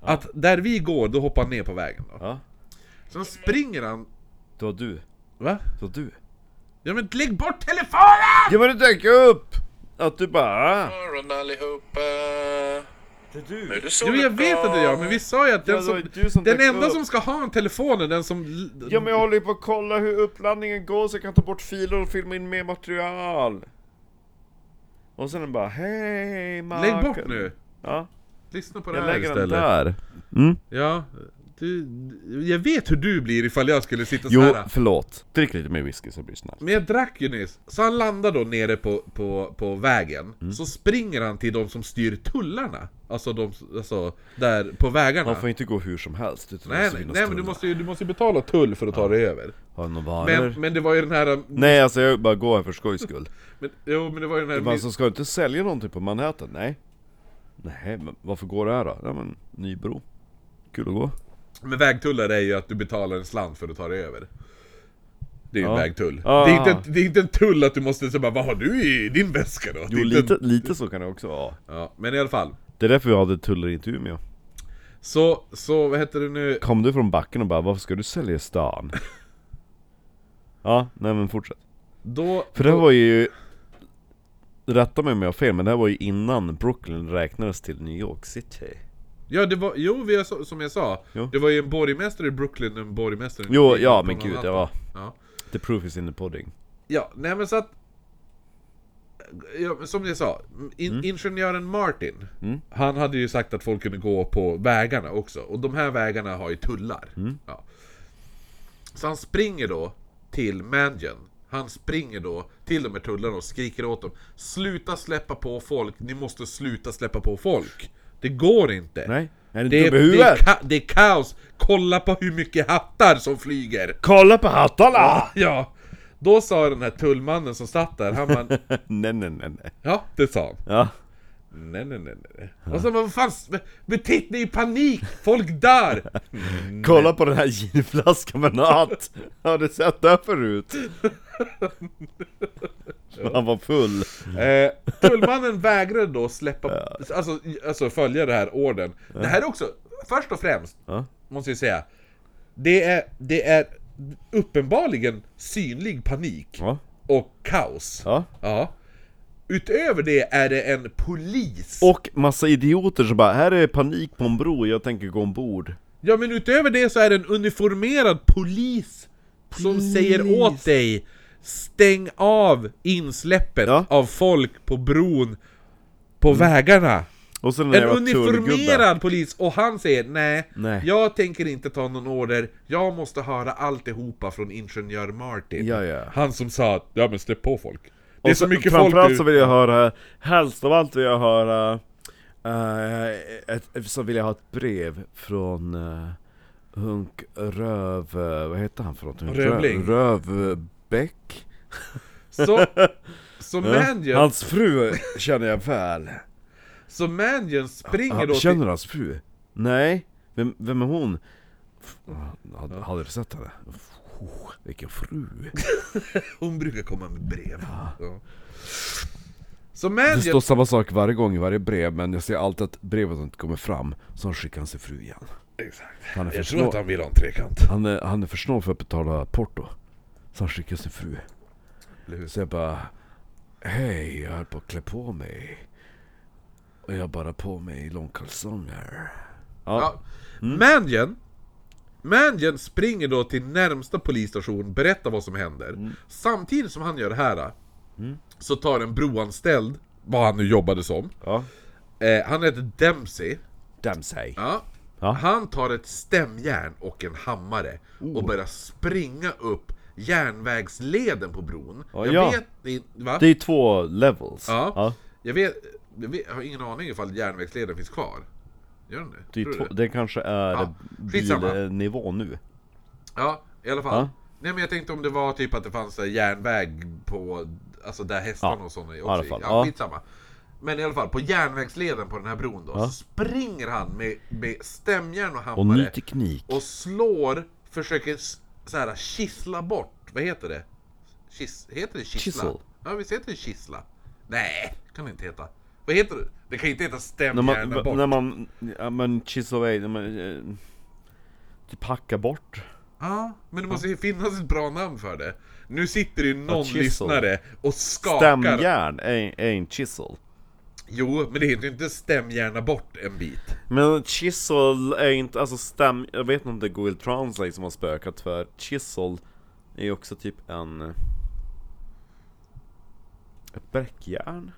Speaker 1: Att där vi går, då hoppar han ner på vägen då.
Speaker 2: Ja.
Speaker 1: Sen springer han...
Speaker 2: Det var du.
Speaker 1: Va?
Speaker 2: Det var du.
Speaker 1: Ja men lägg bort telefonen!
Speaker 2: Jag borde tänka upp! Att du bara... ah,
Speaker 4: morgon allihopa.
Speaker 2: Det är du.
Speaker 4: Nu är det
Speaker 1: Jo jag vet att det gör, men vi sa ju att den,
Speaker 2: Ja, det var
Speaker 1: som,
Speaker 2: ju du som
Speaker 1: den
Speaker 2: dök
Speaker 1: enda
Speaker 2: upp.
Speaker 1: som ska ha en telefon är den som...
Speaker 2: Ja men jag håller ju på att kolla hur uppladdningen går så jag kan ta bort filer och filma in mer material. Och sen den bara hej Marcus.
Speaker 1: Lägg bort nu!
Speaker 2: Ja,
Speaker 1: Lyssna på det
Speaker 2: jag
Speaker 1: här
Speaker 2: lägger den
Speaker 1: istället.
Speaker 2: där.
Speaker 1: Ja, du, du- jag vet hur du blir ifall jag skulle sitta
Speaker 2: Jo,
Speaker 1: så här.
Speaker 2: förlåt. Drick lite mer whisky så blir det snabbt.
Speaker 1: Men jag drack ju nyss. Så han landar då nere på, på, på vägen, så springer han till de som styr tullarna. Alltså de, alltså, där på vägarna.
Speaker 2: Man får inte gå hur som helst utan det
Speaker 1: Nej,
Speaker 2: måste
Speaker 1: nej,
Speaker 2: finnas
Speaker 1: nej men du
Speaker 2: tullar.
Speaker 1: måste ju du måste ju betala tull för att ta dig över.
Speaker 2: Har du någon varor?
Speaker 1: Men, men det var ju den här...
Speaker 2: Nej alltså jag bara går här för skojs skull.
Speaker 1: Men, jo, men det var ju den här...
Speaker 2: Men alltså ska du inte sälja någonting på Manhattan? Nej. Nej, men varför går det här då? Ja men, Nybro. Kul att gå.
Speaker 1: Men vägtullar är ju att du betalar en slant för att ta dig över. Det är ju
Speaker 2: Ja.
Speaker 1: en vägtull.
Speaker 2: Ah.
Speaker 1: Det, är inte, det är inte en tull att du måste säga bara, vad har du i din väska då?
Speaker 2: Jo
Speaker 1: det är inte en-
Speaker 2: lite, lite så kan det också vara.
Speaker 1: Ja, men i alla fall.
Speaker 2: Det är därför vi hade tullar i Umeå.
Speaker 1: Så, så vad heter det nu?
Speaker 2: Kom du från backen och bara 'Varför ska du sälja i stan?' ja, nej men fortsätt.
Speaker 1: Då...
Speaker 2: För det här var ju... Rätta mig om jag har fel, men det här var ju innan Brooklyn räknades till New York City.
Speaker 1: Ja, det var... Jo, vi har, så- som jag sa.
Speaker 2: Jo.
Speaker 1: Det var ju en borgmästare i Brooklyn och en borgmästare i
Speaker 2: Jo,
Speaker 1: New
Speaker 2: ja
Speaker 1: York
Speaker 2: men
Speaker 1: på
Speaker 2: gud, det
Speaker 1: Manhattan.
Speaker 2: var...
Speaker 1: Ja.
Speaker 2: The proof is in the pudding.
Speaker 1: Ja, nej men så att... Ja, men som jag sa, in, ingenjören Martin, han hade ju sagt att folk kunde gå på vägarna också. Och de här vägarna har ju tullar. Ja. Så han springer då till Mangen. Han springer då till de här tullarna och skriker åt dem. Sluta släppa på folk, ni måste sluta släppa på folk. Det går inte.
Speaker 2: Nej, är det,
Speaker 1: Det,
Speaker 2: det
Speaker 1: är, det, är ka- det är kaos. Kolla på hur mycket hattar som flyger.
Speaker 2: Kolla på hattarna!
Speaker 1: Ja, då sa den här tullmannen som satt där, han bara
Speaker 2: nej, nej, nej, nej.
Speaker 1: Ja, det sa han.
Speaker 2: Ja.
Speaker 1: Nej, nej, nej, nej. Och så bara, vad fan, s- men titta, det är panik! Folk dör!
Speaker 2: Kolla på den här ginflaskan med en hatt! Har du sett det här förut? Han var full.
Speaker 1: eh, tullmannen vägrade då släppa, alltså, alltså följa det här orden. Det här är också, först och främst,
Speaker 2: Ja.
Speaker 1: måste jag säga, det är, det är uppenbarligen synlig panik
Speaker 2: Ja.
Speaker 1: och kaos.
Speaker 2: Ja.
Speaker 1: Ja. Utöver det är det en polis.
Speaker 2: Och massa idioter som bara 'Här är panik på en bro, jag tänker gå ombord'
Speaker 1: Ja men utöver det så är det en uniformerad polis som säger åt dig Stäng av insläppet
Speaker 2: Ja.
Speaker 1: av folk på bron på vägarna!
Speaker 2: Och sen den
Speaker 1: En
Speaker 2: jävla tullgubben
Speaker 1: uniformerad polis och han säger nej,
Speaker 2: Nej.
Speaker 1: jag tänker inte ta någon order, jag måste höra alltihopa från ingenjör Martin.
Speaker 2: Ja, ja.
Speaker 1: Han som sa att ja men släpp på folk. Det är
Speaker 2: Och
Speaker 1: så
Speaker 2: sen-
Speaker 1: mycket folk
Speaker 2: Framförallt
Speaker 1: nu.
Speaker 2: så vill jag höra, helst av allt vill jag höra
Speaker 3: Eh, ett, så vill jag ha ett brev från eh, Hunk Röv... eh, Vad heter han för något? Hunk
Speaker 1: Rövling.
Speaker 3: Röv, Rövbäck? Eh,
Speaker 1: Så, så, Mandion,
Speaker 3: Hans fru känner jag väl.
Speaker 1: så Mandion springer
Speaker 3: Han,
Speaker 1: då
Speaker 3: känner
Speaker 1: till...
Speaker 3: du hans fru? Nej, vem, vem är hon? F- ah, Hade, hade du sett henne? F- oh, Vilken fru!
Speaker 1: Hon brukar komma med brev. Ja. Så
Speaker 3: Det
Speaker 1: Mandion
Speaker 3: står samma sak varje gång i varje brev men jag ser alltid att brevet inte kommer fram, så han skickar han sin fru igen.
Speaker 1: Exakt.
Speaker 3: Han är för
Speaker 1: Jag tror
Speaker 3: snål
Speaker 1: att han vill ha en trekant.
Speaker 3: han är, han är för, snål för att betala porto, så han skickar sin fru.
Speaker 1: Eller hur?
Speaker 3: Så jag bara Hej, jag höll på att klä på mig. Och jag har bara på mig långkalsonger.
Speaker 1: Ja. Mandion, Mandion springer då till närmsta polisstation, berättar vad som händer. Samtidigt som han gör det här, så tar en broanställd, vad han nu jobbade som,
Speaker 3: ja.
Speaker 1: eh, han heter Dempsey,
Speaker 3: Damn sig.
Speaker 1: ja.
Speaker 3: Ja.
Speaker 1: han tar ett stämjärn och en hammare och börjar springa upp järnvägsleden på bron.
Speaker 2: Ja,
Speaker 1: jag
Speaker 2: ja.
Speaker 1: vet inte... Va?
Speaker 2: Det är två levels.
Speaker 1: Ja.
Speaker 2: ja
Speaker 1: Jag, vet, jag, vet, jag har ingen aning ifall järnvägsleden finns kvar. Gör den
Speaker 2: det,
Speaker 1: det?
Speaker 2: är
Speaker 1: Tror du
Speaker 2: två,
Speaker 1: det?
Speaker 2: det kanske är
Speaker 1: Ja, skitsamma.
Speaker 2: bilnivå nu.
Speaker 1: Ja, i alla fall.
Speaker 2: Ja.
Speaker 1: Nej men jag tänkte om det var typ att det fanns så här järnväg på, alltså där hästarna
Speaker 2: Ja,
Speaker 1: och sådana är
Speaker 2: i alla
Speaker 1: också gick.
Speaker 2: fall,
Speaker 1: Ja,
Speaker 2: ja.
Speaker 1: skitsamma. Men i alla fall, på järnvägsleden på den här bron då, så springer han med, med stämjärn och
Speaker 2: Och ny
Speaker 1: hammare
Speaker 2: teknik.
Speaker 1: och, slår, försöker s- så här kissla bort, vad heter det? Kiss, heter det kissla?
Speaker 2: Kissel.
Speaker 1: Ja visst heter det kissla? Nej, kan det inte heta. Vad heter det? Det kan inte heta
Speaker 2: När
Speaker 1: stämjärn
Speaker 2: man,
Speaker 1: bort.
Speaker 2: när man, ja men chiss away, när man, eh, typ hacka bort.
Speaker 1: Ja, men det måste ju finnas ett bra namn för det. Nu sitter det ju någon
Speaker 2: chisel.
Speaker 1: lyssnare och skakar.
Speaker 2: Stämjärn är, är en chisel.
Speaker 1: Jo, men det heter ju inte stäm gärna bort en bit.
Speaker 2: Men chisel är inte, alltså stäm, jag vet inte om det är Google Translate som har spökat för chisel är ju också typ en... eh, Ett bräckjärn?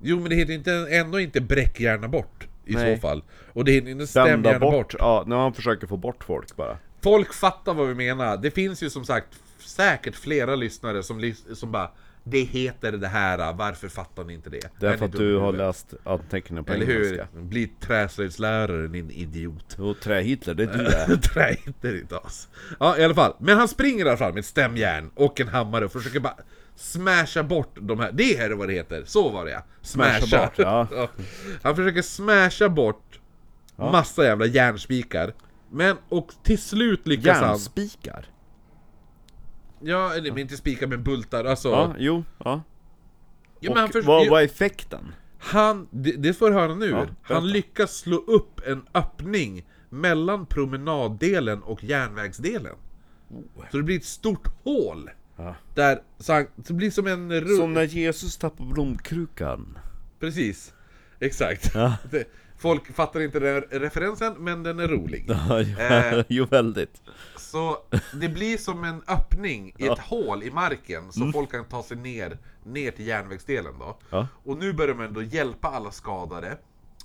Speaker 1: Jo, men det heter ju inte, ändå inte bräck gärna bort i
Speaker 2: Nej.
Speaker 1: så fall. Och det heter inte stäm
Speaker 2: Stämda
Speaker 1: gärna
Speaker 2: bort.
Speaker 1: bort.
Speaker 2: Ja, när han försöker få bort folk bara.
Speaker 1: Folk fattar vad vi menar. Det finns ju som sagt f- säkert flera lyssnare som, lys- som bara Det heter det här, varför fattar ni inte det?
Speaker 2: Det är för
Speaker 1: ni
Speaker 2: att
Speaker 1: dumma i
Speaker 2: du har
Speaker 1: huvudet?
Speaker 2: läst anteckningar på
Speaker 1: Eller hur?
Speaker 2: engelska.
Speaker 1: Bli träslöjdslärare din idiot.
Speaker 2: Jo, trä-Hitler, det är du det.
Speaker 1: Nej, inte ditt as. Ja, i alla fall. Men han springer i alla fall med ett stämjärn och en hammare och försöker bara smasha bort de här. Det här är vad det heter, så var det ja. Smasha.
Speaker 2: Smasha bort, ja.
Speaker 1: Han försöker smasha bort massa jävla järnspikar. Men, och till slut lyckas han...
Speaker 2: Järnspikar?
Speaker 1: Ja, eller men inte spikar men bultar, alltså.
Speaker 2: Ja, jo, ja.
Speaker 1: ja,
Speaker 2: Och
Speaker 1: men han, förs-
Speaker 2: vad,
Speaker 1: ju-
Speaker 2: vad är effekten?
Speaker 1: han det, det får du höra nu.
Speaker 2: berätta.
Speaker 1: han lyckas slå upp en öppning mellan promenaddelen och järnvägsdelen. Så det blir ett stort hål.
Speaker 2: Oh. Ja.
Speaker 1: Där, så han, så det blir som en ru-
Speaker 2: Som när Jesus tappar blomkrukan.
Speaker 1: Precis. Exakt. Det- Folk fattar inte den här referensen, men den är rolig. Eh.
Speaker 2: jo, väldigt.
Speaker 1: Så det blir som en öppning i ett hål i marken, så folk kan ta sig ner, ner till järnvägsdelen då.
Speaker 2: Ja.
Speaker 1: Och nu börjar man då hjälpa alla skadade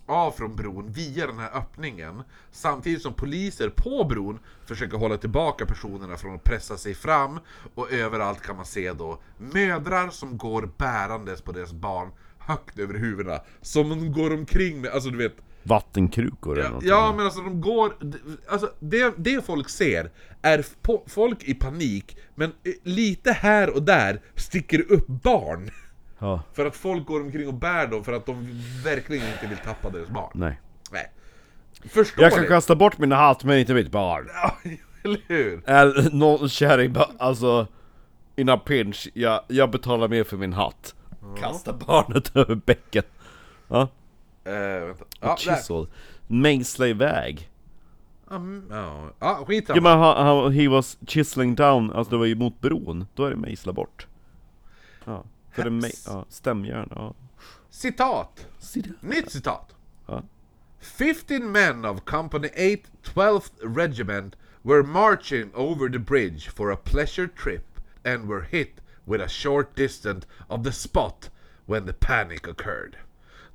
Speaker 1: av från bron via den här öppningen, samtidigt som poliser på bron försöker hålla tillbaka personerna från att pressa sig fram, och överallt kan man se då mödrar som går bärandes på deras barn högt över huvudena, som de går omkring med, alltså du vet,
Speaker 2: Vattenkrukor eller någonting.
Speaker 1: Ja men alltså de går, alltså det, det folk ser är po- folk i panik, men eh, lite här och där sticker det upp barn.
Speaker 2: Ja,
Speaker 1: För att folk går omkring och bär dem för att de verkligen inte vill tappa deras barn.
Speaker 2: nej.
Speaker 1: Nej. Förstår
Speaker 2: Jag kan kasta bort min hatt men inte mitt barn.
Speaker 1: Ja, eller hur?
Speaker 2: Eller någon kärring bara, alltså... In a pinch, jag, jag betalar mer för min hatt. Kasta barnet över bäcken. Ja,
Speaker 1: Eh, vänta. Ja, där.
Speaker 2: chisel. Mejsla iväg.
Speaker 1: Ja, mm, Ja, ja skitsamma.
Speaker 2: Ja men han, han, he was chiseling down, alltså det var ju mot bron. Då är det mejsla bort. Ja. Så det är mej, ja, stämjärn, ja.
Speaker 1: Citat.
Speaker 2: Sida.
Speaker 1: Nytt citat.
Speaker 2: Ja.
Speaker 1: 15 men of Company 8, 12th Regiment were marching over the bridge for a pleasure trip and were hit with a short distance of the spot when the panic occurred.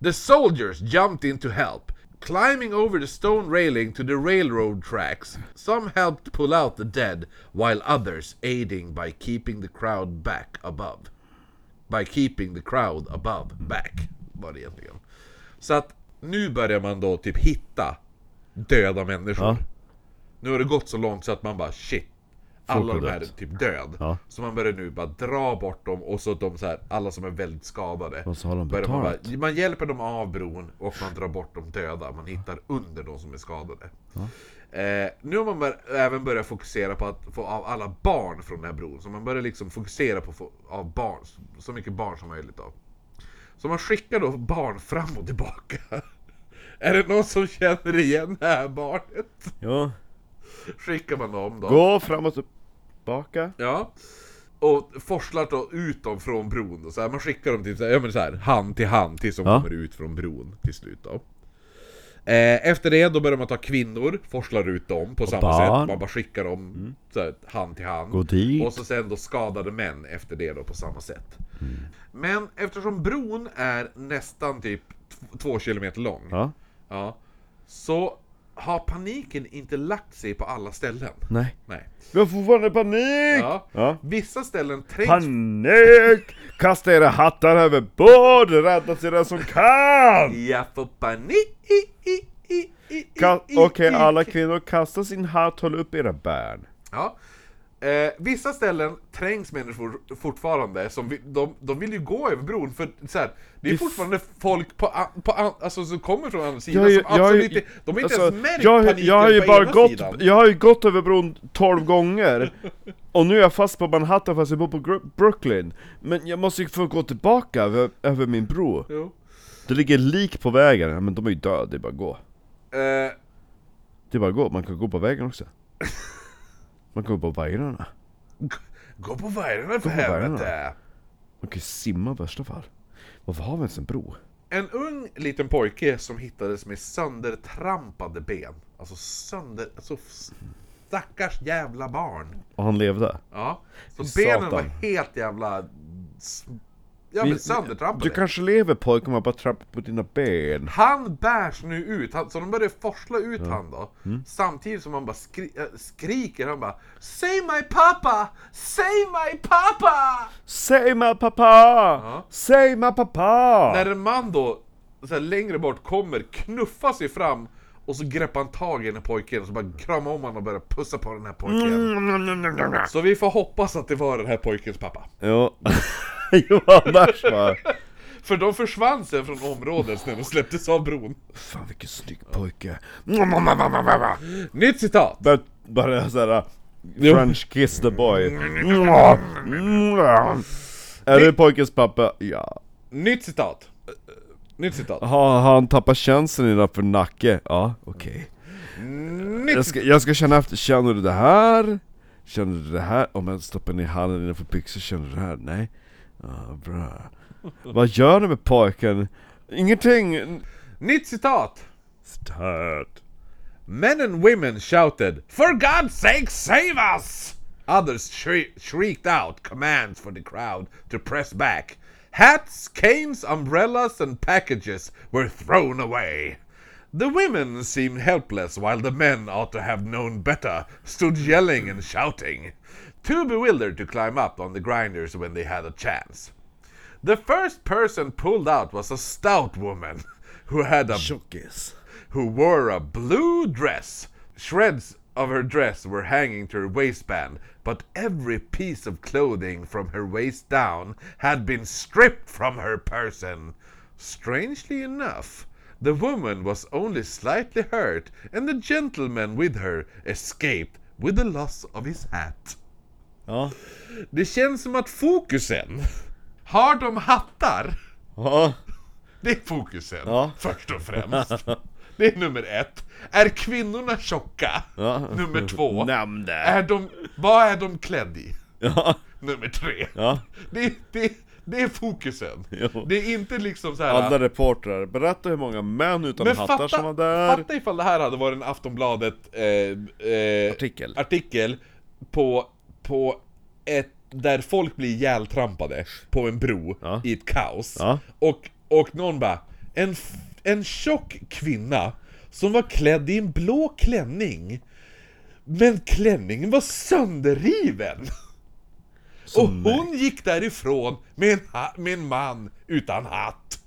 Speaker 1: The soldiers jumped in to help, climbing over the stone railing to the railroad tracks. Some helped pull out the dead, while others aiding by keeping the crowd back above by keeping the crowd above back. Var det egentligen. Så att nu börjar man då typ hitta döda människor.
Speaker 2: Ja.
Speaker 1: Nu har det gått så långt så att man bara shit, alla
Speaker 2: har
Speaker 1: de här är
Speaker 2: dött.
Speaker 1: typ död.
Speaker 2: Ja.
Speaker 1: Så man börjar nu bara dra bort dem och så de så här, alla som är väldigt skadade.
Speaker 2: Och så har de
Speaker 1: börjar man, bara,
Speaker 2: betalt.
Speaker 1: man hjälper dem av bron och man drar bort de döda. Man hittar under de som är skadade. Eh, nu har man bör, även börjat fokusera på att få av alla barn från den här bron. Så man börjar liksom fokusera på att få av barn, så mycket barn som möjligt av. Så man skickar då barn fram och tillbaka. Är det någon som känner igen det här barnet?
Speaker 2: Ja.
Speaker 1: Skickar man dem då.
Speaker 2: Gå fram och tillbaka.
Speaker 1: Ja. Och forslar då ut dem från bron då, så här, man skickar dem typ så här, ja, men så här, hand till hand tills de
Speaker 2: Ja.
Speaker 1: kommer ut från bron till slut då. Eh, efter det då börjar man ta kvinnor, forslar ut dem på samma
Speaker 2: barn. Mm.
Speaker 1: sätt, man bara skickar dem så här, hand till hand.
Speaker 2: Gå dit.
Speaker 1: Och så sen då skadade män efter det då på samma sätt.
Speaker 2: Mm.
Speaker 1: Men eftersom bron är nästan typ t- två kilometer lång,
Speaker 2: Ja.
Speaker 1: ja, så har paniken inte lagt sig på alla ställen.
Speaker 2: Nej.
Speaker 1: Nej.
Speaker 2: Vi har fortfarande panik!
Speaker 1: Ja.
Speaker 2: Ja.
Speaker 1: Vissa ställen trängs
Speaker 2: Panik! Kasta era hattar över bord! Rädda sig den som kan!
Speaker 1: Jag får panik! i, i, i, i, i,
Speaker 2: Ka-
Speaker 1: i,
Speaker 2: Okej,
Speaker 1: i.
Speaker 2: alla kvinnor, kasta sin hatt, håll upp era bärn.
Speaker 1: Ja. Eh, vissa ställen trängs människor fortfarande, som vi, de, de vill ju gå över bron för så här, det är
Speaker 2: Det-
Speaker 1: fortfarande folk på, an- på an- alltså, som kommer från andra sidan
Speaker 2: har ju-
Speaker 1: som
Speaker 2: jag har ju-
Speaker 1: absolut inte, de har inte
Speaker 2: alltså,
Speaker 1: ens märkt
Speaker 2: jag,
Speaker 1: paniken
Speaker 2: jag har ju
Speaker 1: på
Speaker 2: bara
Speaker 1: ena sidan.
Speaker 2: gått, Jag har ju gått över bron 12 gånger, och nu är jag fast på Manhattan fast jag bor på Gro- Brooklyn. Men jag måste ju få gå tillbaka över, över min bro.
Speaker 1: Jo.
Speaker 2: Det ligger lik på vägen, Ja, men de är ju döda, det är bara att gå.
Speaker 1: Eh,
Speaker 2: Det är bara att gå, man kan gå på vägen också. Man kan gå på vajrarna.
Speaker 1: g- gå på vajrarna för
Speaker 2: på
Speaker 1: helvete!
Speaker 2: vajrarna. Man kan ju simma i värsta fall. Varför har vi ens en bro?
Speaker 1: En ung liten pojke som hittades med söndertrampade ben. Alltså sönder... Alltså stackars jävla barn.
Speaker 2: Och han levde.
Speaker 1: Ja, så
Speaker 2: Fy
Speaker 1: benen
Speaker 2: satan.
Speaker 1: var helt jävla... s- Ja
Speaker 2: Vi-
Speaker 1: men söndertrampade.
Speaker 2: Du kanske lever pojk om man bara trampar på dina ben.
Speaker 1: Han bärs nu ut, han, så de började forsla ut han då.
Speaker 2: Mm.
Speaker 1: Samtidigt som han bara skri äh, skriker, han bara Say my pappa! Say my pappa!
Speaker 2: Säg mig pappa! Säg mig pappa!
Speaker 1: När en man då, så här, längre bort, kommer, knuffar sig fram och så greppar han tag i den här pojken och så bara kramar om honom och börjar pussa på den här pojken. Så vi får hoppas att det var den här pojkens pappa.
Speaker 2: Jo. jo, annars va.
Speaker 1: För de försvann sen från området när de släpptes av bron.
Speaker 2: Fan vilken snygg pojke.
Speaker 1: Nytt citat!
Speaker 2: Bara- Bara såhär,
Speaker 1: Jo.
Speaker 2: French kiss the boy. Är du pojkens pappa? Ja.
Speaker 1: Nytt citat. Nytt citat.
Speaker 2: Har har han tappat känseln innanför nacke? Ja, okej.
Speaker 1: Nytt
Speaker 2: Jag ska, jag ska känna efter, känner du det här? Känner du det här? Om jag stoppar ner handen innanför byxor, känner du det här? Nej? Ja, bra. Vad gör du med pojken? Ingenting!
Speaker 1: Nytt citat.
Speaker 2: Stört.
Speaker 1: Men and women shouted For God's sake save us! Others shri- shrieked out commands for the crowd to press back. Hats, canes, umbrellas and packages were thrown away. The women seemed helpless while the men ought to have known better stood yelling and shouting. Too bewildered to climb up on the grinders when they had a chance. The first person pulled out was a stout woman who had a
Speaker 2: Tjockis.
Speaker 1: who wore a blue dress. Shreds of her dress were hanging to her waistband, but every piece of clothing from her waist down had been stripped from her person. Strangely enough, the woman was only slightly hurt, and the gentleman with her escaped with the loss of his hat.
Speaker 2: Ja.
Speaker 1: Det känns som att fokusen har de hattar
Speaker 2: Ja.
Speaker 1: Det är fokusen,
Speaker 2: Ja.
Speaker 1: först och främst. Det är nummer ett. Är kvinnorna tjocka?
Speaker 2: Ja.
Speaker 1: Nummer två.
Speaker 2: Nämn det.
Speaker 1: Är de, vad är de klädd i?
Speaker 2: Ja.
Speaker 1: Nummer tre.
Speaker 2: Ja.
Speaker 1: Det, det, det är fokusen.
Speaker 2: Jo.
Speaker 1: Det är inte liksom så här.
Speaker 2: Alla reportrar, berätta hur många män utan
Speaker 1: men
Speaker 2: hattar
Speaker 1: fatta,
Speaker 2: som var där.
Speaker 1: fatta ifall det här hade varit en Aftonbladet eh, eh,
Speaker 2: Artikel.
Speaker 1: artikel på, på ett, där folk blir ihjältrampade på en bro
Speaker 2: Ja.
Speaker 1: i ett kaos.
Speaker 2: Ja.
Speaker 1: Och, och någon bara, en, f- en tjock kvinna som var klädd i en blå klänning, men klänningen var sönderriven! och hon gick därifrån med en, ha- med en man utan hatt.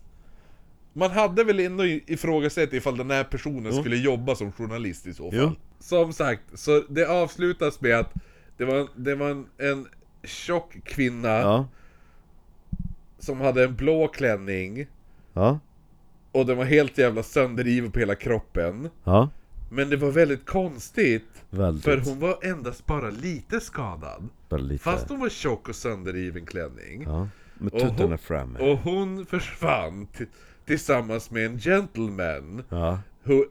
Speaker 1: Man hade väl ändå i- ifrågasatt ifall den här personen skulle jobba som journalist i så fall.
Speaker 2: Jo.
Speaker 1: Som sagt, så det avslutas med att det var, det var en, en tjock kvinna
Speaker 2: Ja.
Speaker 1: som hade en blå klänning
Speaker 2: Ja.
Speaker 1: och den var helt jävla sönderriven på hela kroppen.
Speaker 2: Ja.
Speaker 1: Men det var väldigt konstigt,
Speaker 2: Väldigt.
Speaker 1: för hon var endast bara lite skadad.
Speaker 2: Bara lite.
Speaker 1: Fast hon var tjock och sönderriven klänning.
Speaker 2: Ja. Med
Speaker 1: Och hon-
Speaker 2: tuttarna framme.
Speaker 1: Och hon försvann t- tillsammans med en gentleman
Speaker 2: Ja.
Speaker 1: who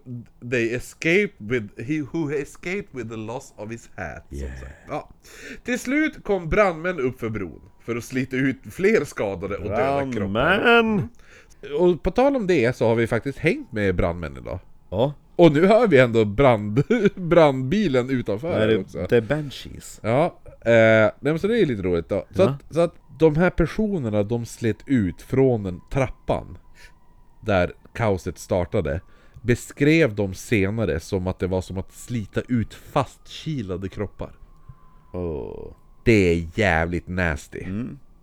Speaker 1: they escaped with, he, who escaped with the loss of his hat. som
Speaker 2: Yeah.
Speaker 1: sagt. Ja. Till slut kom brandmän upp för bron för att slita ut fler skadade och döda kroppar.
Speaker 2: Brandman!
Speaker 1: Och på tal om det så har vi faktiskt hängt med brandmän idag.
Speaker 2: Ja.
Speaker 1: Och nu hör vi ändå brand, brandbilen utanför
Speaker 2: Är
Speaker 1: här
Speaker 2: det,
Speaker 1: också.
Speaker 2: det är Banshees.
Speaker 1: Ja, eh, nej, men så det är lite roligt då. Så,
Speaker 2: Ja.
Speaker 1: att, så att de här personerna de slet ut från den trappan där kaoset startade beskrev de senare som att det var som att slita ut fastkilade kroppar.
Speaker 2: Oh.
Speaker 1: Det är jävligt nasty.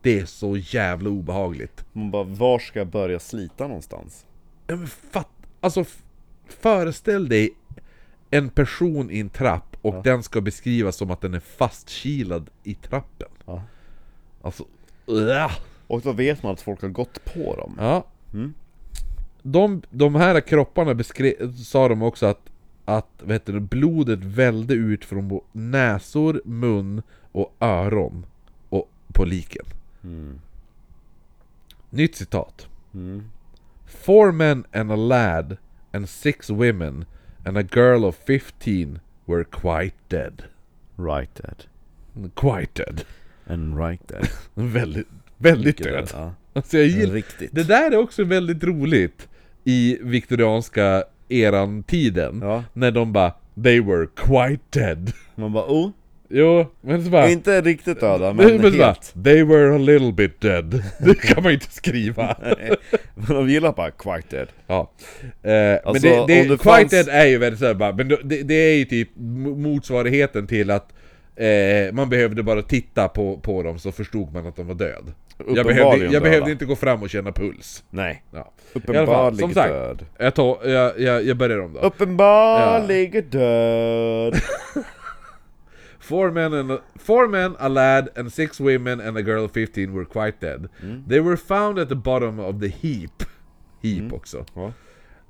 Speaker 1: Det är så jävla obehagligt.
Speaker 3: Man bara, var ska jag börja slita någonstans?
Speaker 1: Ja, men fatt, alltså f- föreställ dig en person i en trapp och den ska beskrivas som att den är fastkilad i trappen.
Speaker 3: Ja.
Speaker 1: Alltså, äh.
Speaker 3: Och då vet man att folk har gått på dem.
Speaker 1: Ja. De, de här kropparna beskre- sa de också att, att vad heter det, blodet vällde ut från bo- näsor, mun och öron och, på liken. Nytt citat. Four men and a lad and six women and a girl of 15 were quite dead.
Speaker 3: Right dead.
Speaker 1: Quite dead.
Speaker 3: And right dead.
Speaker 1: Väldigt, väldigt död.
Speaker 3: Ja.
Speaker 1: Alltså jag gillar,
Speaker 3: Riktigt.
Speaker 1: det där är också väldigt roligt i viktorianska eran tiden.
Speaker 3: Ja.
Speaker 1: När de bara “They were quite dead”.
Speaker 3: Man bara, oh,
Speaker 1: Jo, men så bara...
Speaker 3: inte riktigt döda men
Speaker 1: Men så bara,
Speaker 3: helt.
Speaker 1: “They were a little bit dead”. Det kan man ju inte skriva.
Speaker 3: Men de gillar bara quite dead.
Speaker 1: Ja. Eh,
Speaker 3: Alltså,
Speaker 1: men det, det,
Speaker 3: om det
Speaker 1: Quite
Speaker 3: fanns-
Speaker 1: Dead är ju väldigt såhär bara, men det, det är ju typ mo- motsvarigheten till att eh, man behövde bara titta på, på dem så förstod man att de var död. Jag behövde,
Speaker 3: Uppenbarligen
Speaker 1: jag behövde
Speaker 3: döda.
Speaker 1: inte gå fram och känna puls.
Speaker 3: Nej.
Speaker 1: Ja. I alla fall,
Speaker 3: Uppenbarligen
Speaker 1: som sagt,
Speaker 3: död.
Speaker 1: Jag, tar, jag, jag, jag börjar om då.
Speaker 3: Uppenbarligen död.
Speaker 1: Four men, and, four men, a lad, and six women and a girl of 15 were quite dead.
Speaker 3: Mm.
Speaker 1: They were found at the bottom of the heap. Heap
Speaker 3: Mm.
Speaker 1: också.
Speaker 3: Ja.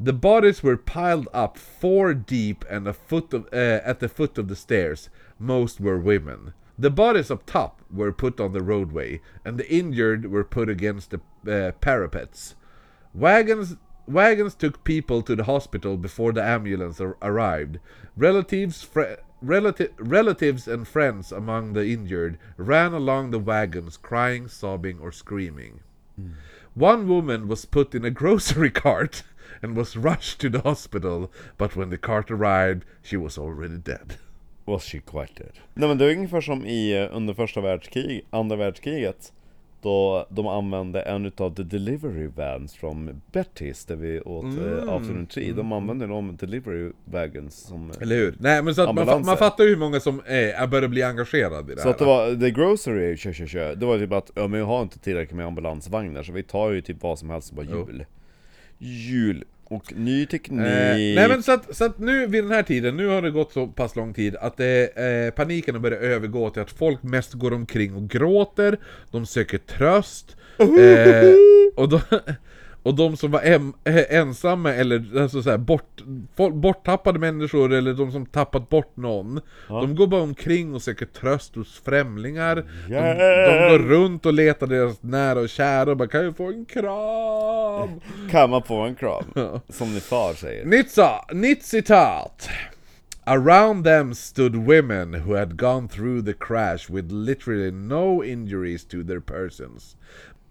Speaker 1: The bodies were piled up four deep and a foot of, eh, at the foot of the stairs. Most were women. The bodies up top were put on the roadway, and the injured were put against the uh, parapets. Wagons wagons took people to the hospital before the ambulance ar- arrived. Relatives fr- relati- relatives and friends among the injured ran along the wagons crying, sobbing or screaming. One woman was put in a grocery cart and was rushed to the hospital, but when the cart arrived, she was already dead.
Speaker 3: Was she quite dead? Nej men det är ungefär som i eh, under första världskrig, andra världskriget Då de använde en utav the delivery vans från Bettis där vi åt
Speaker 1: Mm,
Speaker 3: eh, Afternoon Tea De använde de delivery wagons som eh,
Speaker 1: Eller hur? Nej, men så att man, fa-
Speaker 3: Ambulanser.
Speaker 1: man fattar ju hur många som är, börjar bli engagerade i det
Speaker 3: Så
Speaker 1: här.
Speaker 3: att det var, the grocery, kö, kö, kö. Det var typ att, ja men vi har inte tillräckligt med ambulansvagnar så vi tar ju typ vad som helst bara jul Jul och ny teknik
Speaker 1: Eh, nej men så att, så att nu vid den här tiden, nu har det gått så pass lång tid att det, eh, paniken har börjat övergå till att folk mest går omkring och gråter, de söker tröst, eh, och, de, och de som var em, eh, ensamma eller alltså så här, bort, folk, borttappade människor eller de som tappat bort någon, de går bara omkring och söker tröst hos främlingar, de, de går runt och letar deras nära och kära och bara 'Kan jag få en kram?'
Speaker 3: Kan man få en kram? Som din far säger
Speaker 1: Nitsa, nytt citat. Around them stood women who had gone through the crash with literally no injuries to their persons,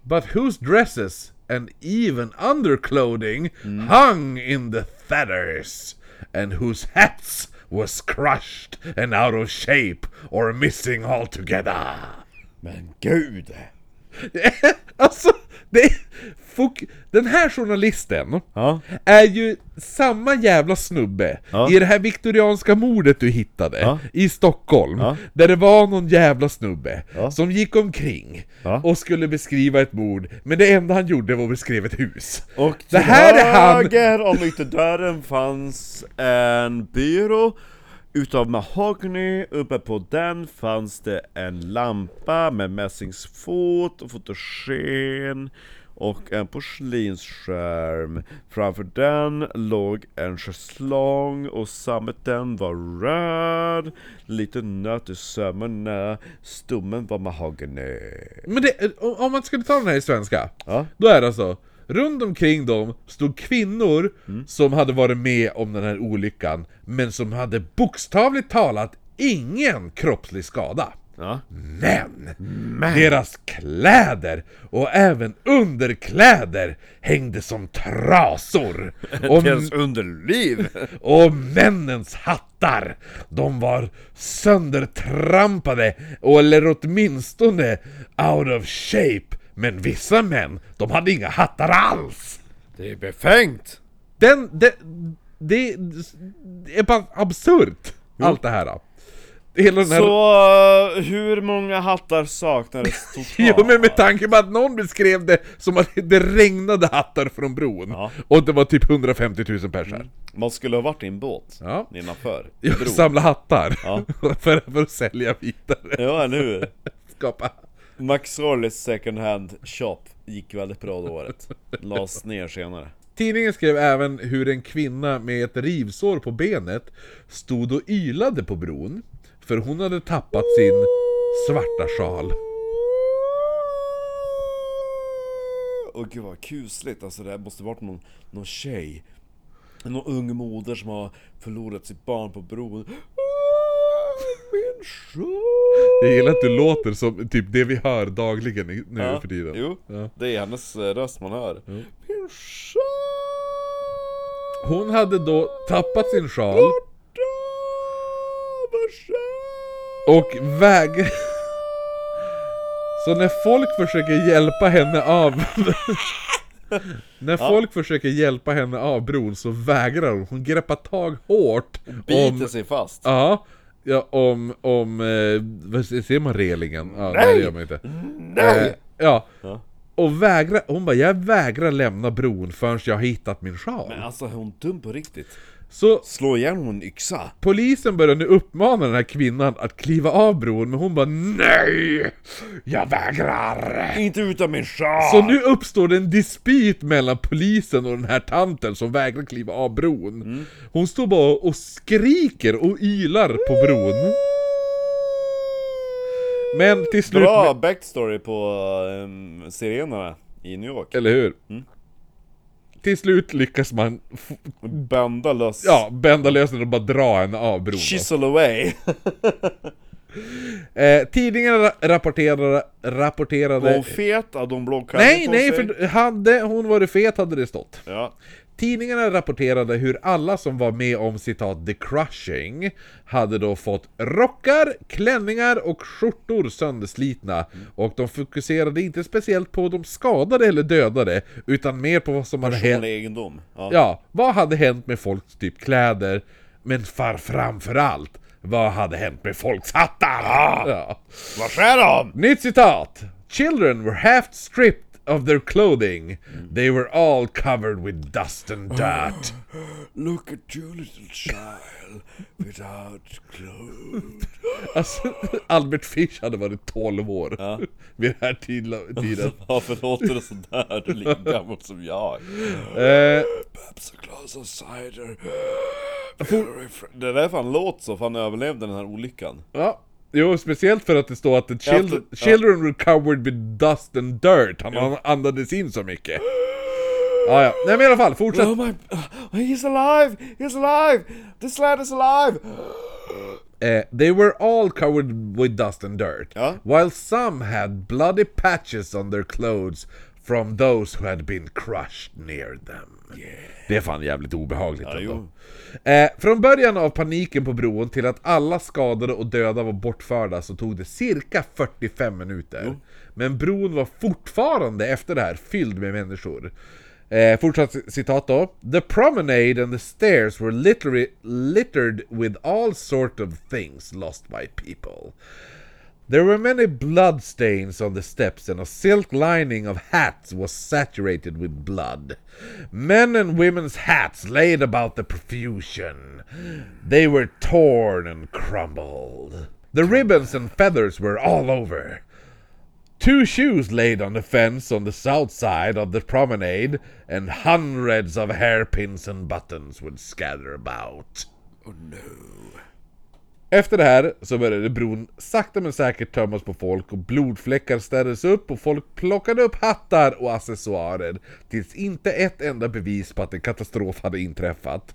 Speaker 1: but whose dresses and even underclothing hung in the fetters, and whose hats was crushed and out of shape or missing altogether.
Speaker 3: Men gud!
Speaker 1: alltså, Det är, fok- den här journalisten
Speaker 2: Ja.
Speaker 1: är ju samma jävla snubbe
Speaker 2: Ja.
Speaker 1: i det här viktorianska mordet du hittade
Speaker 2: Ja.
Speaker 1: i Stockholm,
Speaker 2: Ja.
Speaker 1: där det var någon jävla snubbe
Speaker 2: Ja.
Speaker 1: som gick omkring
Speaker 2: Ja.
Speaker 1: och skulle beskriva ett mord, men det enda han gjorde var att beskriva ett hus.
Speaker 2: Och
Speaker 1: Det
Speaker 2: till
Speaker 1: här är han-
Speaker 2: höger om ytterdörren fanns en byrå Utav mahogny, uppe på den fanns det en lampa med mässingsfot och fotogen och en porslinsskärm. Framför den låg en schäslong och sammeten var röd, lite nöt i sömmarna, stommen var mahogny.
Speaker 1: Men det, eh, om om man skulle ta den här i svenska,
Speaker 2: Ja.
Speaker 1: då är det alltså Runt omkring dem stod kvinnor som hade varit med om den här olyckan, men som hade bokstavligt talat ingen kroppslig skada.
Speaker 2: Ja.
Speaker 1: Men, deras kläder och även underkläder hängde som trasor. Och,
Speaker 2: Deras underliv!
Speaker 1: och männens hattar, de var söndertrampade, och- eller åtminstone out of shape. Men vissa män, de hade inga hattar alls!
Speaker 2: Det är befängt!
Speaker 1: Den, det, det, det är bara absurt, allt det här. Hela den här...
Speaker 2: Så eh, hur många hattar saknades totalt?
Speaker 1: Jo men med tanke på att någon beskrev det som att det regnade hattar från bron
Speaker 2: Ja.
Speaker 1: Och det var typ 150 000 pers här
Speaker 2: Man skulle ha varit i en båt
Speaker 1: Ja.
Speaker 2: innanför
Speaker 1: Jag
Speaker 2: bron.
Speaker 1: samlade hattar
Speaker 2: Ja.
Speaker 1: för, för att sälja vidare
Speaker 2: Ja, eller hur?
Speaker 1: Skapa
Speaker 2: Max Rollys second hand shop gick väldigt bra det året. Lades ner senare.
Speaker 1: Tidningen skrev även hur en kvinna med ett rivsår på benet Stod och ylade på bron För hon hade tappat sin svarta sjal
Speaker 2: Åh gud vad kusligt, alltså det här måste varit någon, någon tjej. Någon ung moder som har förlorat sitt barn på bron. Min sjal!
Speaker 1: Jag gillar att du låter som typ det vi hör dagligen i- nu
Speaker 2: Ja,
Speaker 1: för tiden
Speaker 2: Jo,
Speaker 1: Ja.
Speaker 2: det är hennes eh, röst man hör. Min sjal!
Speaker 1: Hon hade då tappat sin sjal Och väg... Så när folk försöker hjälpa henne av... när folk försöker hjälpa henne av bron så vägrar hon. Hon greppar tag hårt
Speaker 2: Biter
Speaker 1: om...
Speaker 2: sig fast.
Speaker 1: Ja, ja, om... om eh, vad se- ser man relingen? Ja, nej! Det gör man inte. Nej! Eh, ja.
Speaker 2: Ja.
Speaker 1: Och vägrar... Hon bara, jag vägrar lämna bron förrän jag har hittat min sjal.
Speaker 2: Men alltså är hon dum på riktigt?
Speaker 1: Så
Speaker 2: Slå igen hon yxa.
Speaker 1: Polisen börjar nu uppmana den här kvinnan att kliva av bron, men hon bara NEJ! Jag vägrar!
Speaker 2: Inte utan min sjal!
Speaker 1: Så nu uppstår det en dispyt mellan polisen och den här tanten som vägrar kliva av bron. Hon står bara och skriker och ylar på bron. Men till slut...
Speaker 2: Bra backstory på um, sirenerna i New York.
Speaker 1: Eller hur? Till slut lyckas man f-
Speaker 2: Bända loss.
Speaker 1: ja, bända lös den och bara dra henne av bron.
Speaker 2: Chisel away.
Speaker 1: Eh, tidningarna ra- rapporterade... rapporterade
Speaker 2: Var hon fet? Hade hon blå kläder
Speaker 1: Nej,
Speaker 2: på
Speaker 1: nej,
Speaker 2: sig?
Speaker 1: för hade hon varit fet hade det stått.
Speaker 2: Ja.
Speaker 1: Tidningarna rapporterade hur alla som var med om citat ”the crushing” hade då fått rockar, klänningar och skjortor sönderslitna
Speaker 2: Mm.
Speaker 1: och de fokuserade inte speciellt på de skadade eller dödade utan mer på vad som hade
Speaker 2: Personlig
Speaker 1: hänt.
Speaker 2: egendom. Ja.
Speaker 1: Ja, vad hade hänt med folks typ kläder? Men far framförallt, vad hade hänt med folks hattar?
Speaker 2: Ah!
Speaker 1: Ja.
Speaker 2: Vad skär de?
Speaker 1: Nytt citat! Children were half stripped of their clothing. They were all covered with dust and dirt.
Speaker 2: Look at you little child without clothes.
Speaker 1: Alltså, Albert Fish hade varit 12 år vid den här tidla- tiden.
Speaker 2: Varför låter det sådär? Du är lika gammal som jag.
Speaker 1: Eh,
Speaker 2: Perhaps a glass of cider. Very fr- Det där är fan låt så, för han överlevde den här olyckan.
Speaker 1: ja. Jo, speciellt för att det står att the
Speaker 2: Efter-
Speaker 1: children,
Speaker 2: ja.
Speaker 1: children were covered with dust and dirt. Han andades in så mycket. Ja, ja. Nej men i alla fall, fortsätt.
Speaker 2: Oh my... He's alive! He's alive! This lad is alive!
Speaker 1: Eh, they were all covered with dust and dirt,
Speaker 2: Ja.
Speaker 1: while some had bloody patches on their clothes from those who had been crushed near them. Det är fan jävligt obehagligt
Speaker 2: Ja,
Speaker 1: ändå.
Speaker 2: jo.
Speaker 1: Eh, från början av paniken på bron till att alla skadade och döda var bortförda så tog det cirka 45 minuter. Men bron var fortfarande efter det här fylld med människor. Eh, fortsatt citat då. The promenade and the stairs were literally littered with all sort of things lost by people. There were many bloodstains on the steps, and a silk lining of hats was saturated with blood. Men and women's hats laid about the profusion. They were torn and crumbled. The ribbons and feathers were all over. Two shoes laid on the fence on the south side of the promenade, and hundreds of hairpins and buttons would scatter about. Efter det här så började bron sakta men säkert tömmas på folk och blodfläckar städades upp och folk plockade upp hattar och accessoarer tills inte ett enda bevis på att en katastrof hade inträffat.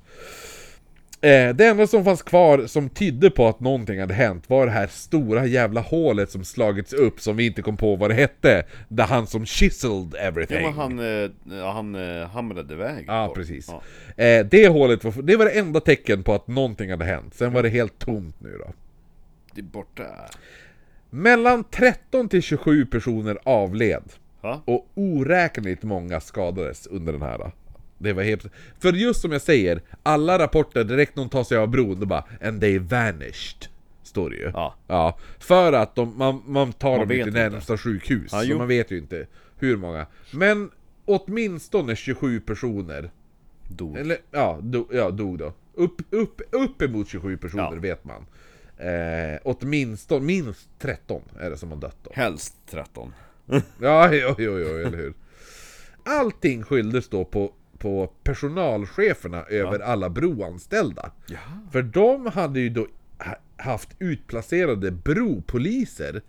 Speaker 1: Eh, det enda som fanns kvar som tydde på att någonting hade hänt var det här stora jävla hålet som slagits upp som vi inte kom på vad det hette. Där han som chiseled
Speaker 2: Ja,
Speaker 1: everything.
Speaker 2: men han, eh, ja, han eh, hamrade iväg.
Speaker 1: Ja,
Speaker 2: folk.
Speaker 1: precis.
Speaker 2: Ja.
Speaker 1: Eh, det hålet var, det var det enda tecken på att någonting hade hänt. Sen var det helt tomt nu då.
Speaker 2: Det är borta.
Speaker 1: Mellan 13 till 27 personer avled
Speaker 2: Va?
Speaker 1: och oräkneligt många skadades under den här. Det var helt... För just som jag säger, alla rapporter direkt någon tar sig av bron, då bara “And they vanished” står det ju.
Speaker 2: Ja.
Speaker 1: för att de, man, man tar dem
Speaker 2: vet
Speaker 1: till
Speaker 2: inte.
Speaker 1: närmsta sjukhus, så
Speaker 2: jo.
Speaker 1: man vet ju inte hur många. Men åtminstone 27 personer,
Speaker 2: Dog.
Speaker 1: eller ja, do, ja dog då. Upp, upp, uppemot 27 personer
Speaker 2: Ja.
Speaker 1: vet man. Eh, åtminstone, minst 13 är det som har dött då.
Speaker 2: Helst 13.
Speaker 1: Ja, jo, jo, jo, eller hur. Allting skylldes då på, på personalcheferna över alla broanställda. För de hade ju då ha- haft utplacerade bropoliser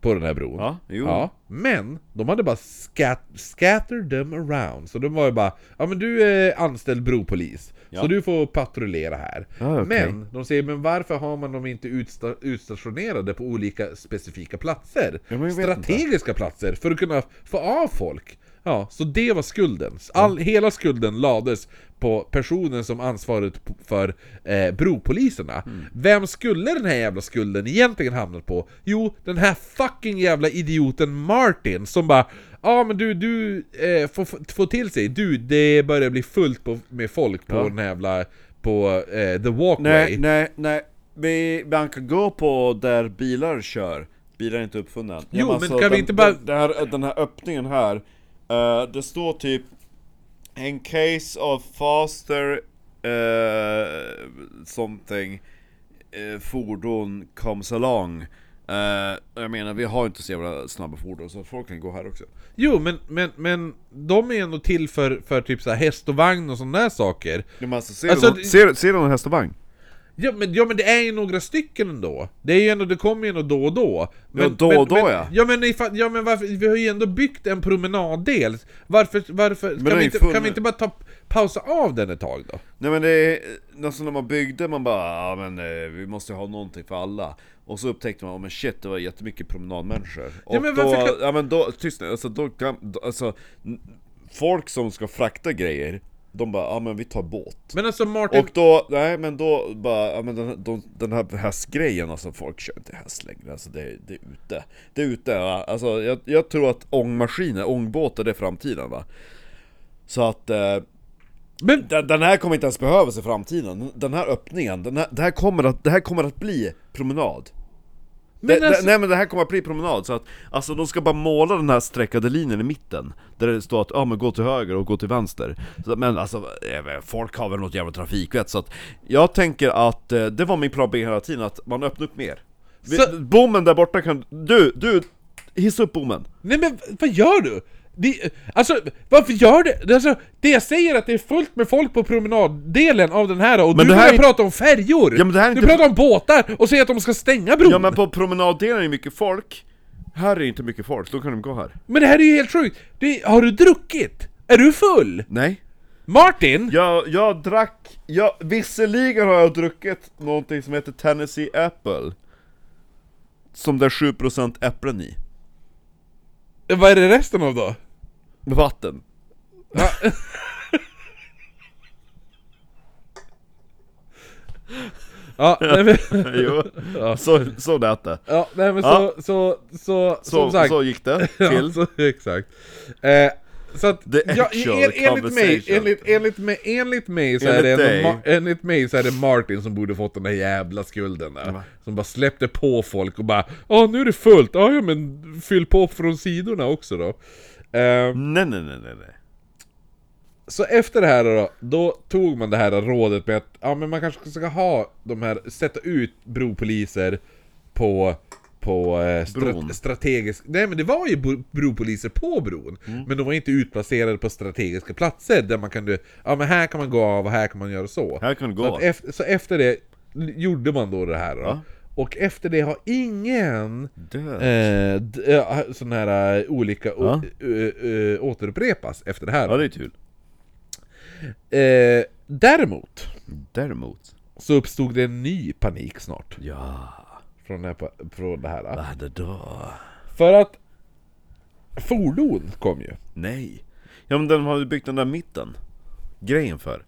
Speaker 1: på den här bron.
Speaker 2: Ja, jo.
Speaker 1: Ja, men de hade bara scat scattered them around. Så de var ju bara, ja men du är anställd bropolis, så du får patrullera här.
Speaker 5: Ah, okej.
Speaker 1: Men de säger, men varför har man dem inte utsta utstationerade på olika specifika platser?
Speaker 2: men jag vet
Speaker 1: Strategiska platser, för att kunna få av folk. Ja, så det var skulden. All, Hela skulden lades på personen som ansvarade p- för eh, bropoliserna.
Speaker 2: Mm.
Speaker 1: Vem skulle den här jävla skulden egentligen hamnat på? Jo, den här fucking jävla idioten Martin som bara Ja ah, men du, du eh, får f- få till sig, du det börjar bli fullt på, med folk på den här jävla, på eh, the walkway
Speaker 2: Nej, nej, nej. Vi, man kan gå på där bilar kör. Bilar är inte uppfunna än.
Speaker 1: Jo, men kan vi
Speaker 2: den,
Speaker 1: inte bara-
Speaker 2: Den, den, här, den här öppningen här. eh, det står typ... In case of faster... eh, something... eh, fordon comes along. Eh, jag menar, vi har inte så jävla snabba fordon så folk kan gå här också.
Speaker 1: Jo, men, men, men de är ändå till för, för typ så här häst och vagn och sådana där saker.
Speaker 2: Men alltså, ser,
Speaker 1: Alltså,
Speaker 2: du, någon-
Speaker 1: det-
Speaker 2: ser, ser du någon häst och vagn?
Speaker 1: Ja men, ja, men det är ju några stycken ändå. Det, är ju ändå, det kommer ju ändå då och då. Men,
Speaker 2: Ja, då och
Speaker 1: men,
Speaker 2: då,
Speaker 1: men,
Speaker 2: ja.
Speaker 1: Ja men, ifall, ja, men varför, vi har ju ändå byggt en promenaddel. Varför, varför
Speaker 2: den
Speaker 1: kan,
Speaker 2: är
Speaker 1: vi
Speaker 2: ju
Speaker 1: inte,
Speaker 2: full
Speaker 1: kan
Speaker 2: nu.
Speaker 1: vi inte bara ta, pausa av den ett tag då?
Speaker 2: Nej men det är, alltså när man byggde man bara, ja men eh, vi måste ha någonting för alla. Och så upptäckte man, oh, men shit det var jättemycket promenadmänniskor. Och
Speaker 1: men
Speaker 2: då,
Speaker 1: varför kan-
Speaker 2: ja men då, tyst nu, alltså då kan, då- alltså, n- folk som ska frakta grejer, de bara, ja men vi tar båt.
Speaker 1: Men alltså Martin,
Speaker 2: Och då, nej men då bara, ja men den, de, den här hästgrejen alltså, folk kör inte häst längre, alltså det, det är ute. Det är ute, va? alltså jag, jag tror att ångmaskiner, ångbåtar det är framtiden va. Så att, eh,
Speaker 1: men,
Speaker 2: den, den här kommer inte ens behövas i framtiden, den här öppningen, den här, det, här kommer att, det här kommer att bli promenad
Speaker 1: men
Speaker 2: det,
Speaker 1: alltså,
Speaker 2: det, Nej men det här kommer att bli promenad, så att alltså de ska bara måla den här streckade linjen i mitten Där det står att ja men gå till höger och gå till vänster så, att- Men alltså, jag vet, folk har väl något jävla trafikvett så att Jag tänker att, eh, det var min plan B hela tiden, att man öppnar upp mer Vi-
Speaker 1: Så-
Speaker 2: Bommen där borta kan, du, du! Hissa upp bommen!
Speaker 1: nej men vad gör du? Det, alltså varför gör du? Alltså, det jag säger är att det är fullt med folk på promenaddelen av den här och
Speaker 2: Men
Speaker 1: du
Speaker 2: det här
Speaker 1: börjar
Speaker 2: är-
Speaker 1: prata om färjor!
Speaker 2: Ja, men det här är
Speaker 1: du
Speaker 2: inte-
Speaker 1: pratar om båtar och säger att de ska stänga bron!
Speaker 2: Ja men på promenaddelen är det mycket folk Här är inte mycket folk, då kan de gå här
Speaker 1: Men det här är ju helt sjukt! Det, har du druckit? Är du full?
Speaker 2: Nej
Speaker 1: Martin?
Speaker 2: Jag, jag drack, jag, visserligen har jag druckit någonting som heter Tennessee Apple Som det är 7% äpplen i
Speaker 1: Vad är det resten av då?
Speaker 2: Vatten
Speaker 1: Ja, nej men,
Speaker 6: jo,
Speaker 1: Ja.
Speaker 6: så, så lät det.
Speaker 1: ja, nej, men
Speaker 6: Ja.
Speaker 1: så, så, så,
Speaker 6: Så,
Speaker 1: som sagt.
Speaker 6: så gick det
Speaker 1: Ja,
Speaker 6: till.
Speaker 1: så, exakt. Eh, så att,
Speaker 6: The
Speaker 1: ja,
Speaker 6: actual
Speaker 1: en, enligt, mig,
Speaker 6: conversation.
Speaker 1: enligt, enligt mig, enligt mig så
Speaker 6: Enligt
Speaker 1: är det
Speaker 6: dig.
Speaker 1: en, ma- enligt mig så är det Martin som borde fått den där jävla skulden där. Som bara släppte på folk och bara Åh nu är det fullt, Ah, ja ja men fyll på från sidorna också då. Eh,
Speaker 2: Nej, nej, nej, nej, nej.
Speaker 1: så efter det här då, då tog man det här rådet med att ja, men man kanske ska ha de här, sätta ut bropoliser på, på eh, stra-
Speaker 2: Bron.
Speaker 1: strategisk... Nej men det var ju bo- bropoliser på bron,
Speaker 2: Mm.
Speaker 1: men de var inte utplacerade på strategiska platser där man kunde, ja men här kan man gå av och här kan man göra så.
Speaker 2: Här kan det
Speaker 1: Så,
Speaker 2: gå.
Speaker 1: att efter, så efter det gjorde man då det här då.
Speaker 2: Ja.
Speaker 1: Och efter det har ingen
Speaker 2: Död.
Speaker 1: eh, d- eh, sån här eh, olika
Speaker 2: Ja.
Speaker 1: å- eh, eh, återupprepas efter det här. då.
Speaker 2: Ja, det är kul.
Speaker 1: Eh, däremot
Speaker 2: Däremot.
Speaker 1: så uppstod det en ny panik snart
Speaker 2: Ja,
Speaker 1: från det här. Från det här.
Speaker 2: vad det då?
Speaker 1: För att fordon kom ju.
Speaker 2: Nej. Ja, men den har ju byggt den där mitten. Grejen för.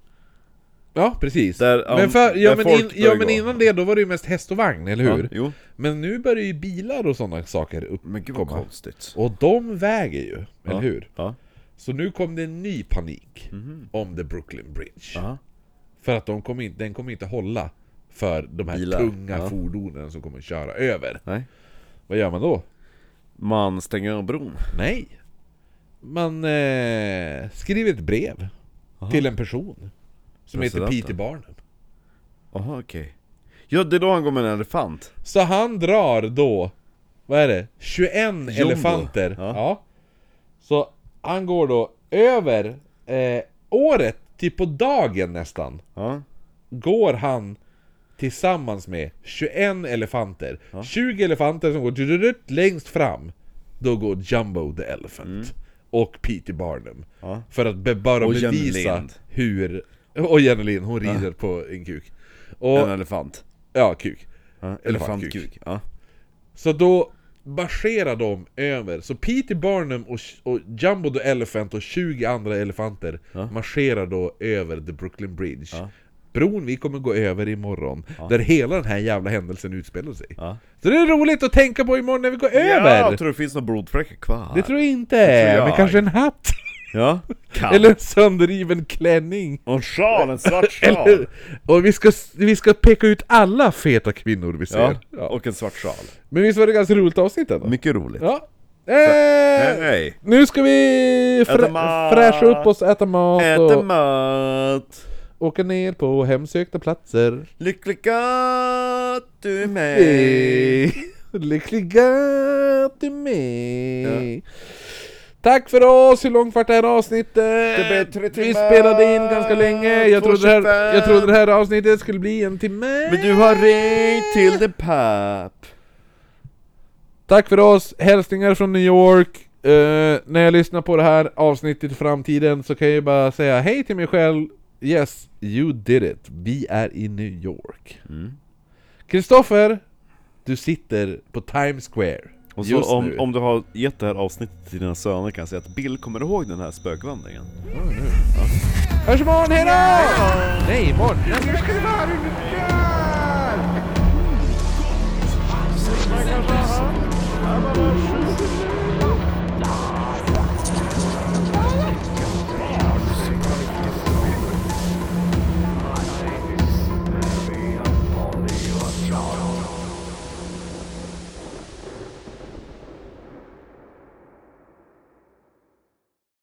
Speaker 1: Ja, precis.
Speaker 2: Där, ja,
Speaker 1: men, för, ja,
Speaker 2: där
Speaker 1: men,
Speaker 2: folk
Speaker 1: in, ja,
Speaker 2: börjar
Speaker 1: men
Speaker 2: gå.
Speaker 1: innan det, då var det ju mest häst och vagn, eller hur?
Speaker 2: Ja, jo.
Speaker 1: Men nu börjar ju bilar och sådana saker
Speaker 2: Men gud vad
Speaker 1: uppkomma.
Speaker 2: konstigt.
Speaker 1: Och de väger ju, eller hur?
Speaker 2: Ja.
Speaker 1: Så nu kom det en ny panik om the Brooklyn Bridge.
Speaker 2: Mhm. Ja.
Speaker 1: För att de kommer inte, den kommer inte hålla för de här
Speaker 2: Bilar,
Speaker 1: tunga
Speaker 2: ja.
Speaker 1: fordonen som kommer köra över.
Speaker 2: Nej.
Speaker 1: Vad gör man då?
Speaker 2: Man stänger av bron.
Speaker 1: Nej. Man eh, skriver ett brev till en person som heter
Speaker 2: Presidenten.
Speaker 1: Peter Barnum.
Speaker 2: Jaha, okej. Ja, det är då han går med en elefant.
Speaker 1: Så han drar då, vad är det, 21 elefanter.
Speaker 2: Ja.
Speaker 1: Ja. Så han går då över eh, året, typ på dagen nästan,
Speaker 2: Ja.
Speaker 1: går han tillsammans med 21 elefanter. 20 elefanter som går drudrudrut längst fram. Då går Jumbo the Elephant och Peter Barnum.
Speaker 2: Mm. Ja.
Speaker 1: För att be, bara
Speaker 2: Och Jenny
Speaker 1: bevisa
Speaker 2: Lind.
Speaker 1: hur... Och Jenny Lind, hon rider på en kuk. Och,
Speaker 2: En elefant.
Speaker 1: ja, kuk.
Speaker 2: Ja.
Speaker 1: Elefantkuk.
Speaker 2: Elefantkuk. Ja.
Speaker 1: Så då marscherar de över, så Peter Barnum och, och Jumbo the Elephant och 20 andra elefanter marscherar då över the Brooklyn Bridge. Bron vi kommer gå över imorgon, där hela den här jävla händelsen utspelar sig.
Speaker 2: Ja.
Speaker 1: Så det är roligt att tänka på imorgon när vi går
Speaker 2: Ja,
Speaker 1: över!
Speaker 2: jag tror det finns några blodfläckar kvar.
Speaker 1: det tror jag inte,
Speaker 2: tror jag.
Speaker 1: men kanske en hatt?
Speaker 2: Ja. Kallt.
Speaker 1: Eller en sönderriven klänning?
Speaker 2: Och en sjal, en svart sjal.
Speaker 1: Eller, och vi ska, vi ska peka ut alla feta kvinnor vi ser.
Speaker 2: Ja.
Speaker 1: Ja.
Speaker 2: och en svart sjal.
Speaker 1: Men visst var det ganska roligt avsnitt ändå?
Speaker 2: Mycket roligt.
Speaker 1: Ja. Eh,
Speaker 2: Hej, hej.
Speaker 1: Nu ska vi frä-
Speaker 2: Äta mat.
Speaker 1: fräscha upp oss, äta mat
Speaker 2: Äter
Speaker 1: och
Speaker 2: mat.
Speaker 1: åka ner på hemsökta platser.
Speaker 2: Lyckliga du är med.
Speaker 1: Eh. Lyckliga du är med. Tack för oss! Hur långt var det här avsnittet?
Speaker 2: Det blev tre
Speaker 1: Vi
Speaker 2: timmar,
Speaker 1: spelade in ganska länge, jag trodde, det här,
Speaker 2: 2.25.
Speaker 1: jag trodde det här avsnittet skulle bli en timme.
Speaker 2: Men du har ringt till The Pap.
Speaker 1: Tack för oss, hälsningar från New York. Eh, när jag lyssnar på det här avsnittet i framtiden så kan jag ju bara säga hej till mig själv. Yes, you did it. Vi är i New York.
Speaker 2: Mm.
Speaker 1: Kristoffer, du sitter på Times Square.
Speaker 2: Och
Speaker 1: just
Speaker 2: så om,
Speaker 1: nu.
Speaker 2: om du har gett det här avsnittet till dina söner kan jag säga att Bill kommer ihåg den här spökvandringen.
Speaker 1: Hörs imorgon, hejdå! Nej, imorgon. Jag ska-
Speaker 6: Ja.